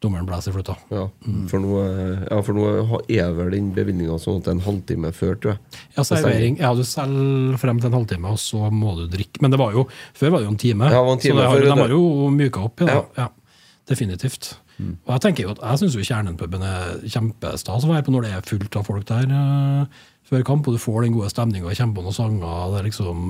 Speaker 4: dommeren blåser i fløyta.
Speaker 3: Ja, for nå, eh, ja, for nå har- er vel den bevilgninga sånn at det er en halvtime før, tror jeg.
Speaker 4: Ja, servering. Ja, du selger frem til en halvtime, og så må du drikke. Men det var jo, før var det jo en time,
Speaker 3: Ja, det var en time
Speaker 4: så det har,
Speaker 3: før,
Speaker 4: de
Speaker 3: det-
Speaker 4: har jo myka opp i
Speaker 3: Ja.
Speaker 4: det.
Speaker 3: Mm.
Speaker 4: Ja. Definitivt. Og jeg tenker jo at jeg syns Kjernen-puben er kjempestas å være på når det er fullt av folk der eh, før kamp, og du får den gode stemninga, kjemper noen sanger, og det er liksom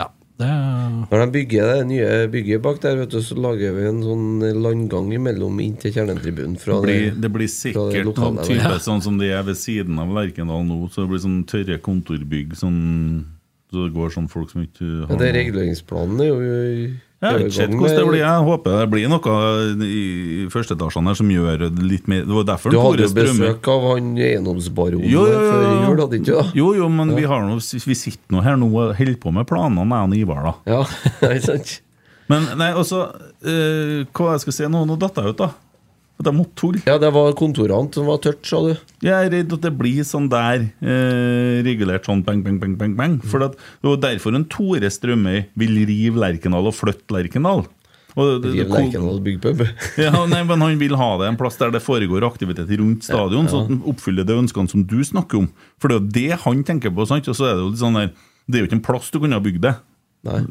Speaker 4: Ja, det er-
Speaker 3: Når de bygger det nye bygget bak der, vet du, så lager vi en sånn landgang imellom inn til kjernetribunen. Fra
Speaker 2: Det blir,
Speaker 3: det-
Speaker 2: det blir
Speaker 3: fra det
Speaker 2: sikkert
Speaker 3: lokale
Speaker 2: noen
Speaker 3: der.
Speaker 2: type sånn som det er ved siden av Lerkendal nå. Så det blir sånn tørre kontorbygg sånn, så det går sånn folk som ikke
Speaker 3: Ja,
Speaker 2: har
Speaker 3: det er
Speaker 2: noe-
Speaker 3: reguleringsplanen er jo i-
Speaker 2: Jeg
Speaker 3: er jo
Speaker 2: vet
Speaker 3: i
Speaker 2: ikke helt
Speaker 3: gang
Speaker 2: hvordan det
Speaker 3: med-
Speaker 2: blir. Jeg håper det blir noe i i første etasjen her som gjør det litt mer Det var derfor
Speaker 3: Du
Speaker 2: Tore
Speaker 3: hadde jo
Speaker 2: Strømøy-
Speaker 3: besøk av han eiendomsbaronen
Speaker 2: Jo, jo, jo,
Speaker 3: før
Speaker 2: jo.
Speaker 3: jul, hadde ikke da?
Speaker 2: Jo, jo, men vi, har noe, vi sitter nå her nå og holder på med planene, jeg og Ivar, da.
Speaker 3: Ja, <laughs> ikke sant?
Speaker 2: Men nei, også eh, Hva jeg skal si nå? Nå datt jeg ut, da. At jeg måtte tulle.
Speaker 3: Ja, det var kontorene som var tørt, sa du.
Speaker 2: Jeg er redd at det blir sånn der eh, regulert sånn bang, bang, bang, bang, bang. For at, det var derfor en Tore Strømøy vil rive Lerkendal og flytte Lerkendal. Og det-
Speaker 3: I
Speaker 2: det- det-
Speaker 3: Lerkendal byggpub. <laughs>
Speaker 2: Ja, nei, men Han vil ha det en plass der det foregår aktivitet rundt stadion, så at han oppfyller de ønskene som du snakker om. For det er jo det han tenker på. sant? Og så er Det jo litt sånn der, det er jo ikke en plass du kunne ha bygd det.
Speaker 3: Nei.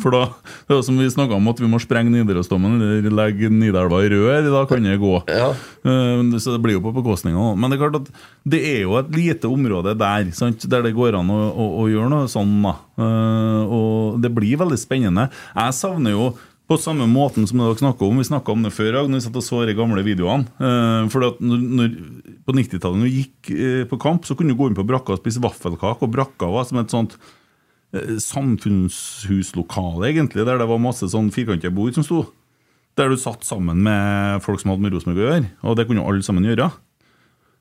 Speaker 2: For da, det er jo som vi snakka om, at vi må sprenge Nidarosdomen eller legge Nidelva i rør. Da kan det gå.
Speaker 3: Ja.
Speaker 2: Eh, Så det blir jo på bekostning av noe. Men det er klart at det er jo et lite område der sant? der det går an å, å, å gjøre noe sånn. da. Eh, Og det blir veldig spennende. Jeg savner jo på samme måten som dere snakker om, Vi snakka om det før i dag, når vi satt og så de gamle videoene. Eh, Fordi at når, når, På 90-tallet, når du gikk eh, på kamp, så kunne du gå inn på brakka og spise vaffelkake. Og brakka var som et sånt eh, samfunnshuslokale, egentlig, der det var masse sånn firkantet bord som sto. Der du satt sammen med folk som hadde med Rosenborg å gjøre, og det kunne jo alle sammen gjøre.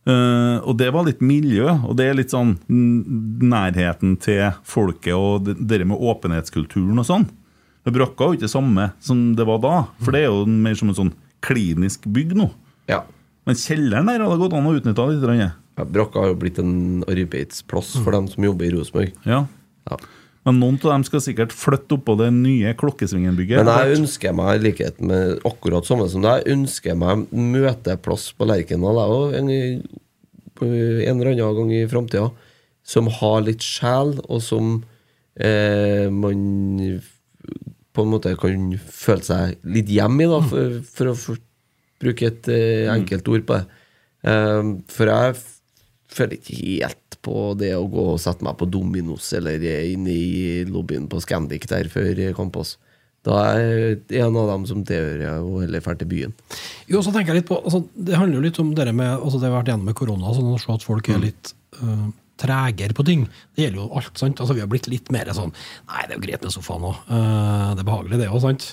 Speaker 2: Eh, og det var litt miljø, og det er litt sånn n- nærheten til folket og det det der med åpenhetskulturen og sånn. Det brakka jo ikke samme som det var da, for det er jo mer som en sånn klinisk bygg nå.
Speaker 3: ja.
Speaker 2: Men kjelleren der hadde gått an å utnytte litt. grann,
Speaker 3: ja Brakka har jo blitt en arbeidsplass
Speaker 2: Mm.
Speaker 3: for dem som jobber i Rosenborg.
Speaker 2: Ja.
Speaker 3: Ja.
Speaker 2: Men noen av dem skal sikkert flytte oppå det nye Klokkesvingen-bygget.
Speaker 3: Men jeg ønsker meg, i likhet med akkurat samme som deg, ønsker meg møteplass på Lerkendal jeg òg, en, eh, en eller annen gang i framtida, som har litt sjel, og som eh, man på en måte kan føle seg litt hjemme i, da, for, for å for, bruke et eh, enkelt ord på det. Eh, for jeg f- føler ikke helt på det å gå og sette meg på Dominos eller inne i lobbyen på Scandic der før Kampås. Da er jeg en av dem som tilhører og heller drar til byen.
Speaker 4: Jo, så tenker jeg litt på, altså, Det handler jo litt om dere med, altså, det vi har vært gjennom med korona, sånn å se at folk er litt uh, tregere på ting. Det gjelder jo alt. sant? Altså, Vi har blitt litt mer sånn Nei, det er jo greit med sofaen òg. det er behagelig, det òg. sant?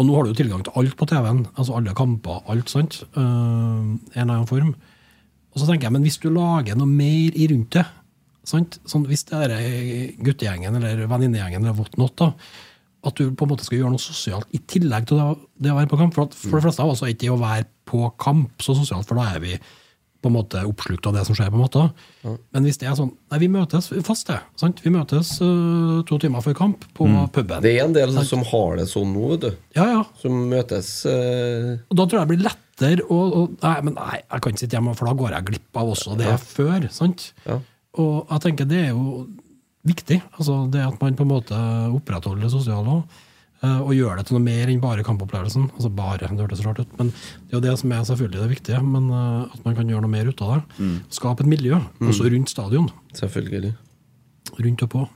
Speaker 4: Og nå har du jo tilgang til alt på TV-en. altså Alle kamper, alt. sant? Eh, I en eller annen form. Og så tenker jeg, men hvis du lager noe mer i rundt det sant? Sånn, Hvis det er guttegjengen eller venninnegjengen eller what not, da, at du på en måte skal gjøre noe sosialt i tillegg til det å- det å være på kamp. For, at, for det fleste av oss er ikke det å være på kamp så sosialt, for da er vi på en måte oppslukt av det som skjer. på en måte. Men hvis det er sånn Nei, vi møtes fast, det. Sant? Vi møtes øh, to timer før kamp på puben.
Speaker 3: Det er en del som har det sånn nå, vet du.
Speaker 4: Ja, ja.
Speaker 3: Som møtes eh,
Speaker 4: Og da tror jeg det blir lettere å å- Nei, men nei, jeg kan ikke sitte hjemme, for da går jeg glipp av også det før. sant?
Speaker 3: Ja.
Speaker 4: Og jeg tenker det er jo viktig. altså Det at man på en måte opprettholder det sosiale òg. Og gjør det til noe mer enn bare kampopplevelsen. altså bare, Det hørtes rart ut, men det er jo det som er selvfølgelig det viktige. men eh, At man kan gjøre noe mer ut av det. Skape et miljø, også rundt stadion.
Speaker 3: Selvfølgelig.
Speaker 4: Rundt og på.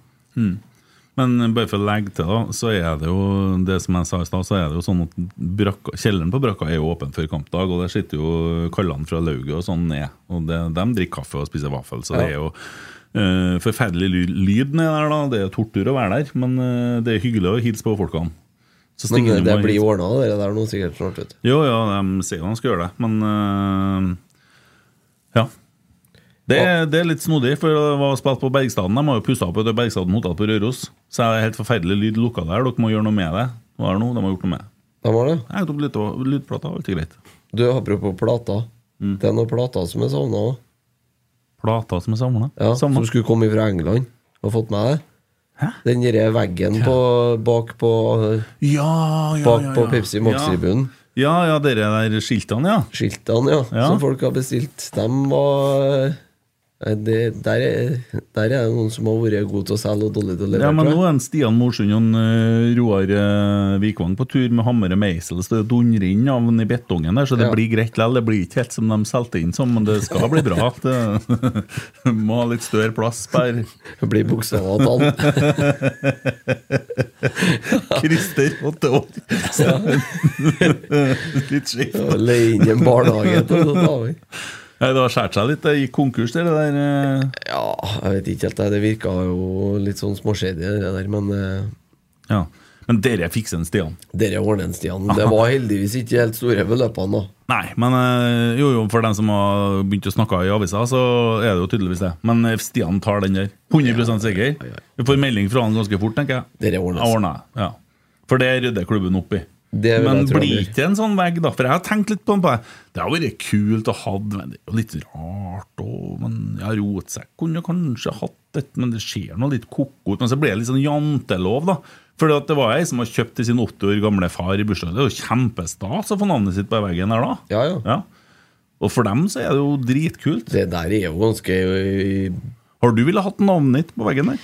Speaker 2: Men bare for å legge til, da, så er det jo det som jeg sa i stad, så er det jo sånn at brakka, kjelleren på brakka er jo åpen før kampdag, og der sitter jo kallene fra lauget og sånn ned. Og det, de drikker kaffe og spiser vaffel, så det er jo eh, forferdelig ly- lyd nedi der, da. Det er tortur å være der, men eh, det er hyggelig å hilse på folkene. Så
Speaker 3: Men
Speaker 2: stikker
Speaker 3: eh,
Speaker 2: du
Speaker 3: det
Speaker 2: bare
Speaker 3: blir
Speaker 2: hit.
Speaker 3: ordna, det der nå, sikkert snart. vet du.
Speaker 2: Jo, ja, de sier de skal gjøre det, men eh, Ja. Det, er- det er litt snodig, for det var spilt på Bergstaden. De har jo pussa opp et Bergstaden hotell på Røros. Så er det helt forferdelig lyd lukka der. Dere må gjøre noe med det. Hva er det nå? De har gjort noe med det.
Speaker 3: De har det.
Speaker 2: Jeg har tatt lyd- lydplata, alt er greit.
Speaker 3: Du, apropos plater.
Speaker 2: Mm.
Speaker 3: Det er noen plater som er savna òg.
Speaker 2: Plata som er samla?
Speaker 3: Ja, som skulle komme fra England. Har fått med deg det?
Speaker 2: Hæ?
Speaker 3: Den derre veggen på, bak på, eh,
Speaker 2: Ja, ja,
Speaker 3: bak
Speaker 2: ja, ja.
Speaker 3: på Pepsi Max-tribunen.
Speaker 2: Ja, ja, dere der skiltene, ja.
Speaker 3: Skiltene, ja,
Speaker 2: Ja.
Speaker 3: som folk har bestilt. Dem var Nei, det, der, er, der er det noen som har vært gode til å selge og dårlige til å levere.
Speaker 2: Ja, men
Speaker 3: tror jeg.
Speaker 2: nå er en Stian Morsund og en eh, Roar eh, Vikvang på tur med hammer og meisel, så det dundrer inn av den i betongen der, så det
Speaker 3: Ja.
Speaker 2: blir greit likevel. Det blir ikke helt som de solgte inn som, men det skal bli
Speaker 3: <laughs>
Speaker 2: bra. Det, <laughs> må ha litt større plass per
Speaker 3: Det blir buksa av <laughs> tann.
Speaker 2: Christer, åtte år. <laughs> litt skjevt.
Speaker 3: Leie inn en barnehage til å ta over.
Speaker 2: Nei, det har skåret seg litt. Det gikk konkurs, det der. eh.
Speaker 3: Ja, jeg vet ikke helt. jeg. Det virka jo litt sånn småskjedig, det der. Men eh,
Speaker 2: Ja. Men dere fikser en Stian.
Speaker 3: dere ordner en, Stian.
Speaker 2: <laughs>
Speaker 3: Det var heldigvis ikke helt store beløpene, da.
Speaker 2: Nei, men eh, jo, jo, for den som har begynt å snakke i avisa, så er det jo tydeligvis det. Men eh, Stian tar den der. 100 sikker. Vi får melding fra han ganske fort, tenker jeg.
Speaker 3: Dere ordner
Speaker 2: Jeg
Speaker 3: seg.
Speaker 2: ordner det, ja. For det rydder klubben opp i.
Speaker 3: Det vil
Speaker 2: Men
Speaker 3: jeg tro han
Speaker 2: blir
Speaker 3: gjør.
Speaker 2: ikke en sånn vegg, da? For jeg har tenkt litt på den. på det. Det har vært kult å ha den, men det er jo litt rart òg. Men ja, rotsekk kunne kanskje hatt et, men det ser nå litt ko-ko ut. Men så ble det litt sånn jantelov, da. For det var ei som har kjøpt til sin 80 år gamle far i bursdag. Det er jo kjempestas å få navnet sitt på veggen der, da.
Speaker 3: Ja, ja.
Speaker 2: Ja. Og for dem så er det jo dritkult.
Speaker 3: Det der er jo ganske eh, ø,
Speaker 2: Har du ville hatt navnet ditt på veggen der?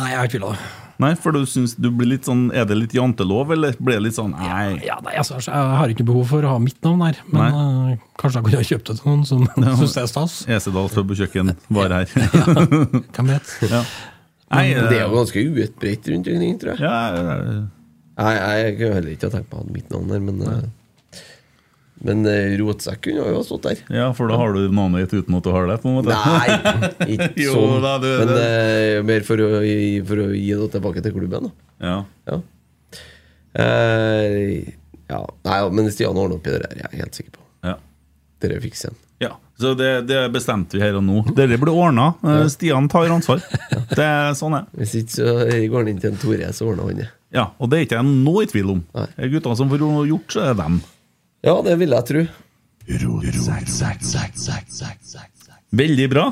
Speaker 4: Nei, jeg har ikke villet det.
Speaker 2: Nei, for du syns du blir litt sånn Er det litt jantelov, eller blir det litt sånn Nei.
Speaker 4: Ja, nei, altså, Jeg har ikke behov for å ha mitt navn her, men eh, kanskje jeg kunne ha kjøpt det til noen som syns det er stas.
Speaker 2: Esedals pub og kjøkken var her.
Speaker 3: <laughs>
Speaker 4: Hvem vet?
Speaker 2: ja. Nei, eh,
Speaker 3: Det er jo ganske uutbredt rundt omkring, tror jeg.
Speaker 2: ja, ja,
Speaker 3: Nei, jeg kunne heller ikke ha tenkt på å ha mitt navn der, men eh, Men eh, rotsekk kunne jo ha stått
Speaker 2: <laughs>
Speaker 3: der.
Speaker 2: ja, for da har du navnet ditt uten at du har det, på en måte.
Speaker 3: Nei, ikke
Speaker 2: Jo,
Speaker 3: sånn.
Speaker 2: da, du-
Speaker 3: men
Speaker 2: det-
Speaker 3: eh, mer for å, gi- for å gi det tilbake til klubben, da.
Speaker 2: <laughs> Ja.
Speaker 3: Ja. Eh, ja. Nei, ja, men Stian ordner opp i det der, jeg er helt sikker på.
Speaker 2: Ja.
Speaker 3: Dere fikser den.
Speaker 2: Ja, så det, det bestemte vi her og nå. Dette ble ordna. Eh, Stian tar ansvar. Det er sånn er
Speaker 3: Hvis ikke så går han inn til en Tore, så ordner han det.
Speaker 2: Ja, Og det er ikke jeg noe i tvil om.
Speaker 3: Nei.
Speaker 2: Det er Guttene som får gjort, så er det dem.
Speaker 3: Ja, det vil jeg tro.
Speaker 2: Veldig bra.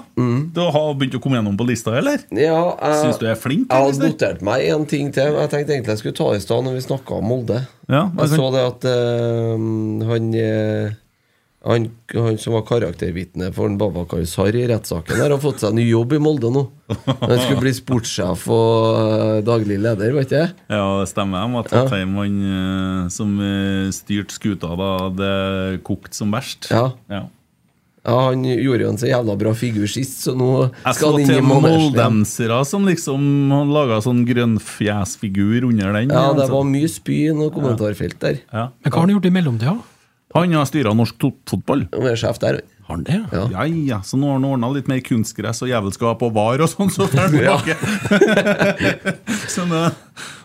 Speaker 2: Du har begynt å komme gjennom på lista, eller?
Speaker 3: Mm. Ja, jeg,
Speaker 2: Syns du jeg er flink?
Speaker 3: jeg har
Speaker 2: Christer?
Speaker 3: notert meg en ting til. Jeg tenkte egentlig jeg skulle ta i stad når vi snakka om Molde.
Speaker 2: Ja,
Speaker 3: Jeg
Speaker 2: jeg
Speaker 3: så det at eh, han, eh, han Han som var karaktervitne for en Babakar Sar i rettssaken, der, har fått seg ny jobb i Molde nå. Han skulle bli sportssjef og eh, daglig leder, vet du.
Speaker 2: ja, det stemmer. Jeg var tatt hjem han eh, som eh, styrte skuta da det kokte som verst.
Speaker 3: Ja.
Speaker 2: Ja.
Speaker 3: Ja, han gjorde jo en så jævla bra figur sist, så nå
Speaker 2: Jeg så
Speaker 3: skal han inn i
Speaker 2: til
Speaker 3: manesjen. igjen.
Speaker 2: moldensere som liksom laga sånn grønnfjesfigur under den.
Speaker 3: Ja, det
Speaker 2: altså.
Speaker 3: var mye spy i noe kommentarfelt der.
Speaker 2: ja.
Speaker 4: Men hva har han gjort i mellomtida?
Speaker 2: Han har styra norsk to- fotball.
Speaker 3: Han er sjef der.
Speaker 4: Har han det?
Speaker 3: Ja.
Speaker 2: Ja, ja, så nå har han ordna litt mer kunstgress og jævelskap og var og sånn, så får han tilbake. <laughs> så nå,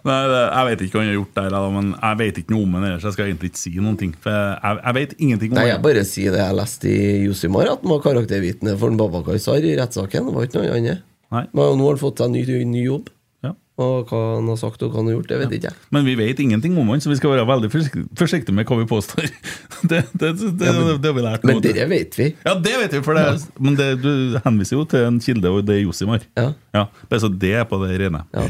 Speaker 2: nei, det- jeg vet ikke hva han har gjort der, da, men jeg vet ikke noe om han ellers. Jeg skal egentlig ikke si noen ting. For jeg, jeg vet ingenting om
Speaker 3: Nei,
Speaker 2: det.
Speaker 3: jeg bare sier det jeg leste i Josimar, at han var karaktervitne for en Babakar Sar i rettssaken. Det var ikke noe annet.
Speaker 2: Nei.
Speaker 3: Men nå har han fått seg ny, ny jobb.
Speaker 2: Ja.
Speaker 3: Og hva han har sagt og hva han har gjort, det vet ikke jeg.
Speaker 2: Men vi vet ingenting om han, så vi skal være veldig forsiktige forsiktige med hva vi påstår. <laughs> det, det, det, det, det har vi lært. nå.
Speaker 3: Men dere vet vi.
Speaker 2: Ja, det vet vi, for det, men det, du henviser jo til en kilde, og det er Josimar.
Speaker 3: Ja.
Speaker 2: Ja, bare så det er på det rene.
Speaker 3: Ja.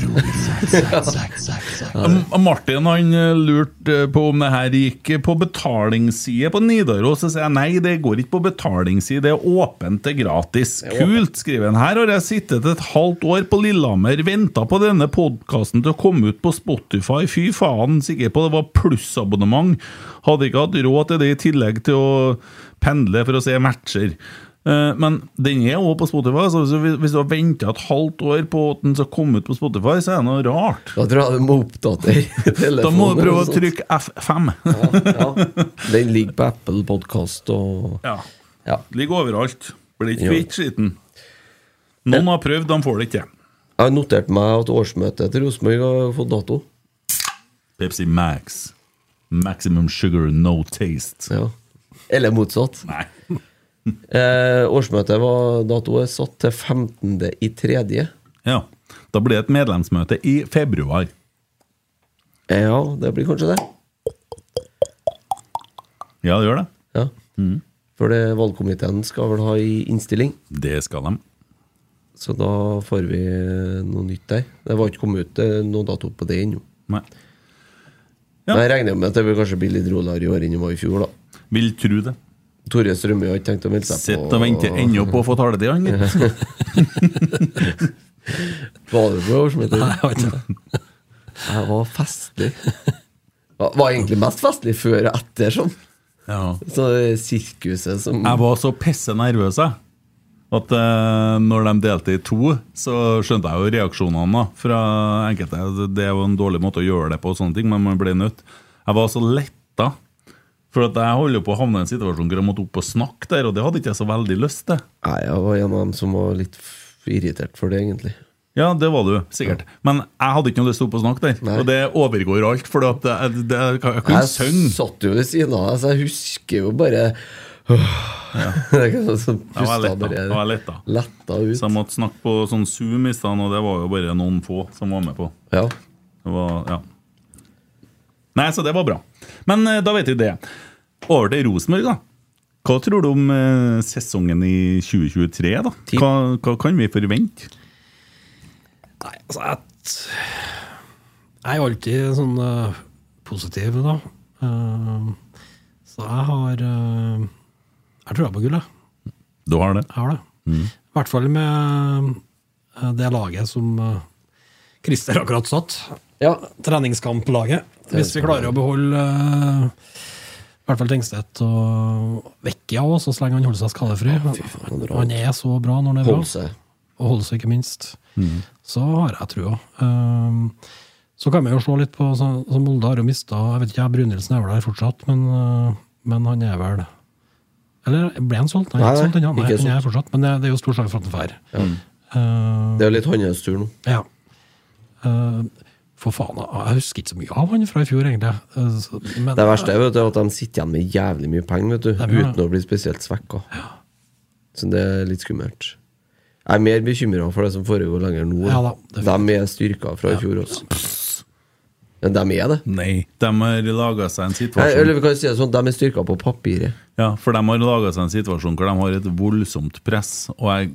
Speaker 2: M- Martin han eh, lurte eh, på om det her gikk eh, på betalingsside på Nidaros. Så sier jeg nei, det går ikke på betalingsside, det er åpent, det er gratis. Kult, skriver han. Her har jeg sittet et halvt år på Lillehammer, venta på denne podkasten til å komme ut på Spotify. Fy faen, sikker på det var plussabonnement. Hadde ikke hatt råd til det i tillegg til å pendle for å se matcher. Eh, Men den er også på Spotify, så hvis du- hvis du har venta et halvt år på at den skal komme ut på Spotify, så er det noe rart.
Speaker 3: Da tror jeg du må oppdatere telefonen.
Speaker 2: <laughs> Da må du prøve
Speaker 3: og
Speaker 2: å
Speaker 3: sånt.
Speaker 2: trykke <laughs> F5.
Speaker 3: Ja. Den ligger på Apple Podcast og
Speaker 2: Ja.
Speaker 3: Ja.
Speaker 2: Ligger overalt. Blir ikke
Speaker 3: Jo.
Speaker 2: kvitt skitten. Noen har prøvd, de får det ikke.
Speaker 3: Jeg har notert meg at årsmøtet til Rosenborg har fått dato.
Speaker 2: Pepsi Max. Maximum sugar, no taste.
Speaker 3: Ja. Eller motsatt.
Speaker 2: Nei.
Speaker 3: Eh, årsmøtet var dato er satt til 15. i tredje.
Speaker 2: Ja. Da blir det et medlemsmøte i februar.
Speaker 3: Eh, Ja, det blir kanskje det.
Speaker 2: Ja, det gjør det.
Speaker 3: Ja.
Speaker 2: Mm.
Speaker 3: For det valgkomiteen skal vel ha i innstilling,
Speaker 2: Det skal de.
Speaker 3: så da får vi noe nytt der. Det var ikke kommet ut eh, noen dato på det ennå.
Speaker 2: Nei. Ja.
Speaker 3: Men Jeg regner med at det vil kanskje bli litt roligere i år enn det var i fjor, da.
Speaker 2: Vil tru det.
Speaker 3: Tore Strømøy har ikke tenkt å melde seg på.
Speaker 2: Sitt og vente ennå på å få taletid, han. <laughs> gitt.
Speaker 3: Var du på årsmøtet?
Speaker 4: Nei, jeg vet ikke.
Speaker 3: <laughs> Jeg var festlig. Jeg var egentlig mest festlig før og etter, sånn.
Speaker 2: Ja.
Speaker 3: Så sirkuset som
Speaker 2: Jeg var så pisse nervøs jeg, at eh, når de delte i to, så skjønte jeg jo reaksjonene da, fra enkelte. Det er jo en dårlig måte å gjøre det på, og sånne ting, men man ble nødt. Jeg var så letta, for at jeg holder jo på å havne i en situasjon hvor jeg måtte opp og snakke der, og det hadde ikke jeg så veldig lyst til.
Speaker 3: Nei, jeg var en av dem som var litt f- irritert for det, egentlig.
Speaker 2: Ja, det var du, sikkert. Men jeg hadde ikke noe lyst til å opp og snakke der.
Speaker 3: Nei.
Speaker 2: Og det overgår alt, for at det, det, jeg kunne
Speaker 3: Jeg
Speaker 2: synge.
Speaker 3: satt jo ved siden av deg, så jeg husker jo bare <laughs> Det er ikke sånn som
Speaker 2: Jeg var
Speaker 3: pustet
Speaker 2: letta.
Speaker 3: bare-
Speaker 2: Jeg var letta.
Speaker 3: letta ut.
Speaker 2: Så jeg måtte snakke på sånn Zoom i stedet, og det var jo bare noen få som var med på.
Speaker 3: Ja.
Speaker 2: Det var, ja. Nei, så det var bra. Men eh, da vet vi det. Over til Rosenborg, da. Hva tror du om eh, sesongen i 2023? da?
Speaker 3: Ti.
Speaker 2: Hva, hva kan vi forvente?
Speaker 4: Nei, altså, jeg, jeg er jo alltid sånn eh, positiv, da. Eh, så jeg har eh, Jeg tror jeg på gull, jeg.
Speaker 2: Du har det?
Speaker 4: Mm. Jeg har det. I hvert fall med eh, det laget som eh, Christer har akkurat satt.
Speaker 3: Ja.
Speaker 4: Treningskamplaget. Hvis vi klarer å beholde eh, i hvert fall Tengstedt og Vekkia også, så lenge han holder seg skadefri.
Speaker 3: fy faen, det er rart.
Speaker 4: Han er så bra når han er bra.
Speaker 3: Holde seg. Mm.
Speaker 4: og Holse, ikke minst, så har jeg trua. Um, så kan vi jo se litt på så, så Molde har jo mista Jeg vet ikke, Brynildsen er vel der fortsatt, men, uh, men han er vel Eller ble han solgt? Nei,
Speaker 3: Nei, nei,
Speaker 4: ikke solgt ennå. Nei,
Speaker 3: ikke
Speaker 4: han er fortsatt, men det, det er jo stor sjanse for at han drar. Ehm,
Speaker 3: Det er jo litt hans tur nå.
Speaker 4: Ja. Uh, for faen, jeg husker ikke så mye av han fra i fjor, egentlig. Uh, så- men-
Speaker 3: Det verste er vet du, at de sitter igjen med jævlig mye penger vet du,
Speaker 4: er bra.
Speaker 3: uten å bli spesielt svekka. Så det er litt skummelt. Jeg er mer bekymra for det som foregår lenger nå.
Speaker 4: Ja da, det er
Speaker 3: de er styrka fra i fjor også. Ja, de er det.
Speaker 2: Nei. De har laga seg en
Speaker 3: Nei,
Speaker 2: situasjon
Speaker 3: eller vi kan si det sånn, de er styrka på papiret.
Speaker 2: Ja, for de har laget seg en situasjon hvor de har et voldsomt press. Og jeg,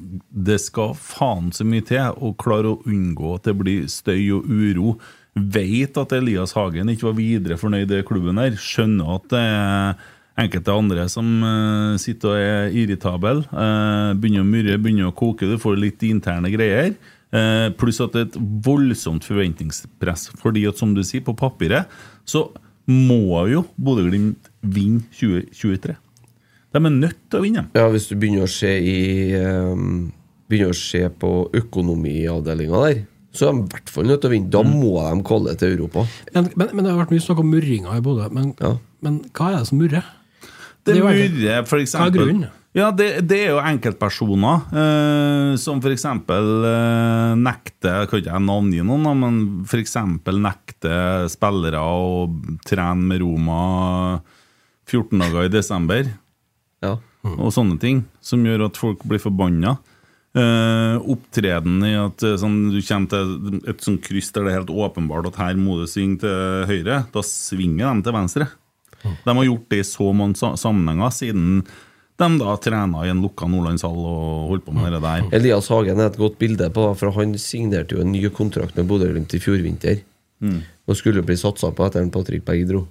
Speaker 2: det skal faen så mye til å klare å unngå at det blir støy og uro. Vet at Elias Hagen ikke var videre fornøyd i klubben her. Skjønner at det er enkelte andre som eh, sitter og er irritabel. eh, begynner å murre, begynner å koke. Du får litt interne greier. Eh, pluss at det er et voldsomt forventningspress. Fordi at, som du sier, på papiret så må jo Bodø-Glimt vinne 2023. De er nødt til å vinne.
Speaker 3: Ja, hvis du begynner å se i ehm, Begynner å se på økonomiavdelinga der, så er de i hvert fall nødt til å vinne. Da
Speaker 4: Mm.
Speaker 3: må de kalle det til Europa.
Speaker 4: men, men, men det har vært mye snakk om murringa i Bodø. Men,
Speaker 3: Ja.
Speaker 4: men hva er det som murrer?
Speaker 2: Det
Speaker 4: Det er jo egentlig-
Speaker 2: murrer, for eksempel.
Speaker 4: Hva er grunnen?
Speaker 2: Ja, det, det er jo enkeltpersoner eh, som for eksempel eh, nekter Jeg kan ikke jeg navngi noen, da, men for eksempel nekter spillere å trene med Roma 14 dager i desember.
Speaker 3: Ja.
Speaker 2: Mm. og sånne ting, som gjør at folk blir forbanna. Eh, opptreden i at eh, sånn, du kommer til et sånt kryss der det er helt åpenbart at her må du svinge til høyre. Da svinger de til venstre.
Speaker 3: Mm.
Speaker 2: De har gjort det i så mange sa- sammenhenger siden de da trena i en lukka nordlandshall og holdt på med det der.
Speaker 3: Elias Hagen er et godt bilde på, for han signerte jo en ny kontrakt med Bodø-Glimt i fjor vinter.
Speaker 2: Mm.
Speaker 3: Og skulle bli satsa på etter en Patrick Berg dro.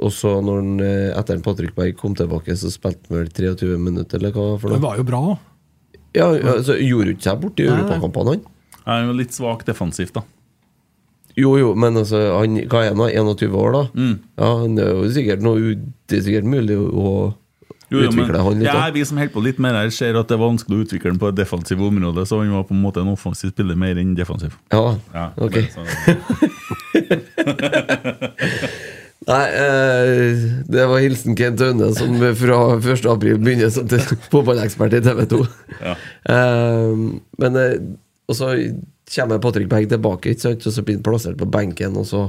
Speaker 3: Og så, når han, eh, etter en Patrick Berg kom tilbake, så spilte han vel 23 minutter, eller hva for
Speaker 4: Det
Speaker 3: noe?
Speaker 4: var jo bra òg.
Speaker 3: Ja, altså, gjorde ikke seg borti europakampene, han?
Speaker 2: Jeg er jo litt svak defensivt, da.
Speaker 3: Jo, jo, men altså, han, hva er han, da? 21 år, da?
Speaker 2: Mm.
Speaker 3: Ja, han er jo sikkert noe u- Det er sikkert mulig å
Speaker 2: Jo, jo, men-
Speaker 3: utvikle han litt.
Speaker 2: ja,
Speaker 3: da.
Speaker 2: vi som holder på litt mer her, ser at det er vanskelig å utvikle den på det defensive området, så han var på en måte en offensiv spiller mer enn defensiv.
Speaker 3: Ja,
Speaker 2: Ja, bare
Speaker 3: ok.
Speaker 2: sånn.
Speaker 3: Nei, eh, det var hilsen Kent Aune, som fra 1. april begynner som til- fotballekspert i TV 2.
Speaker 2: Ja.
Speaker 3: Eh, men eh, Og så kommer Patrick Berg tilbake, ikke sant? og så blir han plassert på benken. Og så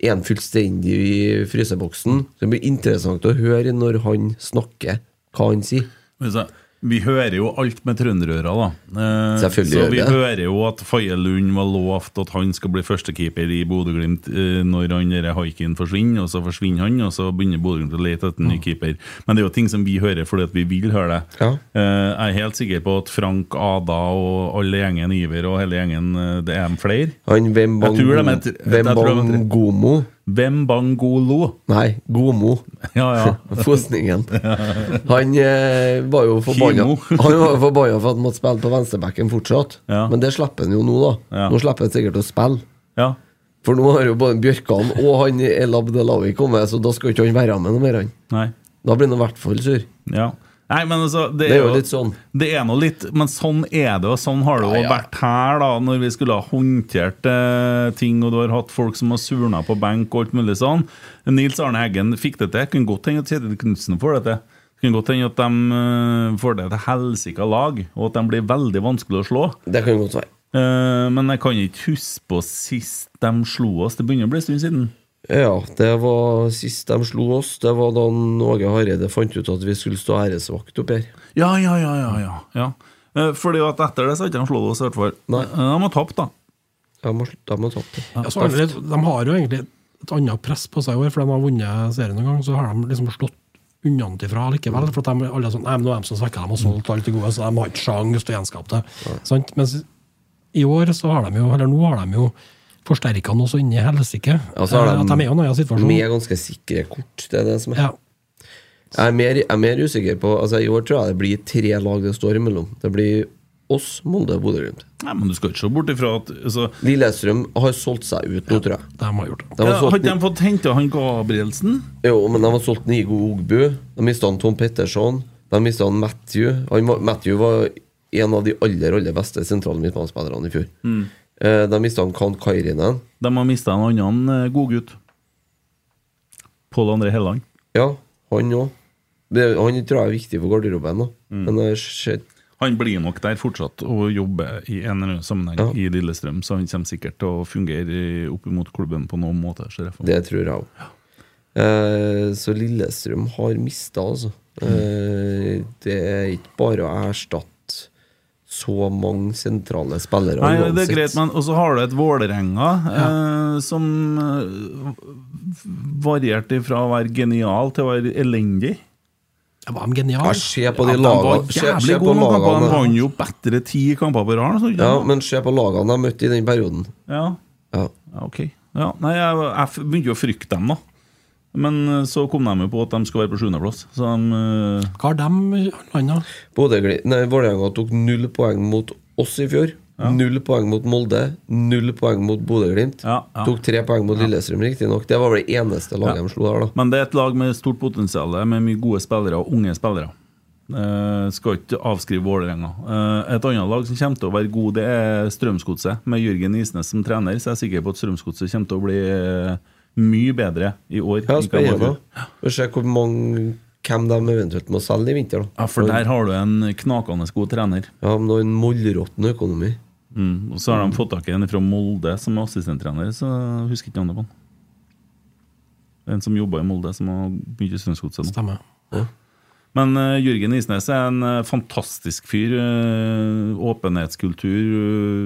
Speaker 3: er han fullstendig i fryseboksen. Så det blir interessant å høre når han snakker, hva han sier.
Speaker 2: Men så, vi hører jo alt med trønderøra, da. Eh,
Speaker 3: Selvfølgelig
Speaker 2: så
Speaker 3: gjør vi
Speaker 2: vi
Speaker 3: det.
Speaker 2: hører jo at Faye Lund var lovt at han skal bli førstekeeper i Bodø-Glimt eh, når han der haiken forsvinner, og så forsvinner han, og så begynner Bodø-Glimt å lete etter en ny keeper. Men det er jo ting som vi hører fordi at vi vil høre det.
Speaker 3: Ja.
Speaker 2: Eh, jeg er helt sikker på at Frank, Ada og alle gjengen Iver og hele gjengen, eh, det er flere.
Speaker 3: Han Wembang-
Speaker 2: Jeg tror de heter- jeg tror de heter-
Speaker 3: Wembangomo
Speaker 2: Hvem Bangolo?
Speaker 3: Nei, Gomo.
Speaker 2: Ja,
Speaker 3: <laughs>
Speaker 2: ja.
Speaker 3: Fosningen. Han eh, var jo forbanna
Speaker 2: Kimo.
Speaker 3: <laughs> Han var jo forbanna for at han måtte spille på venstrebacken fortsatt.
Speaker 2: Ja.
Speaker 3: Men det slipper han jo nå, da.
Speaker 2: Ja.
Speaker 3: Nå slipper han sikkert å spille.
Speaker 2: ja.
Speaker 3: For nå har jo både Bjørkan og han El Abdelawi kommet, så da skal jo ikke han være med noe mer. Han.
Speaker 2: Nei.
Speaker 3: Da blir han i hvert fall sur.
Speaker 2: Ja. Nei, men altså, det,
Speaker 3: Det er jo litt sånn.
Speaker 2: Det er nå litt, Men sånn er det, og sånn har det jo
Speaker 3: ja.
Speaker 2: vært her, da, når vi skulle ha håndtert eh, ting, og du har hatt folk som har surna på benk og alt mulig sånn. Nils Arne Eggen fikk det til. Kunne godt hende at Kjetil Knutsen får det til. Kunne godt hende at de eh, får det til helsika lag, og at de blir veldig vanskelig å slå.
Speaker 3: Det kan godt være.
Speaker 2: Eh, men jeg kan ikke huske på sist de slo oss. Det begynner å bli en stund siden.
Speaker 3: Ja, det var sist de slo oss. Det var da Åge Hareide fant ut at vi skulle stå æresvakt opp her.
Speaker 2: Ja, ja, ja, ja. ja, ja. Eh, fordi at etter det så har ikke de slått oss, i hvert fall.
Speaker 3: Nei.
Speaker 2: Eh, De har tapt, da.
Speaker 3: De har, de har tatt det.
Speaker 4: Ja, så har de, litt- de har jo egentlig et annet press på seg i år, for de har vunnet serien en gang. Så har de liksom slått unnantifra likevel. For at de, alle er sånn, nei, men nå er de som svekker dem og solgt alt det gode, så de har ikke sjans til å gjenskape det. Sant? Mens i år så har de jo, eller nå har de jo forsterka noe så inni helsike.
Speaker 3: Ja, så har
Speaker 4: Eh,
Speaker 3: de-
Speaker 4: at de er jo i en annen situasjon.
Speaker 3: Med ganske sikre kort. Det er det som er.
Speaker 4: Ja.
Speaker 3: Jeg er mer, jeg er mer usikker på altså I år tror jeg det blir tre lag det står imellom. Det blir oss, Molde og Bodø-Glimt.
Speaker 2: Nei, men du skal ikke se bort ifra at altså,
Speaker 3: Lillestrøm har solgt seg ut nå, tror jeg.
Speaker 4: De har gjort det.
Speaker 3: De har
Speaker 2: ja, Har
Speaker 3: solgt,
Speaker 2: ikke de fått henta han Gabrielsen?
Speaker 3: jo, men de har solgt Nigo Ogbu. De mista Tom Petterson. De mista Matthew. Han, var- Matthew var en av de aller aller beste sentrale midtbanespillerne i fjor.
Speaker 2: Mm.
Speaker 3: Eh, De mista Kan Kairinen.
Speaker 2: De har mista en annen eh, godgutt. Pål André Helland.
Speaker 3: Ja, han òg. Han tror jeg er viktig for garderoben. nå.
Speaker 2: Mm.
Speaker 3: Men det skjer
Speaker 2: Han blir nok der fortsatt og jobber i en eller annen sammenheng
Speaker 3: Ja.
Speaker 2: i Lillestrøm, så han kommer sikkert til å fungere i- opp imot klubben på noen måte. ser jeg for meg.
Speaker 3: Det tror jeg òg. Eh, så Lillestrøm har mista, altså. Eh, det er ikke bare å erstatte så mange sentrale spillere.
Speaker 2: Nei, det
Speaker 3: uansett.
Speaker 2: er greit, men Og så har du et Vålerenga eh, som eh, varierte fra å være genial til å være elendig.
Speaker 4: Ja, var de geniale?
Speaker 3: Ja, se på de
Speaker 2: de var
Speaker 3: lagene se, se
Speaker 2: jævlig
Speaker 3: på
Speaker 2: gode noen kamper. De
Speaker 3: lagene.
Speaker 2: vant jo bedre ti kamper på rad. så-
Speaker 3: Ja, men se på lagene de møtte i den perioden.
Speaker 2: Ja,
Speaker 3: Ja.
Speaker 2: ja, ok. Ja, nei, jeg, jeg f- begynte jo å frykte dem, da. Men eh, så kom de jo på at de skulle være på sjuendeplass. Så de eh,
Speaker 4: Hva har de landa?
Speaker 3: Bodø-Gli- nei, Vålerenga tok null poeng mot oss i fjor. Null poeng mot Molde. Null poeng mot Bodø-Glimt.
Speaker 2: Ja, ja.
Speaker 3: Tok tre poeng mot Lillestrøm, riktignok. Det var vel det eneste laget
Speaker 2: Ja.
Speaker 3: de slo der, da.
Speaker 2: Men det er et lag med stort potensial, med mye gode spillere og unge spillere. Eh, skal ikke avskrive Vålerenga. Eh, et annet lag som kommer til å være god, det er Strømsgodset. Med Jørgen Isnes som trener, så er jeg sikker på at Strømsgodset kommer til å bli eh, mye bedre i år.
Speaker 3: Ja,
Speaker 2: enn hva de var i
Speaker 3: spennende.
Speaker 2: fjor.
Speaker 3: Og se hvor mange hvem de eventuelt må selge i vinter. da
Speaker 2: Ja, for der har du en knakende god trener.
Speaker 3: Ja, men det er en mollråtten økonomi.
Speaker 2: Mm. Og så har de fått tak i en fra Molde som er assistenttrener, så jeg husker ikke navnet på han. En som jobba i Molde, som har begynt i Strømsgodset nå.
Speaker 4: Stemmer.
Speaker 2: Men eh, Jørgen Isnes er en eh, fantastisk fyr. eh, åpenhetskultur.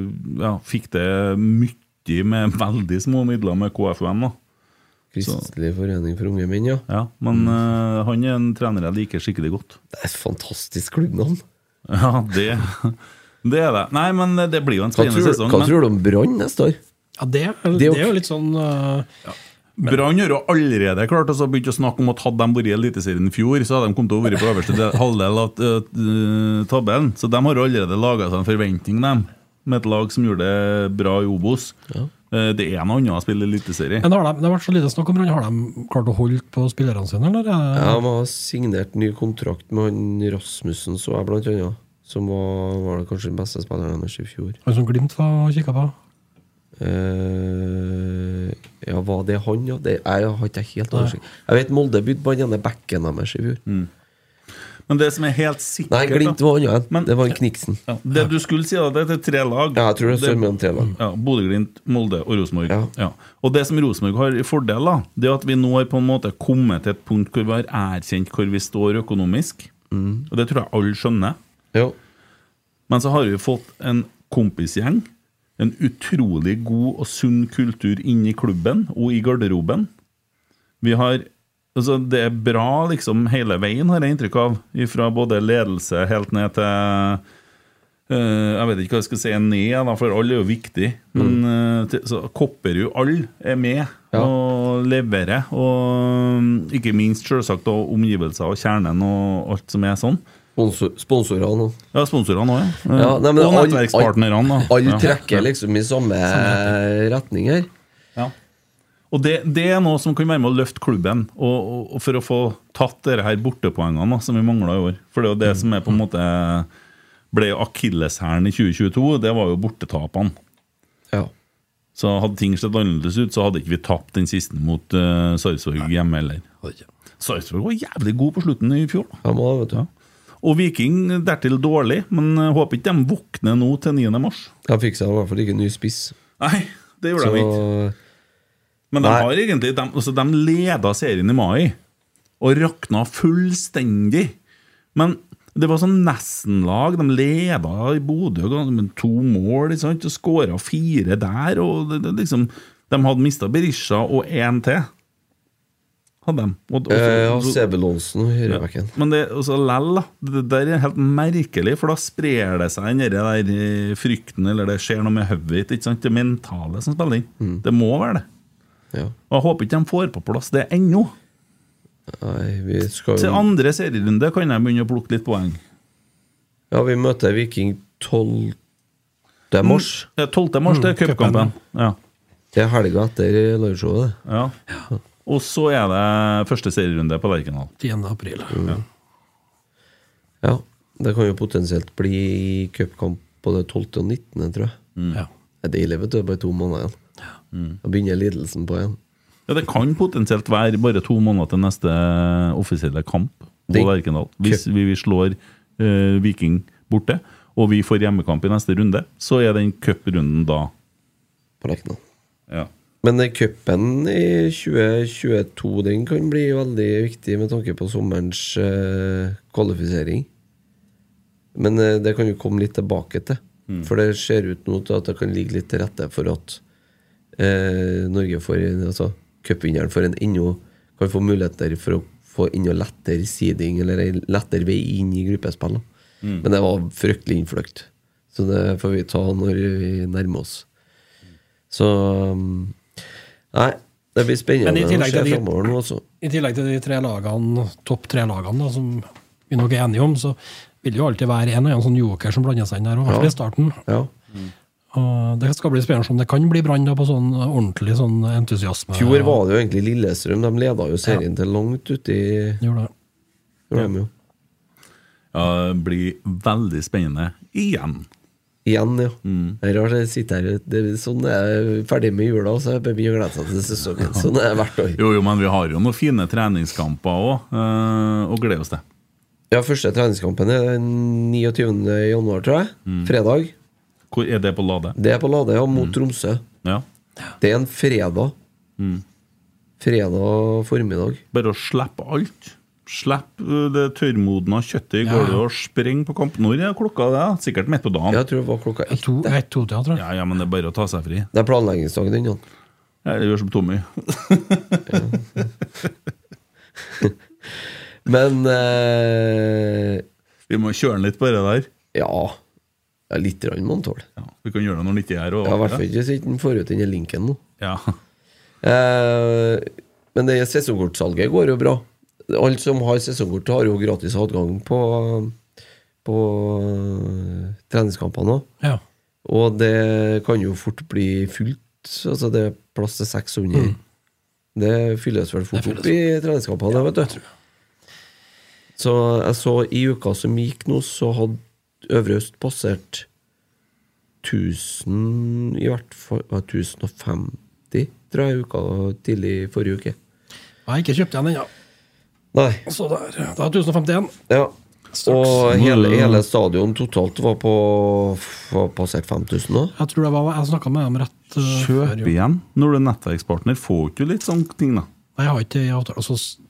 Speaker 2: eh, ja, fikk det mye med <laughs> veldig små midler med KFUM. da.
Speaker 3: Kristelig forening for unge menn, ja.
Speaker 2: Ja, men
Speaker 3: Mm.
Speaker 2: eh, han er en trener jeg liker skikkelig godt. <laughs>
Speaker 3: Det er et fantastisk klubbnavn.
Speaker 2: Ja, det, det er det. Nei, men eh, det blir jo en
Speaker 3: Hva,
Speaker 2: spennende
Speaker 3: tror,
Speaker 2: sesong.
Speaker 3: hva
Speaker 2: men-
Speaker 3: tror du om Brann neste år?
Speaker 4: Ja, det, er-
Speaker 3: Det
Speaker 4: det
Speaker 3: er jo-
Speaker 4: er jo litt sånn øh,
Speaker 2: Brann har jo allerede klart altså begynt å snakke om at hadde de vært i Eliteserien i fjor, så hadde de kommet til å være på øverste del- <laughs> halvdel av eh, tabellen. Så de har jo allerede laga seg en forventning, dem, med et lag som gjorde det bra i Obos. Eh, Det er noe annet å spille Eliteserie.
Speaker 4: Men har de, det har vært så lite snakk om Brann. Har de klart å holde på spillerne sine, eller?
Speaker 3: Ja, De har signert ny kontrakt med han Rasmussen, så jeg, blant annet. Som var, var det kanskje den beste spilleren deres i fjor.
Speaker 4: Han som sånn Glimt var og kikka på?
Speaker 3: Eh, ja, var det han, ja? Det, jeg har ikke helt oversikt. Jeg vet Molde bydde på den ene bekken deres i fjor.
Speaker 2: Men det som er helt Mm. sikkert
Speaker 3: Nei, Glimt
Speaker 2: da,
Speaker 3: var annet.
Speaker 2: Men-
Speaker 3: det var en Kniksen.
Speaker 2: ja, Det du skulle si, da, det er til tre lag.
Speaker 3: Ja, jeg tror det står mellom tre lag.
Speaker 2: Ja, Bodø-Glimt, Molde og Rosenborg.
Speaker 3: Ja.
Speaker 2: Ja. Og det som Rosenborg har i fordel, da, det er at vi nå har på en måte kommet til et punkt hvor vi har erkjent hvor vi står økonomisk.
Speaker 3: Mm.
Speaker 2: Og det tror jeg alle skjønner.
Speaker 3: Jo.
Speaker 2: Men så har vi fått en kompisgjeng, en utrolig god og sunn kultur inne i klubben og i garderoben. Vi har Altså, det er bra liksom hele veien, har jeg inntrykk av. Fra både ledelse helt ned til eh, Jeg vet ikke hva jeg skal si ned, da, for alle er jo viktig. Men eh, til, så Kopperud, alle er med og leverer. Og mm, ikke minst selvsagt og omgivelser og kjernen og alt som er sånn.
Speaker 3: Sponsor, sponsorene òg.
Speaker 2: Ja, sponsorene òg, ja.
Speaker 3: Ja, nei, men
Speaker 2: og
Speaker 3: all-
Speaker 2: nettverkspartnerne. da.
Speaker 3: Alle
Speaker 2: Ja.
Speaker 3: trekker liksom i samme retning her.
Speaker 2: Ja. Og det, det er noe som kan være med å løfte klubben, og, og, og for å få tatt dere her bortepoengene da, som vi mangla i år. For det er jo det som er på en måte ble akilleshæren i 2022, det var jo bortetapene.
Speaker 3: Ja.
Speaker 2: Så hadde ting sett annerledes ut, så hadde ikke vi tapt den siste mot uh, Sarpsborg hjemme heller. Sarpsborg var jævlig god på slutten i fjor. da.
Speaker 3: Ja, må det, vet du.
Speaker 2: Og Viking dertil dårlig, men eh, håper ikke de våkner nå til 9. mars.
Speaker 3: Jeg fikk seg i hvert fall ikke ny spiss.
Speaker 2: Nei, det gjorde
Speaker 3: Så
Speaker 2: de ikke. Men de
Speaker 3: Nei.
Speaker 2: har egentlig de, altså de leda serien i mai og rakna fullstendig. Men det var sånn nesten-lag. De leda i Bodø og med to mål ikke sant? og skåra fire der. Og det, det, liksom, de hadde mista Berisha og én til. Hadde de. Og, og,
Speaker 3: eh, ja, Sebulonsen og Høyrebekken.
Speaker 2: men det, altså, lell, da. Det der er helt merkelig, for da sprer det seg den der, eh, frykten, eller det skjer noe med hodet ditt. ikke sant? Det mentale som spiller inn.
Speaker 3: Mm.
Speaker 2: Det må være det.
Speaker 3: Ja.
Speaker 2: Og jeg håper ikke de får på plass det ennå.
Speaker 3: Nei, vi skal
Speaker 2: Til
Speaker 3: jo
Speaker 2: andre serierunde kan de begynne å plukke litt poeng.
Speaker 3: Ja, vi møter Viking 12. mars. Mm,
Speaker 2: Det er 12. Mm. Eh, mars, det er cupkampen. Ja.
Speaker 3: Det er helga etter liveshowet, det.
Speaker 2: Ja. Og så er det første serierunde på Lerkendal.
Speaker 4: 10. april.
Speaker 3: Mm. Ja. Det kan jo potensielt bli cupkamp både 12. og 19., tror jeg.
Speaker 4: Ja.
Speaker 3: Det er deilig, vet du. Det er Bare to måneder igjen. Da begynner lidelsen på igjen.
Speaker 2: Ja, det kan potensielt være bare to måneder til neste offisielle kamp på
Speaker 3: Det-
Speaker 2: Lerkendal. Hvis vi vi slår eh, Viking borte, og vi får hjemmekamp i neste runde, så er den cuprunden da.
Speaker 3: På Lekna.
Speaker 2: Ja.
Speaker 3: Men eh, cupen i 2022 den kan bli veldig viktig med tanke på sommerens eh, kvalifisering. Men eh, det kan vi komme litt tilbake til.
Speaker 4: Mm.
Speaker 3: For det ser ut nå til at det kan ligge litt til rette for at eh, Norge får en- altså, cupvinneren får en enda kan få muligheter for å få enda lettere seeding, eller en lettere vei inn i gruppespill. da.
Speaker 4: Mm.
Speaker 3: Men det var fryktelig innfløkt. Så det får vi ta når vi nærmer oss. Så um, Nei, det blir spennende
Speaker 4: Men i
Speaker 3: å
Speaker 4: tillegg
Speaker 3: se
Speaker 4: til de-
Speaker 3: framover nå altså. også.
Speaker 4: I tillegg til de tre lagene, topp tre lagene da, som vi nok er enige om, så vil det jo alltid være en og en sånn joker som blander seg inn der, og i hvert fall i starten.
Speaker 3: Ja.
Speaker 4: Og det skal bli spennende om det kan bli brann da på sånn ordentlig sånn entusiasme.
Speaker 3: Fjor var det jo egentlig Lillestrøm. De leda jo serien til langt uti
Speaker 4: Gjorde det.
Speaker 3: Romeo.
Speaker 2: ja, det blir veldig spennende igjen.
Speaker 3: Igjen, ja. Det er rart jeg sitter her det, er Sånn er jeg ferdig med jula, og så er jeg begynner å glede seg til sesongen. Sånn er det hvert år.
Speaker 2: Jo, jo, men vi har jo noen fine treningskamper òg, og gleder oss til.
Speaker 3: Ja, første treningskampen er den 29. januar, tror jeg. Fredag.
Speaker 2: Hvor er det på Lade?
Speaker 3: Det er på Lade, ja, mot Tromsø.
Speaker 2: Ja.
Speaker 3: Det er en fredag. Fredag formiddag.
Speaker 2: Bare å slippe alt. Slipp eh, det tørrmodna kjøttet i gulvet og spreng på Kamp Nord. Ja, klokka det er sikkert midt på dagen.
Speaker 3: Jeg tror det var klokka ett.
Speaker 4: To, ett, to til, tror jeg.
Speaker 2: Ja, ja, men det er bare å ta seg fri.
Speaker 3: Det er planleggingsdagen din, Jan.
Speaker 2: Ja, det gjør som Tommy.
Speaker 3: Men eh,
Speaker 2: Vi må kjøre den litt på det der.
Speaker 3: ja, ja Litt grann må han tåle.
Speaker 2: Ja, vi kan gjøre det når den ikke er her. og-
Speaker 3: Ja, I hvert fall ikke hvis ikke han får ut denne linken nå.
Speaker 2: Ja.
Speaker 3: Eh, men det sesongkortsalget går jo bra. Alle som har sesongkort, har jo gratis adgang på, på eh, treningskampene òg.
Speaker 4: Ja.
Speaker 3: Og det kan jo fort bli fullt. Altså det er plass til 600. Mm. Det fylles vel fort opp i treningskampene, vet du. Så jeg så i uka som gikk nå, så hadde Øvre Øst passert 1000 I hvert fall ja, 1050, tror jeg, i uka tidlig i forrige uke.
Speaker 4: Jeg har ikke kjøpt igjen ennå.
Speaker 3: Nei.
Speaker 4: Så der. Da er 1051.
Speaker 3: Ja.
Speaker 4: Straks.
Speaker 3: Og hele, hele stadion totalt var på var passert 5000 nå.
Speaker 4: Jeg tror det var Jeg snakka med dem rett eh, før
Speaker 2: Kjøp
Speaker 4: jul.
Speaker 2: igjen når du er nettverkspartner. Får ikke du litt sånne ting, da?
Speaker 4: Nei, jeg har ikke det i avtale. Altså, s-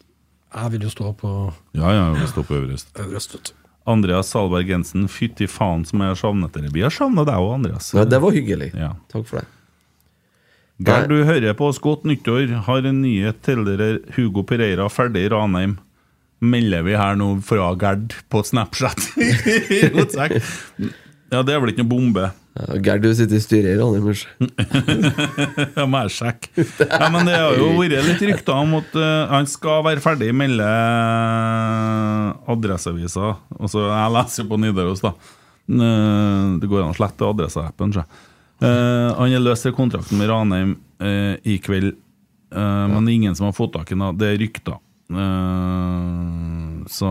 Speaker 4: jeg vil jo stå på
Speaker 2: Ja, ja, vi står på Øverøst.
Speaker 4: Øverøst, vet du.
Speaker 2: Andreas Salberg Jensen, fytti faen som jeg har savnet dere. Vi har savnet deg òg, Andreas.
Speaker 3: Nei, det var hyggelig.
Speaker 2: Ja.
Speaker 3: Takk for det.
Speaker 2: Der du hører på oss godt nyttår, har en nyhet til dere. Hugo Pereira ferdig i Ranheim. Melder vi her nå fra Gerd på Snapchat. <laughs> Rotsekk. ja, det er vel ikke noe bombe.
Speaker 3: Ja, Gerd, du sitter i styret i Ranheim. kanskje?
Speaker 2: <laughs> Jeg må jeg sjekke. Ja, men det har jo vært litt rykter om at eh, han skal være ferdig, melder Adresseavisa. Altså, jeg leser jo på Nidaros, da. Eh, Det går an å slette adresseappen, tror jeg. Eh, han er løs til kontrakten med Ranheim eh, i kveld, Eh, men det er ingen som har fått tak i ham. Det er rykter. Eh, så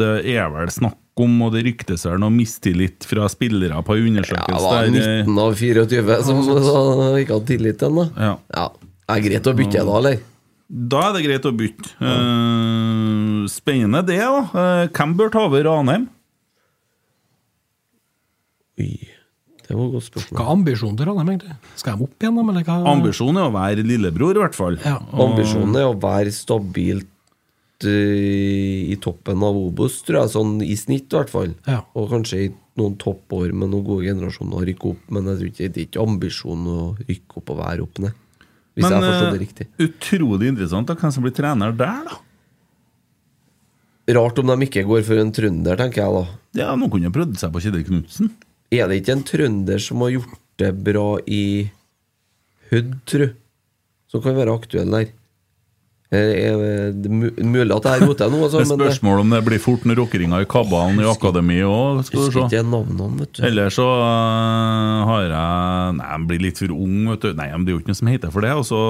Speaker 2: det er vel snakk om, og det ryktes vel noe mistillit fra spillere på en
Speaker 3: Ja,
Speaker 2: undersøkelse
Speaker 3: det var
Speaker 2: der, eh,
Speaker 3: 19 av 24 som sa ikke hadde tillit til den, da.
Speaker 2: Ja.
Speaker 3: Ja. Det er greit å bytte da, eller?
Speaker 2: Da er det greit å bytte. Eh, spennende det, da. Eh, hvem bør ta over Ranheim?
Speaker 3: Oi, det var et godt spørsmål.
Speaker 4: Hva er ambisjonen til Ranheim, egentlig? Skal de opp igjen, da? Eller hva?
Speaker 2: Ambisjonen er å være lillebror, i hvert fall.
Speaker 4: Ja.
Speaker 3: Ambisjonen er å være stabilt eh, i toppen av Obos, tror jeg, sånn i snitt i hvert fall.
Speaker 4: Ja.
Speaker 3: Og kanskje i noen toppår med noen gode generasjoner å rykke opp, men jeg tror ikke det er ikke ambisjonen å rykke opp og være opp ned. Hvis
Speaker 2: Men
Speaker 3: jeg forstår det
Speaker 2: eh,
Speaker 3: riktig.
Speaker 2: utrolig interessant da, hvem som blir trener der, da.
Speaker 3: Rart om de ikke går for en trønder, tenker jeg da.
Speaker 2: Ja, Noen kunne prøvd seg på Kjetil Knutsen.
Speaker 3: Er det ikke en trønder som har gjort det bra i Hødd, tru? Som kan være aktuell der? Eh, er det mu- mulig at det her roter jeg nå, altså,
Speaker 2: Det er
Speaker 3: men jeg
Speaker 2: spørsmål om det blir fort noen rockeringer i kabalen i akademiet òg, skal
Speaker 3: husker
Speaker 2: du se.
Speaker 3: ikke navnet om, vet du.
Speaker 2: Eller så øh, har jeg Nei, jeg blir litt for ung, vet du. Nei, men det er jo ikke noe som heter for det. Og så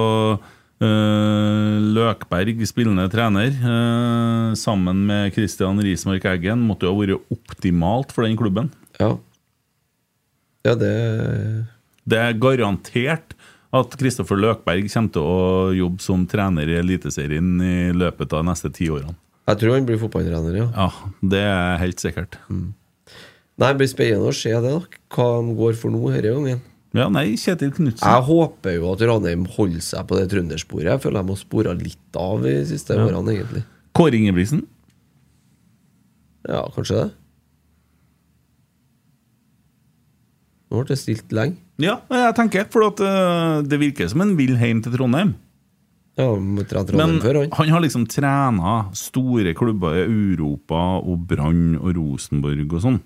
Speaker 2: øh, Løkberg, spillende trener, øh, sammen med Christian Rismark Eggen, måtte jo ha vært optimalt for den klubben.
Speaker 3: Ja. ja, det
Speaker 2: Det er garantert at Kristoffer Løkberg kommer til å jobbe som trener i Eliteserien i løpet av de neste ti årene.
Speaker 3: Jeg tror han blir fotballtrener, ja.
Speaker 2: Ja, det er helt sikkert.
Speaker 3: Nei, det blir spennende å se det, da. Hva de går for nå denne gangen.
Speaker 2: Ja, nei, Kjetil Knutsen.
Speaker 3: Jeg håper jo at Ranheim holder seg på det trøndersporet. Jeg føler jeg må spore litt av de siste årene, egentlig.
Speaker 2: Kåre Ingebrigtsen.
Speaker 3: Ja, kanskje det. Nå ble det stilt lenge.
Speaker 2: Ja, jeg tenker, for at, eh, det virker som han vil hjem til Trondheim.
Speaker 3: Ja, må tre Trondheim
Speaker 2: Men
Speaker 3: før, han.
Speaker 2: han har liksom trena store klubber i Europa, og Brann og Rosenborg og sånn.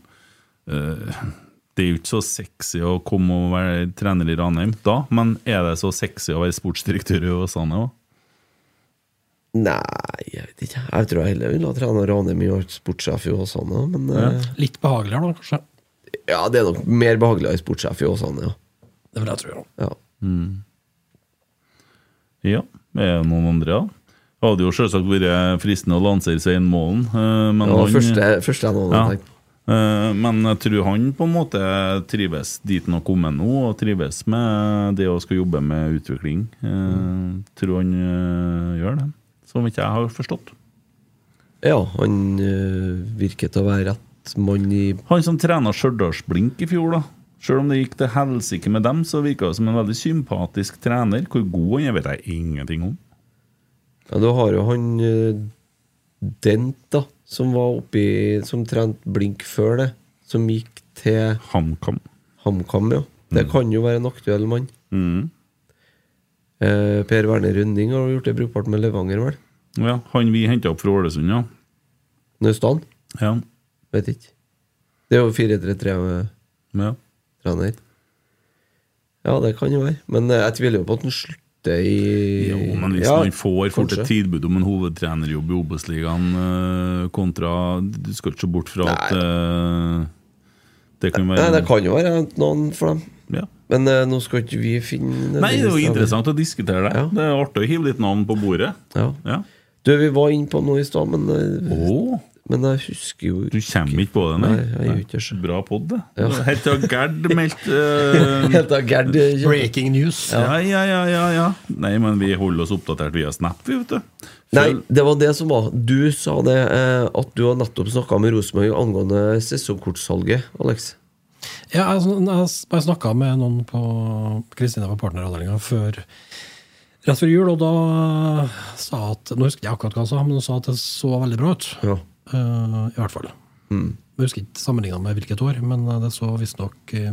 Speaker 2: Eh, Det er jo ikke så sexy å komme og være trener i Ranheim da, men er det så sexy å være sportsdirektør i Åsane òg?
Speaker 3: Nei, jeg vet ikke. Jeg tror jeg heller ville ha trent Ranheim i vært sportssjef i Åsane. Men ja.
Speaker 4: Litt behageligere, da, kanskje.
Speaker 3: ja, det er nok mer behagelig å være sportssjef i Åsane, ja.
Speaker 4: Det vil jeg tro. ja.
Speaker 3: ja.
Speaker 2: Ja, er det noen andre, da? Det hadde jo selvsagt vært fristende å lansere Svein Målen, eh, men
Speaker 3: Det var
Speaker 2: han
Speaker 3: første, første jeg nå hadde
Speaker 2: Ja.
Speaker 3: tenkt.
Speaker 2: Eh, Men jeg tror han på en måte trives dit han har kommet nå, og trives med det å skal jobbe med utvikling. Eh, Tror han eh, gjør det, som ikke jeg har forstått.
Speaker 3: Ja, han øh, virker til å være rett mann i
Speaker 2: Han som trena Stjørdals-Blink i fjor, da. Sjøl om det gikk til helsike med dem, så virka det som en veldig sympatisk trener. Hvor god han er, vet jeg ingenting om.
Speaker 3: Ja, du har jo han eh, Dent, da, som var oppi Som trente blink før det. Som gikk til
Speaker 2: HamKam.
Speaker 3: HamKam, ja.
Speaker 2: Mm.
Speaker 3: Det kan jo være en aktuell mann. Eh, per Werner Rønning har gjort det brukbart med Levanger, vel?
Speaker 2: Ja, han vi henta opp fra Ålesund, ja.
Speaker 3: Naustan?
Speaker 2: ja.
Speaker 3: Vet ikke. Det er jo 4-3-3-trener.
Speaker 2: ja.
Speaker 3: Ja, det kan jo være. Men eh, jeg tviler jo på at han slutter i
Speaker 2: Jo, men hvis
Speaker 3: Ja,
Speaker 2: man får fort
Speaker 3: kanskje.
Speaker 2: et tilbud om en hovedtrenerjobb i Obos-ligaen eh, kontra Du skal ikke se bort fra at eh, det kan være
Speaker 3: Nei, det kan jo være noen for dem.
Speaker 2: Ja.
Speaker 3: Men eh, nå skal ikke vi finne
Speaker 2: Nei, det er jo interessant å diskutere det.
Speaker 3: Ja.
Speaker 2: Det er artig å hive litt navn på bordet.
Speaker 3: Ja.
Speaker 2: Ja.
Speaker 3: Du, vi var inne på noe i stad, men, eh,
Speaker 2: Å,
Speaker 3: men jeg husker jo
Speaker 2: du kommer ikke på det,
Speaker 3: Nei, jeg gjør ikke det.
Speaker 2: Bra pod, det. Helt til Gerd
Speaker 3: <laughs>
Speaker 2: meldte eh,
Speaker 3: Helt av Gerd eh, kjøpt-
Speaker 4: Breaking news.
Speaker 2: ja, ja, ja, ja, ja. Nei, men vi holder oss oppdatert via Snap, vi, vet du.
Speaker 3: Nei, det var det som var. Du sa det eh, at du har nettopp snakka med Rosenborg angående sesongkortsalget, Alex.
Speaker 4: Ja, altså, jeg s- jeg snakka med noen på Kristina på partneravdelinga før rett før jul, og da sa jeg at Nå husker jeg akkurat hva hun sa, men hun sa at det så veldig bra ut.
Speaker 3: Ja.
Speaker 4: Eh, I hvert fall. Jeg husker ikke sammenligna med hvilket år, men det så visstnok uh,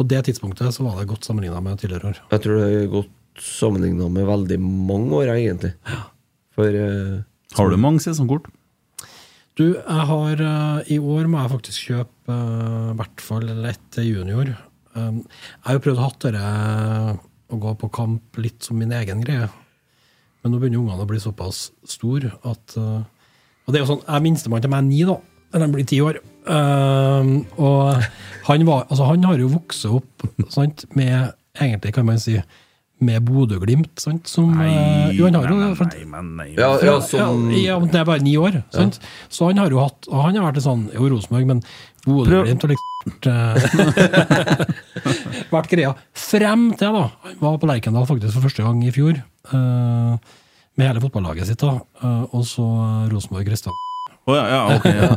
Speaker 4: På det tidspunktet så var det godt sammenligna med tidligere år.
Speaker 3: Jeg tror det er godt sammenligna med veldig mange år, jeg, egentlig. For eh,
Speaker 2: Har du mange sesongkort?
Speaker 4: Du, jeg har eh, I år må jeg faktisk kjøpe eh, i hvert fall ett til junior. Um, jeg har jo prøvd å hatt dette eh, å gå på kamp litt som min egen greie. Men nå begynner ungene å bli såpass store at eh, Og det er jo sånn, jeg er minstemann til meg er ni, da. Eller han blir ti år. Um, og han, var, altså, han har jo vokst opp sant, med Egentlig kan man si med Bodø-Glimt, sant? Som, eh, jo, han har jo det, for-
Speaker 2: nei, men nei.
Speaker 3: ja, ja,
Speaker 4: ja,
Speaker 3: sånn
Speaker 4: ja, men det er bare ni år. Sant? Så han har jo hatt og Han har vært i sånn Jo, Rosenborg, men Bodø-Glimt har liksom <laughs> vært, eh, vært greia. Frem til, da. Han var på Lerkendal faktisk for første gang i fjor. eh, med hele fotballaget sitt, da. eh, og så Rosenborg Kristian.
Speaker 2: Å, ja, ja, ok. Ja.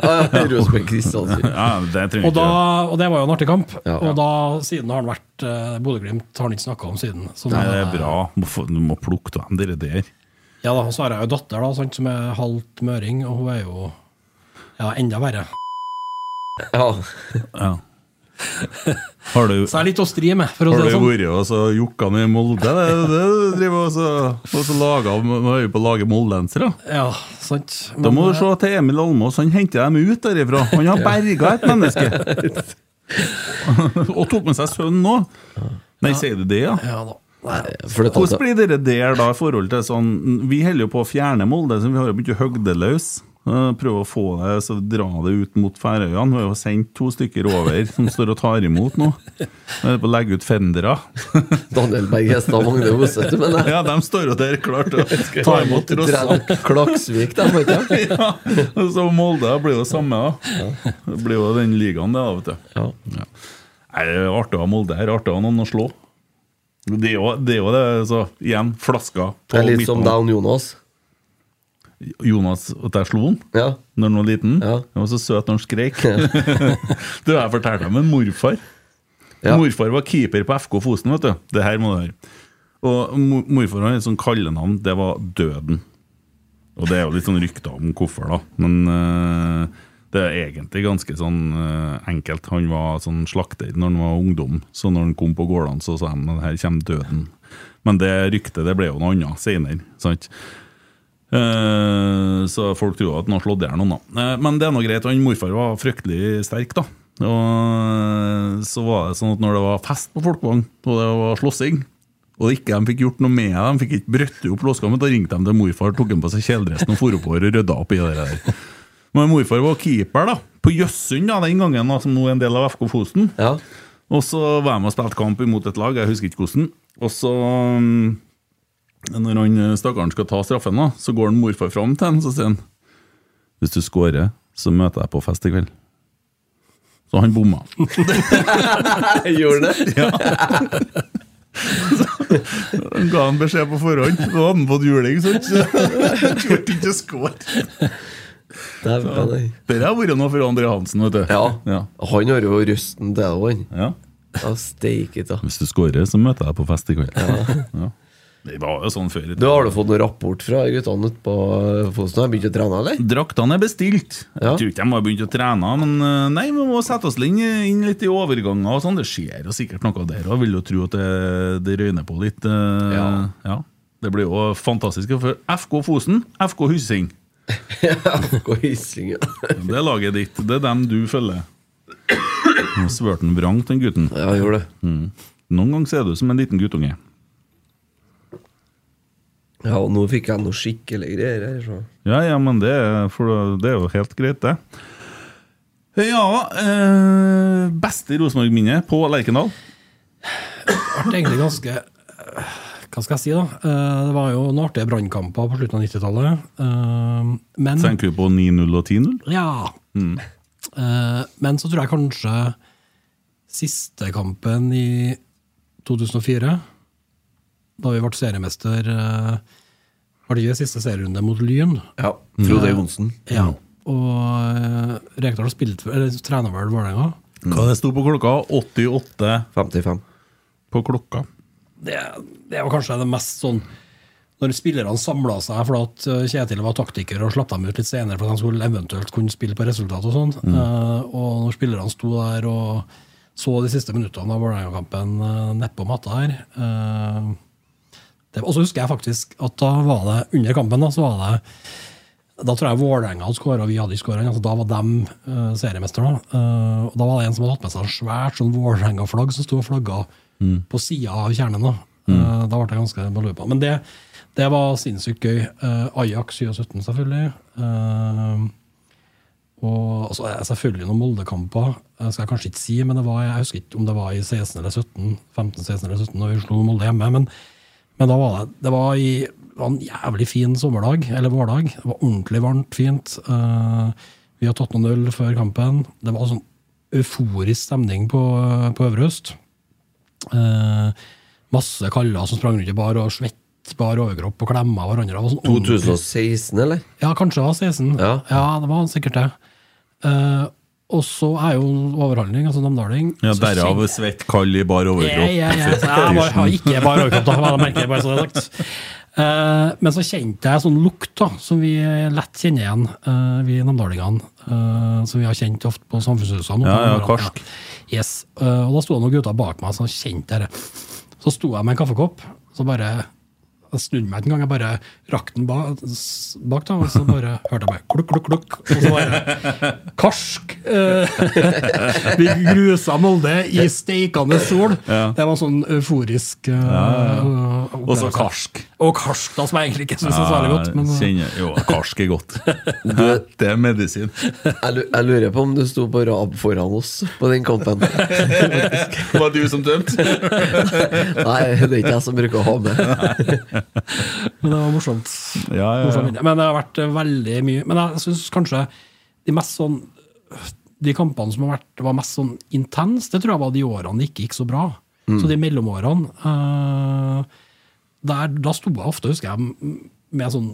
Speaker 3: Rosenborg Kristiansen.
Speaker 2: Ja, det trenger vi
Speaker 4: Og,
Speaker 2: ikke.
Speaker 4: da, og det var jo en artig kamp.
Speaker 3: Ja.
Speaker 4: Og da, siden har han vært uh, Bodø-Glimt har han ikke snakka om siden. Så
Speaker 2: Nei,
Speaker 4: da-
Speaker 2: det er bra. Må få- Du må plukke av dem dere der.
Speaker 4: Ja da, og så har jeg jo datter da, sant, som er halvt møring, og hun er jo ja, enda verre.
Speaker 3: Ja.
Speaker 2: Ja. Har du,
Speaker 4: Så jeg er litt å stri med, for å
Speaker 2: har
Speaker 4: si
Speaker 2: du
Speaker 4: det sånn.
Speaker 2: vært og så jokka ned i Molde? Det er det du driver og så- og så lager Nå er vi på å lage moldensere.
Speaker 4: Ja, sant.
Speaker 2: Da må
Speaker 4: Men,
Speaker 2: du se til Emil Almås. Han henter dem ut derifra. Han har berga et
Speaker 4: <laughs>
Speaker 2: menneske! og tok med seg sønnen òg. Nei, sier du det, ja?
Speaker 4: eh, Ja da.
Speaker 3: For det
Speaker 2: Hvordan blir dere der da i forhold til sånn Vi holder jo på å fjerne Molde, så vi har jo begynt å hogge det løs. Eh, Prøve å få det, så dra det ut mot Færøyene. Vi har jo sendt to stykker over som står og tar imot nå. Vi er på å legge ut fendere.
Speaker 3: Daniel Berg Hestad Magne Hoseth, men jeg
Speaker 2: Ja, de står jo der klart til å ta imot trosser.
Speaker 3: Klaksvik, de, var ikke det?
Speaker 2: Ja, så Molde det blir jo samme, da. Det blir jo den ligaen, det, da, vet du.
Speaker 3: Ja.
Speaker 2: Ja. Nei, det er artig å ha Molde her. Artig å ha noen å slå. Det er jo det, er jo det så igjen, flaska
Speaker 3: Det
Speaker 2: på
Speaker 3: er litt som
Speaker 2: midten.
Speaker 3: Down Jonas.
Speaker 2: Jonas, at jeg slo han
Speaker 3: Ja.
Speaker 2: Når han var liten.
Speaker 3: Ja.
Speaker 2: Han var så søt når han skreik. <laughs> du, jeg fortalte om en morfar.
Speaker 3: Ja.
Speaker 2: Morfar var keeper på FK Fosen, vet du. Det her må du høre. Og mo- morfar hadde et sånt kallenavn. Det var Døden. Og det er jo litt sånn rykter om hvorfor, da. Men eh, det er egentlig ganske sånn eh, enkelt. Han var sånn slakter når han var ungdom, så når han kom på gårdene, så sa han at her kommer døden. Men det ryktet det ble jo noe annet senere. Sant? Eh, så folk tror at han har slått i hjel noen, da. Eh, men det er nå greit. Han morfar var fryktelig sterk, da. Og så var det sånn at når det var fest på Folkvang, og det var slåssing og ikke de fikk gjort noe med det, de fikk ikke brøtt opp låskammen, da ringte de til morfar, tok han på seg kjeledressen og for oppover og rydda opp i det der. Men morfar var keeper da, på Jøssund da, den gangen, da, som nå er en del av FK Fosen.
Speaker 3: Ja.
Speaker 2: Og så var jeg med og spilte kamp imot et lag, jeg husker ikke hvordan. Og så, mm, når han eh, stakkaren skal ta straffen, da, så går han morfar fram til ham så sier han Hvis du scorer, så møter jeg på fest i kveld. Så han bomma.
Speaker 3: <laughs> Jeg gjorde det.
Speaker 2: Han ga han beskjed på forhånd. Da hadde han fått juling, sant? Så
Speaker 3: <laughs>
Speaker 2: han turte ikke å score.
Speaker 3: Der var det.
Speaker 2: Det har vært noe for André Hansen, vet du.
Speaker 3: Ja.
Speaker 2: Ja.
Speaker 3: Han har jo røsten til òg, han.
Speaker 2: Ja.
Speaker 3: Ja, Steike ta.
Speaker 2: Hvis du scorer, så møter jeg deg på fest i kveld. Ja. Det var jo sånn før. i
Speaker 3: Du
Speaker 2: tiden.
Speaker 3: Har du fått noen rapport fra guttene ute på Fosen? Har de begynt å trene, eller?
Speaker 2: Draktene er bestilt.
Speaker 3: Ja.
Speaker 2: Jeg tror ikke de har begynt å trene, men eh, nei, vi må sette oss inn, inn litt i overganger og sånn. Det skjer jo sikkert noe der òg, vil jo tro at det, det røyner på litt. eh,
Speaker 3: Ja.
Speaker 2: ja. Det blir jo fantastisk. For FK Fosen, FK Hyssing.
Speaker 3: Mm. <laughs> Gå i Isling, ja.
Speaker 2: Det er laget ditt. Det er dem du følger. Nå svørte han vrangt, den gutten.
Speaker 3: Ja, jeg gjorde det.
Speaker 2: Noen ganger ser du ut som en liten guttunge.
Speaker 3: Ja, og nå fikk jeg noe skikkelig greier her. Så.
Speaker 2: Ja, ja, men det, er- for det er jo helt greit, det. Ja eh, Beste Rosenborg-minne på Lerkendal?
Speaker 4: vært egentlig ganske øh, Hva skal jeg si, da? Eh, Det var jo noen artige brannkamper på slutten av 90-tallet. eh, Men
Speaker 2: Tenker du på 9-0 og 10-0?
Speaker 4: Ja.
Speaker 2: Mm.
Speaker 4: Eh, Men så tror jeg kanskje siste kampen i 2004, da vi ble seriemester eh, Var det ikke siste serierunde mot Lyn?
Speaker 3: Ja. Frode Johnsen.
Speaker 4: Ja. Og eh, Rekdal spilte Eller trener vel Vålerenga?
Speaker 2: Mm. Hva det sto på klokka? 88
Speaker 3: 55.
Speaker 2: på klokka.
Speaker 4: det, det var kanskje det mest sånn Når spillerne samla seg fordi at eh, Kjetil var taktiker og slapp dem ut litt senere for at de skulle eventuelt kunne spille på resultat og sånn. Eh, og når spillerne sto der og så de siste minuttene av Vålerenga-kampen uh, nedpå matta her eh, det, Og så husker jeg faktisk at da var det under kampen da, så var det da tror jeg Vålerenga hadde skåra, og vi hadde ikke skåra. Altså, da var de uh, seriemestere. da. Eh, og da var det en som hadde hatt med seg et svært sånn Vålerenga-flagg som sto og flagga på sida av kjernen. Da Eh, Da ble jeg ganske balupa. Men det, det var sinnssykt gøy. Eh, Ajax 2017, selvfølgelig. Eh, og altså, eh, selvfølgelig noen Molde-kamper, eh, skal jeg kanskje ikke si, men det var, jeg husker ikke om det var i 16 eller 17, 15, 16 eller 17, når vi slo Molde hjemme. Men, men da var det, det var, i, det var en jævlig fin sommerdag, eller vårdag. Det var ordentlig varmt, fint. Eh, vi har tatt noen øl før kampen. Det var sånn euforisk stemning på, på Øvre Øst. Eh, masse kaller som sprang rundt i bar og svett bar overkropp og klemma hverandre. Det var sånn
Speaker 3: 2016, eller?
Speaker 4: ja, kanskje det var 16.
Speaker 3: Ja.
Speaker 4: det var sikkert det. Eh, og så er jo overhandling, altså namdaling
Speaker 2: Ja,
Speaker 4: så
Speaker 2: Derav
Speaker 4: kjenner-
Speaker 2: svett, kald i bar
Speaker 4: ja,
Speaker 2: overkropp.
Speaker 4: ja, ja. Så Jeg var- jeg har ikke bare overkropp, da. bare merker jeg bare så det er sagt. Eh, men så kjente jeg sånn lukt da, som vi lett kjenner igjen, eh, vi namdalingene. eh, som vi har kjent ofte på samfunnshusene.
Speaker 2: Ja, ja, karsk.
Speaker 4: Ja. Yes. Eh, og da sto det noen gutter bak meg, så kjente jeg det. Så sto jeg med en kaffekopp, så bare Jeg snudde meg ikke engang, jeg bare rakk den ba, s- bak, da, og så bare hørte jeg bare klukk, klukk, klukk. Og så bare karsk! <laughs> eh, Vi grusa Molde i steikende sol. Det var sånn euforisk eh,
Speaker 2: Og så
Speaker 4: opplevelse.
Speaker 2: karsk.
Speaker 4: Og karsk, da, som jeg egentlig ikke syns er særlig godt. Men, eh,
Speaker 2: Ja, kjenner, jo, karsk er godt. det er medisin.
Speaker 3: Jeg lu- jeg lurer på om du sto på rad foran oss på den <laughs> kampen.
Speaker 2: Var det du som dømte?
Speaker 3: Nei, det er ikke jeg som bruker å ha med.
Speaker 4: men det var morsomt.
Speaker 2: Ja, ja,
Speaker 4: Morsom
Speaker 2: ja.
Speaker 4: vinner. Men det har vært eh, veldig mye Men jeg syns kanskje de mest sånn De kampene som har vært var mest sånn intense, det tror jeg var de årene det ikke gikk så bra.
Speaker 3: Mm.
Speaker 4: Så de mellomårene eh, der, Da sto jeg ofte, husker jeg, m- med sånn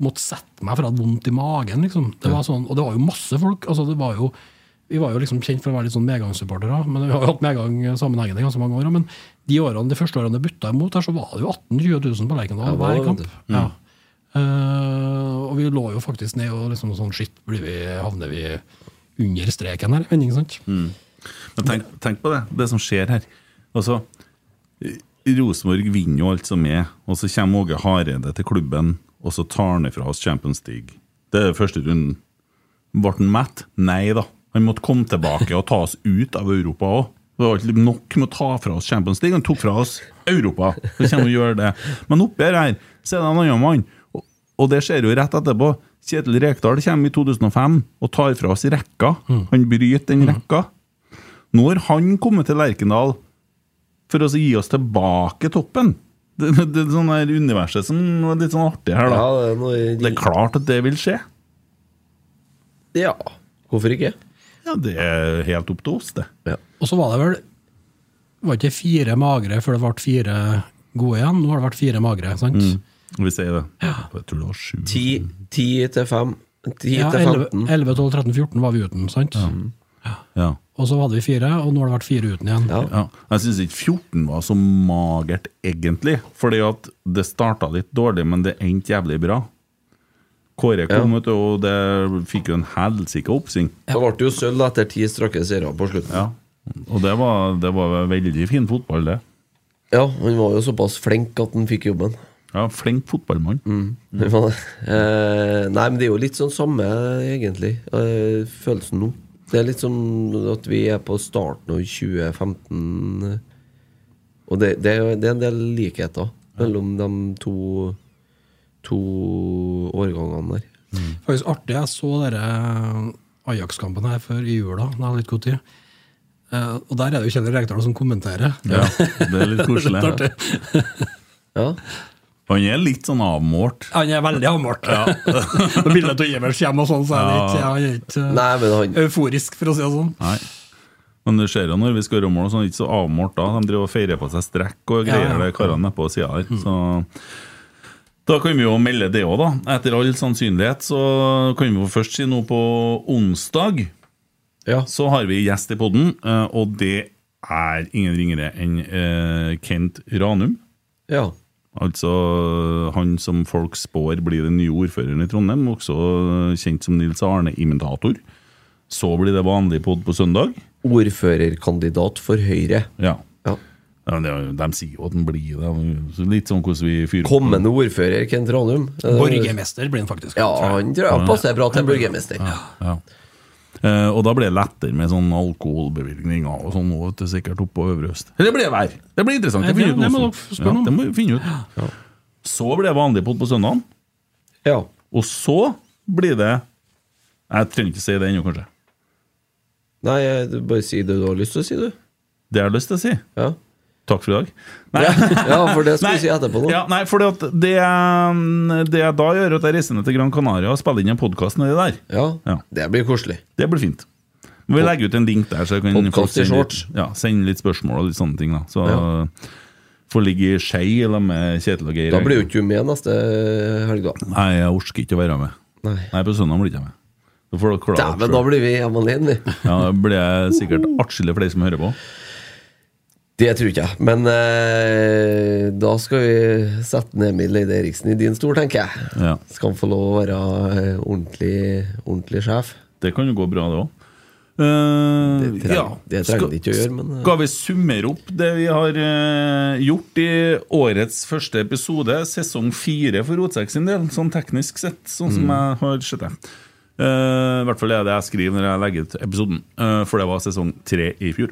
Speaker 4: Måtte sette meg for jeg hadde vondt i magen, liksom. Det var sånn, og det var jo masse folk. altså det var jo vi var jo liksom kjent for å være litt sånn medgangssupportere, men vi har jo hatt medgang sammenhengende i ganske mange år. Men de årene, de første årene det butta imot, her, så var det jo 18 000-20 000 på Lerkendal
Speaker 3: Ja, det var
Speaker 4: hver
Speaker 3: det,
Speaker 4: kamp.
Speaker 3: vet
Speaker 4: Ja. Eh, og vi lå jo faktisk ned og liksom sånn Shit, blir vi, havner vi under streken her? Men, ikke sant?
Speaker 2: Men tenk, tenk på det, det som skjer her. Altså, Rosenborg vinner jo alt som er, og så kommer Åge Hareide til klubben, og så tar han ifra oss Champions League. Det er første runden. Ble han mett? Nei da. Han måtte komme tilbake og ta oss ut av Europa òg. Det var ikke nok med å ta fra oss Champions League, han tok fra oss Europa. Så kommer han å gjøre det. Men oppi her her, så er det en annen mann, og, og det skjer jo rett etterpå. Kjetil Rekdal kommer i 2005 og tar fra oss rekka. Han bryter den rekka. Nå har han kommet til Lerkendal for å så gi oss tilbake toppen. Det, det, det er sånn her universet som er litt sånn artig her, da.
Speaker 3: Ja, det er noe
Speaker 2: Det er klart at det vil skje.
Speaker 3: Ja, hvorfor ikke?
Speaker 2: Ja, Det er helt opp til oss, det.
Speaker 3: Ja.
Speaker 4: Og så var det vel Var ikke fire magre før det ble fire gode igjen? Nå har det vært fire magre, sant?
Speaker 2: Vi sier det. Jeg tror det var sju.
Speaker 3: 10, 10 til 5. 10
Speaker 4: Ja,
Speaker 3: til
Speaker 4: 11,
Speaker 3: 15.
Speaker 4: 11, 12, 13, 14 var vi uten, sant?
Speaker 2: Ja.
Speaker 4: Og så hadde vi fire, og nå har det vært fire uten igjen.
Speaker 3: Ja.
Speaker 2: Ja. Jeg syns ikke 14 var så magert, egentlig. Fordi at det starta litt dårlig, men det endte jævlig bra. Kåre kom ut, og det fikk jo en helsike oppsving.
Speaker 3: Da ble det jo sølv etter ti strake seire på slutten.
Speaker 2: Ja. Og det var, det var veldig fin fotball, det.
Speaker 3: Ja, han var jo såpass flink at han fikk jobben.
Speaker 2: Ja, Flink fotballmann.
Speaker 3: Mm.
Speaker 2: Mm.
Speaker 3: Det var det. <laughs> Eh, nei, men det er jo litt sånn samme, egentlig, eh, følelsen nå. Det er litt som at vi er på starten av 2015, eh, og det, det, er, jo- det er en del likheter mellom de to, to årgangene der.
Speaker 4: Faktisk artig, jeg så dere eh, Ajax-kampen her før i jula, da jeg hadde litt god tid. Eh, og der er det jo Kjell Rekdal som kommenterer.
Speaker 2: Ja, det er litt
Speaker 4: <laughs>
Speaker 2: koselig.
Speaker 4: Litt artig.
Speaker 3: Ja,
Speaker 2: Han er litt sånn avmålt.
Speaker 4: Han er veldig avmålt. <laughs> Når bildet av Ivers kommer og sånn, så er det ikke, han er ikke eh,
Speaker 3: Nei, men han
Speaker 4: euforisk, for å si det sånn.
Speaker 2: Nei. Men du ser jo når vi skårer mål, så er han sånn, ikke så avmålt da. De driver og feirer på seg strekk og greier,
Speaker 4: Ja, ja. Mm.
Speaker 2: det karene nedpå sida her. Så da kan vi jo melde det òg, da. Etter all sannsynlighet så kan vi jo først si noe på onsdag.
Speaker 3: Ja.
Speaker 2: Så har vi gjest i poden, og det er ingen ringere enn eh, Kent Ranum.
Speaker 3: Ja.
Speaker 2: Altså han som folk spår blir den nye ordføreren i Trondheim, også kjent som Nils Arne Imitator. Så blir det vanlig pod på søndag.
Speaker 3: Ordførerkandidat for Høyre.
Speaker 2: Ja.
Speaker 3: Ja.
Speaker 2: Ja, men det er jo- De sier jo at han blir det. Så Litt sånn hvordan vi fyrer opp.
Speaker 3: Kommende ordfører, Kent Ranum. Eh,
Speaker 4: Borgermester blir han faktisk.
Speaker 3: Ja, han tror jeg passer bra til en borgermester.
Speaker 2: Ja. Eh, og da blir det lettere med sånn alkoholbevilgninger og sånn nå, vet du, sikkert opp på øvre øst. Eller det blir det vær! Det blir interessant.
Speaker 4: Nei,
Speaker 2: Det, finner
Speaker 4: det- det
Speaker 2: ut
Speaker 4: må
Speaker 2: hvordan.
Speaker 4: dere spørre
Speaker 2: ja,
Speaker 4: om.
Speaker 2: det må vi finne ut. Så blir det vanlig pod på søndag,
Speaker 3: Ja.
Speaker 2: og så blir det Jeg trenger ikke si det ennå, kanskje.
Speaker 3: Nei, eh, du bare si det du har lyst til å si, du.
Speaker 2: Det har jeg lyst til å si.
Speaker 3: Ja,
Speaker 2: Takk for i dag.
Speaker 3: ja for det skal vi si etterpå. nå.
Speaker 2: Ja, nei, for det, mm, det jeg da gjør, er at jeg reiser ned til Gran Canaria og spiller inn en podkast nedi der.
Speaker 3: Ja.
Speaker 2: Ja.
Speaker 3: Det blir koselig.
Speaker 2: Det blir fint. Men vi legger ut en link der, så jeg kan
Speaker 3: Podcast
Speaker 2: folk
Speaker 3: i
Speaker 2: sende litt,
Speaker 3: shorts.
Speaker 2: ja, sende litt spørsmål og litt sånne ting. da Så
Speaker 3: Ja.
Speaker 2: får ligge i skei eller med Kjetil og Geir.
Speaker 3: Da blir jo ikke du med neste helg, da.
Speaker 2: Nei, jeg orker ikke å være med.
Speaker 3: Nei.
Speaker 2: Nei, på søndag blir ikke jeg med. Da får dere klare
Speaker 3: Dæven, da blir vi hjemme alene, vi.
Speaker 2: Ja, da blir jeg sikkert atskillig flere som hører på.
Speaker 3: Det tror ikke jeg. Men eh, da skal vi sette ned Emil Eide Eriksen i din stol, tenker jeg.
Speaker 2: Ja.
Speaker 3: Skal han få lov å være eh, ordentlig, ordentlig sjef?
Speaker 2: Det kan jo gå bra, det òg. Eh,
Speaker 3: Det trenger- det trenger de ikke å gjøre, men, eh.
Speaker 2: Skal vi summere opp det vi har eh, gjort i årets første episode, sesong fire for Rotsekk sin del, sånn teknisk sett, sånn som
Speaker 3: Mm.
Speaker 2: jeg har sett det? Eh, I hvert fall er det jeg skriver når jeg legger ut episoden, eh, for det var sesong tre i fjor.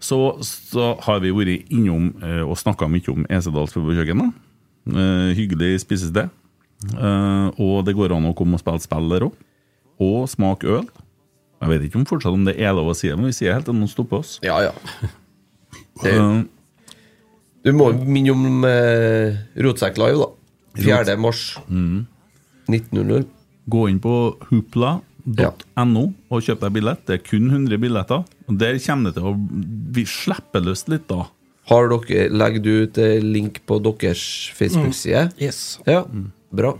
Speaker 2: Så, så har vi vært innom eh, og snakka mye om Esedalsfjordkjøkkenet. Uh, hyggelig spisested.
Speaker 3: Mm.
Speaker 2: Eh, og det går an å komme og spille spill der òg. Og smake øl. Jeg vet ikke om fortsatt om det er lov å si det, men vi sier helt til noen stopper oss.
Speaker 3: Ja,
Speaker 2: <laughs>
Speaker 3: ja. Det,
Speaker 2: Eh,
Speaker 3: du må minne om eh, Rotsekk Live, da. 4. mars
Speaker 2: Mm.
Speaker 3: 1900.
Speaker 2: Gå inn på hoopla.no og kjøp deg billett. Det er kun 100 billetter. Og Der kommer det til å vi slipper løs litt, da.
Speaker 3: Har dere, legger du ut eh, link på deres Facebook-side?
Speaker 4: Yes.
Speaker 3: Ja,
Speaker 2: Mm.
Speaker 3: bra.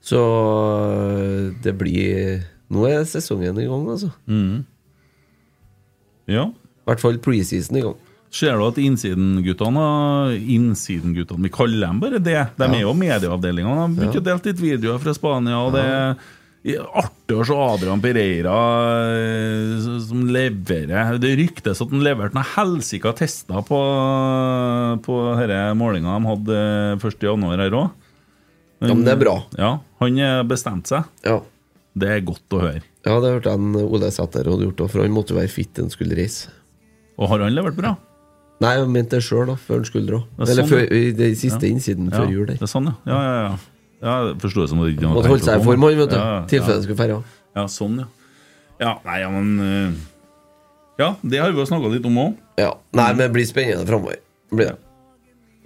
Speaker 3: Så eh, det blir Nå er sesongen i gang, altså.
Speaker 2: Mm.
Speaker 3: I
Speaker 2: Ja.
Speaker 3: hvert fall preseason i gang.
Speaker 2: Ser du at innsidenguttene Innsidenguttene, vi kaller dem bare det. De er jo medieavdelinga. De begynte å dele litt videoer fra Spania, og det er artig å se Adrian Pereira eh, s- som leverer. Det ryktes at han leverte noen helsika tester på, på denne målinga de hadde 1.1. her òg.
Speaker 3: Ja, men det er bra.
Speaker 2: Ja, han eh, bestemte seg.
Speaker 3: Ja,
Speaker 2: Det er godt å høre.
Speaker 3: ja det hørte jeg en eh, Ole Sæther hadde gjort, da, for han måtte være fit han skulle reise.
Speaker 2: Og har han levert bra?
Speaker 3: Nei, jeg mente det sjøl, da, før han skulle dra.
Speaker 2: Ja,
Speaker 3: Eller
Speaker 2: sånn,
Speaker 3: før, i det siste innsiden
Speaker 2: Ja,
Speaker 3: før jul.
Speaker 2: det
Speaker 3: der.
Speaker 2: er sånn, ja. Ja, ja, ja. ja jeg forstår det som at han ikke hadde
Speaker 3: Måtte holde
Speaker 2: tenkt
Speaker 3: seg
Speaker 2: å
Speaker 3: i form,
Speaker 2: komme.
Speaker 3: han, vet du.
Speaker 2: Ja, ja,
Speaker 3: Tilfelle han skulle ferja.
Speaker 2: Ja, sånn, ja. Ja, nei, ja, men eh, Ja, det har vi jo snakka litt om òg.
Speaker 3: Ja. Nei, men det blir spennende framover. Blir det.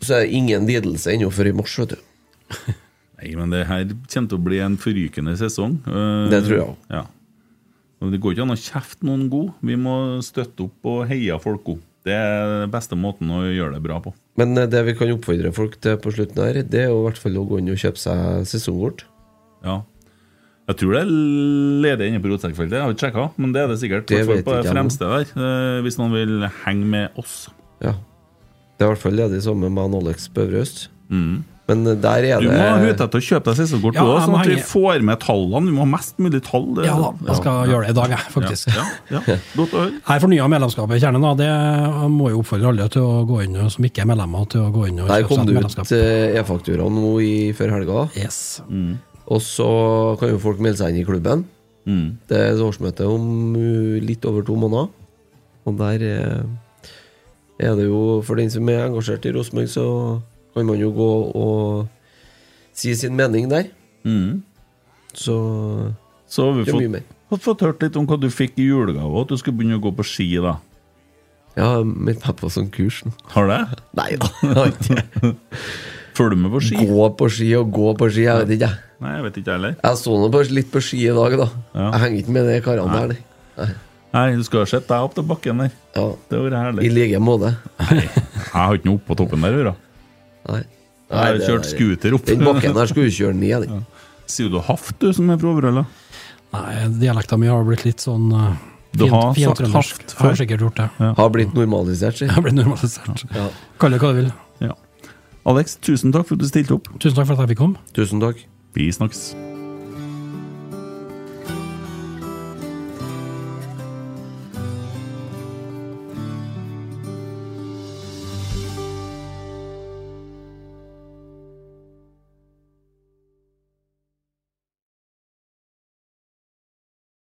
Speaker 3: Så er det ingen lidelse ennå før i mars, vet du.
Speaker 2: Nei, men det her kommer til å bli en forrykende sesong. Eh,
Speaker 3: Det tror jeg òg.
Speaker 2: Ja. Og det går ikke an å kjefte noen god. Vi må støtte opp og heie folk opp. Det er den beste måten å gjøre det bra på.
Speaker 3: Men eh, det vi kan oppfordre folk til på slutten her, det er jo i hvert fall å gå inn og kjøpe seg sesongkort.
Speaker 2: Ja. Jeg tror det er ledig inne på rotsekkfeltet. Jeg har ikke sjekka, men det er det sikkert.
Speaker 3: Det
Speaker 2: Det
Speaker 3: vet
Speaker 2: på
Speaker 3: ikke jeg
Speaker 2: det
Speaker 3: nå.
Speaker 2: fremste der, eh, hvis noen vil henge med oss.
Speaker 3: Ja. Det er i hvert fall ledig sammen med han Alex Bøvrøst. Men eh, der er
Speaker 2: Mm. Du må ha
Speaker 3: det
Speaker 2: hute etter å kjøpe deg sesongkort,
Speaker 4: Ja,
Speaker 2: du også,
Speaker 4: jeg må
Speaker 2: sånn at vi
Speaker 4: henge-
Speaker 2: får med tallene. Vi må ha mest mulig tall. det-
Speaker 4: Ja da, jeg skal gjøre det i dag, jeg, faktisk.
Speaker 2: Ja, ja, ja. Godt å høre.
Speaker 4: Her fornya medlemskapet i Kjernen. da, Det må jo oppfordre alle til å gå inn, og- som ikke er medlemmer, til å gå inn og
Speaker 3: Der
Speaker 4: kjøpe
Speaker 3: kom
Speaker 4: seg
Speaker 3: det
Speaker 4: et
Speaker 3: ut eh, e-fakturaen nå i før helga.
Speaker 4: Yes.
Speaker 2: Mm.
Speaker 3: Og så kan jo folk melde seg inn i klubben.
Speaker 2: Mm.
Speaker 3: Det er et årsmøte om uh, litt over to måneder. Og der eh, er det jo For den som er engasjert i Rosenborg, så kan man jo gå og si sin mening der. Så
Speaker 2: Så har vi
Speaker 3: Mm. Det er mye
Speaker 2: fått,
Speaker 3: mer.
Speaker 2: fått, fått hørt litt om hva du fikk i julegave, og at du skulle begynne å gå på ski da.
Speaker 3: jeg har meldt meg på sånn kurs nå.
Speaker 2: Har det?
Speaker 3: Nei <laughs> da, jeg har ikke det.
Speaker 2: Følger du med på ski?
Speaker 3: Gå på ski og gå på ski, jeg vet ikke. jeg.
Speaker 2: Nei, jeg vet ikke heller.
Speaker 3: Jeg sto nå på- litt på ski i dag, da.
Speaker 2: Ja.
Speaker 3: Jeg henger ikke med de karene der. nei.
Speaker 2: Nei, du skulle ha sett deg opp til bakken der.
Speaker 3: Ja,
Speaker 2: Det hadde vært
Speaker 3: I
Speaker 2: herlig.
Speaker 3: like måte.
Speaker 2: Jeg har ikke noe oppå toppen der, hører jeg.
Speaker 3: Nei.
Speaker 2: Jeg har
Speaker 3: det
Speaker 2: kjørt
Speaker 3: der-
Speaker 2: scooter opp.
Speaker 3: Den bakken der skulle du kjøre ned, den.
Speaker 2: <laughs> Sier du haft, du, som er fra Overhalla?
Speaker 4: Nei, dialekta mi har blitt litt sånn uh,
Speaker 2: Du har sagt
Speaker 4: trøndersk.
Speaker 2: haft
Speaker 4: Jeg Har
Speaker 2: før.
Speaker 4: sikkert gjort det.
Speaker 3: Har blitt normalisert, si.
Speaker 4: <laughs> Jeg har blitt normalisert.
Speaker 3: Ja.
Speaker 4: Kall det hva du vil.
Speaker 2: Ja. Alex, tusen takk for at du stilte opp.
Speaker 4: Tusen takk for at jeg fikk komme.
Speaker 3: Tusen takk.
Speaker 2: Vi snakkes.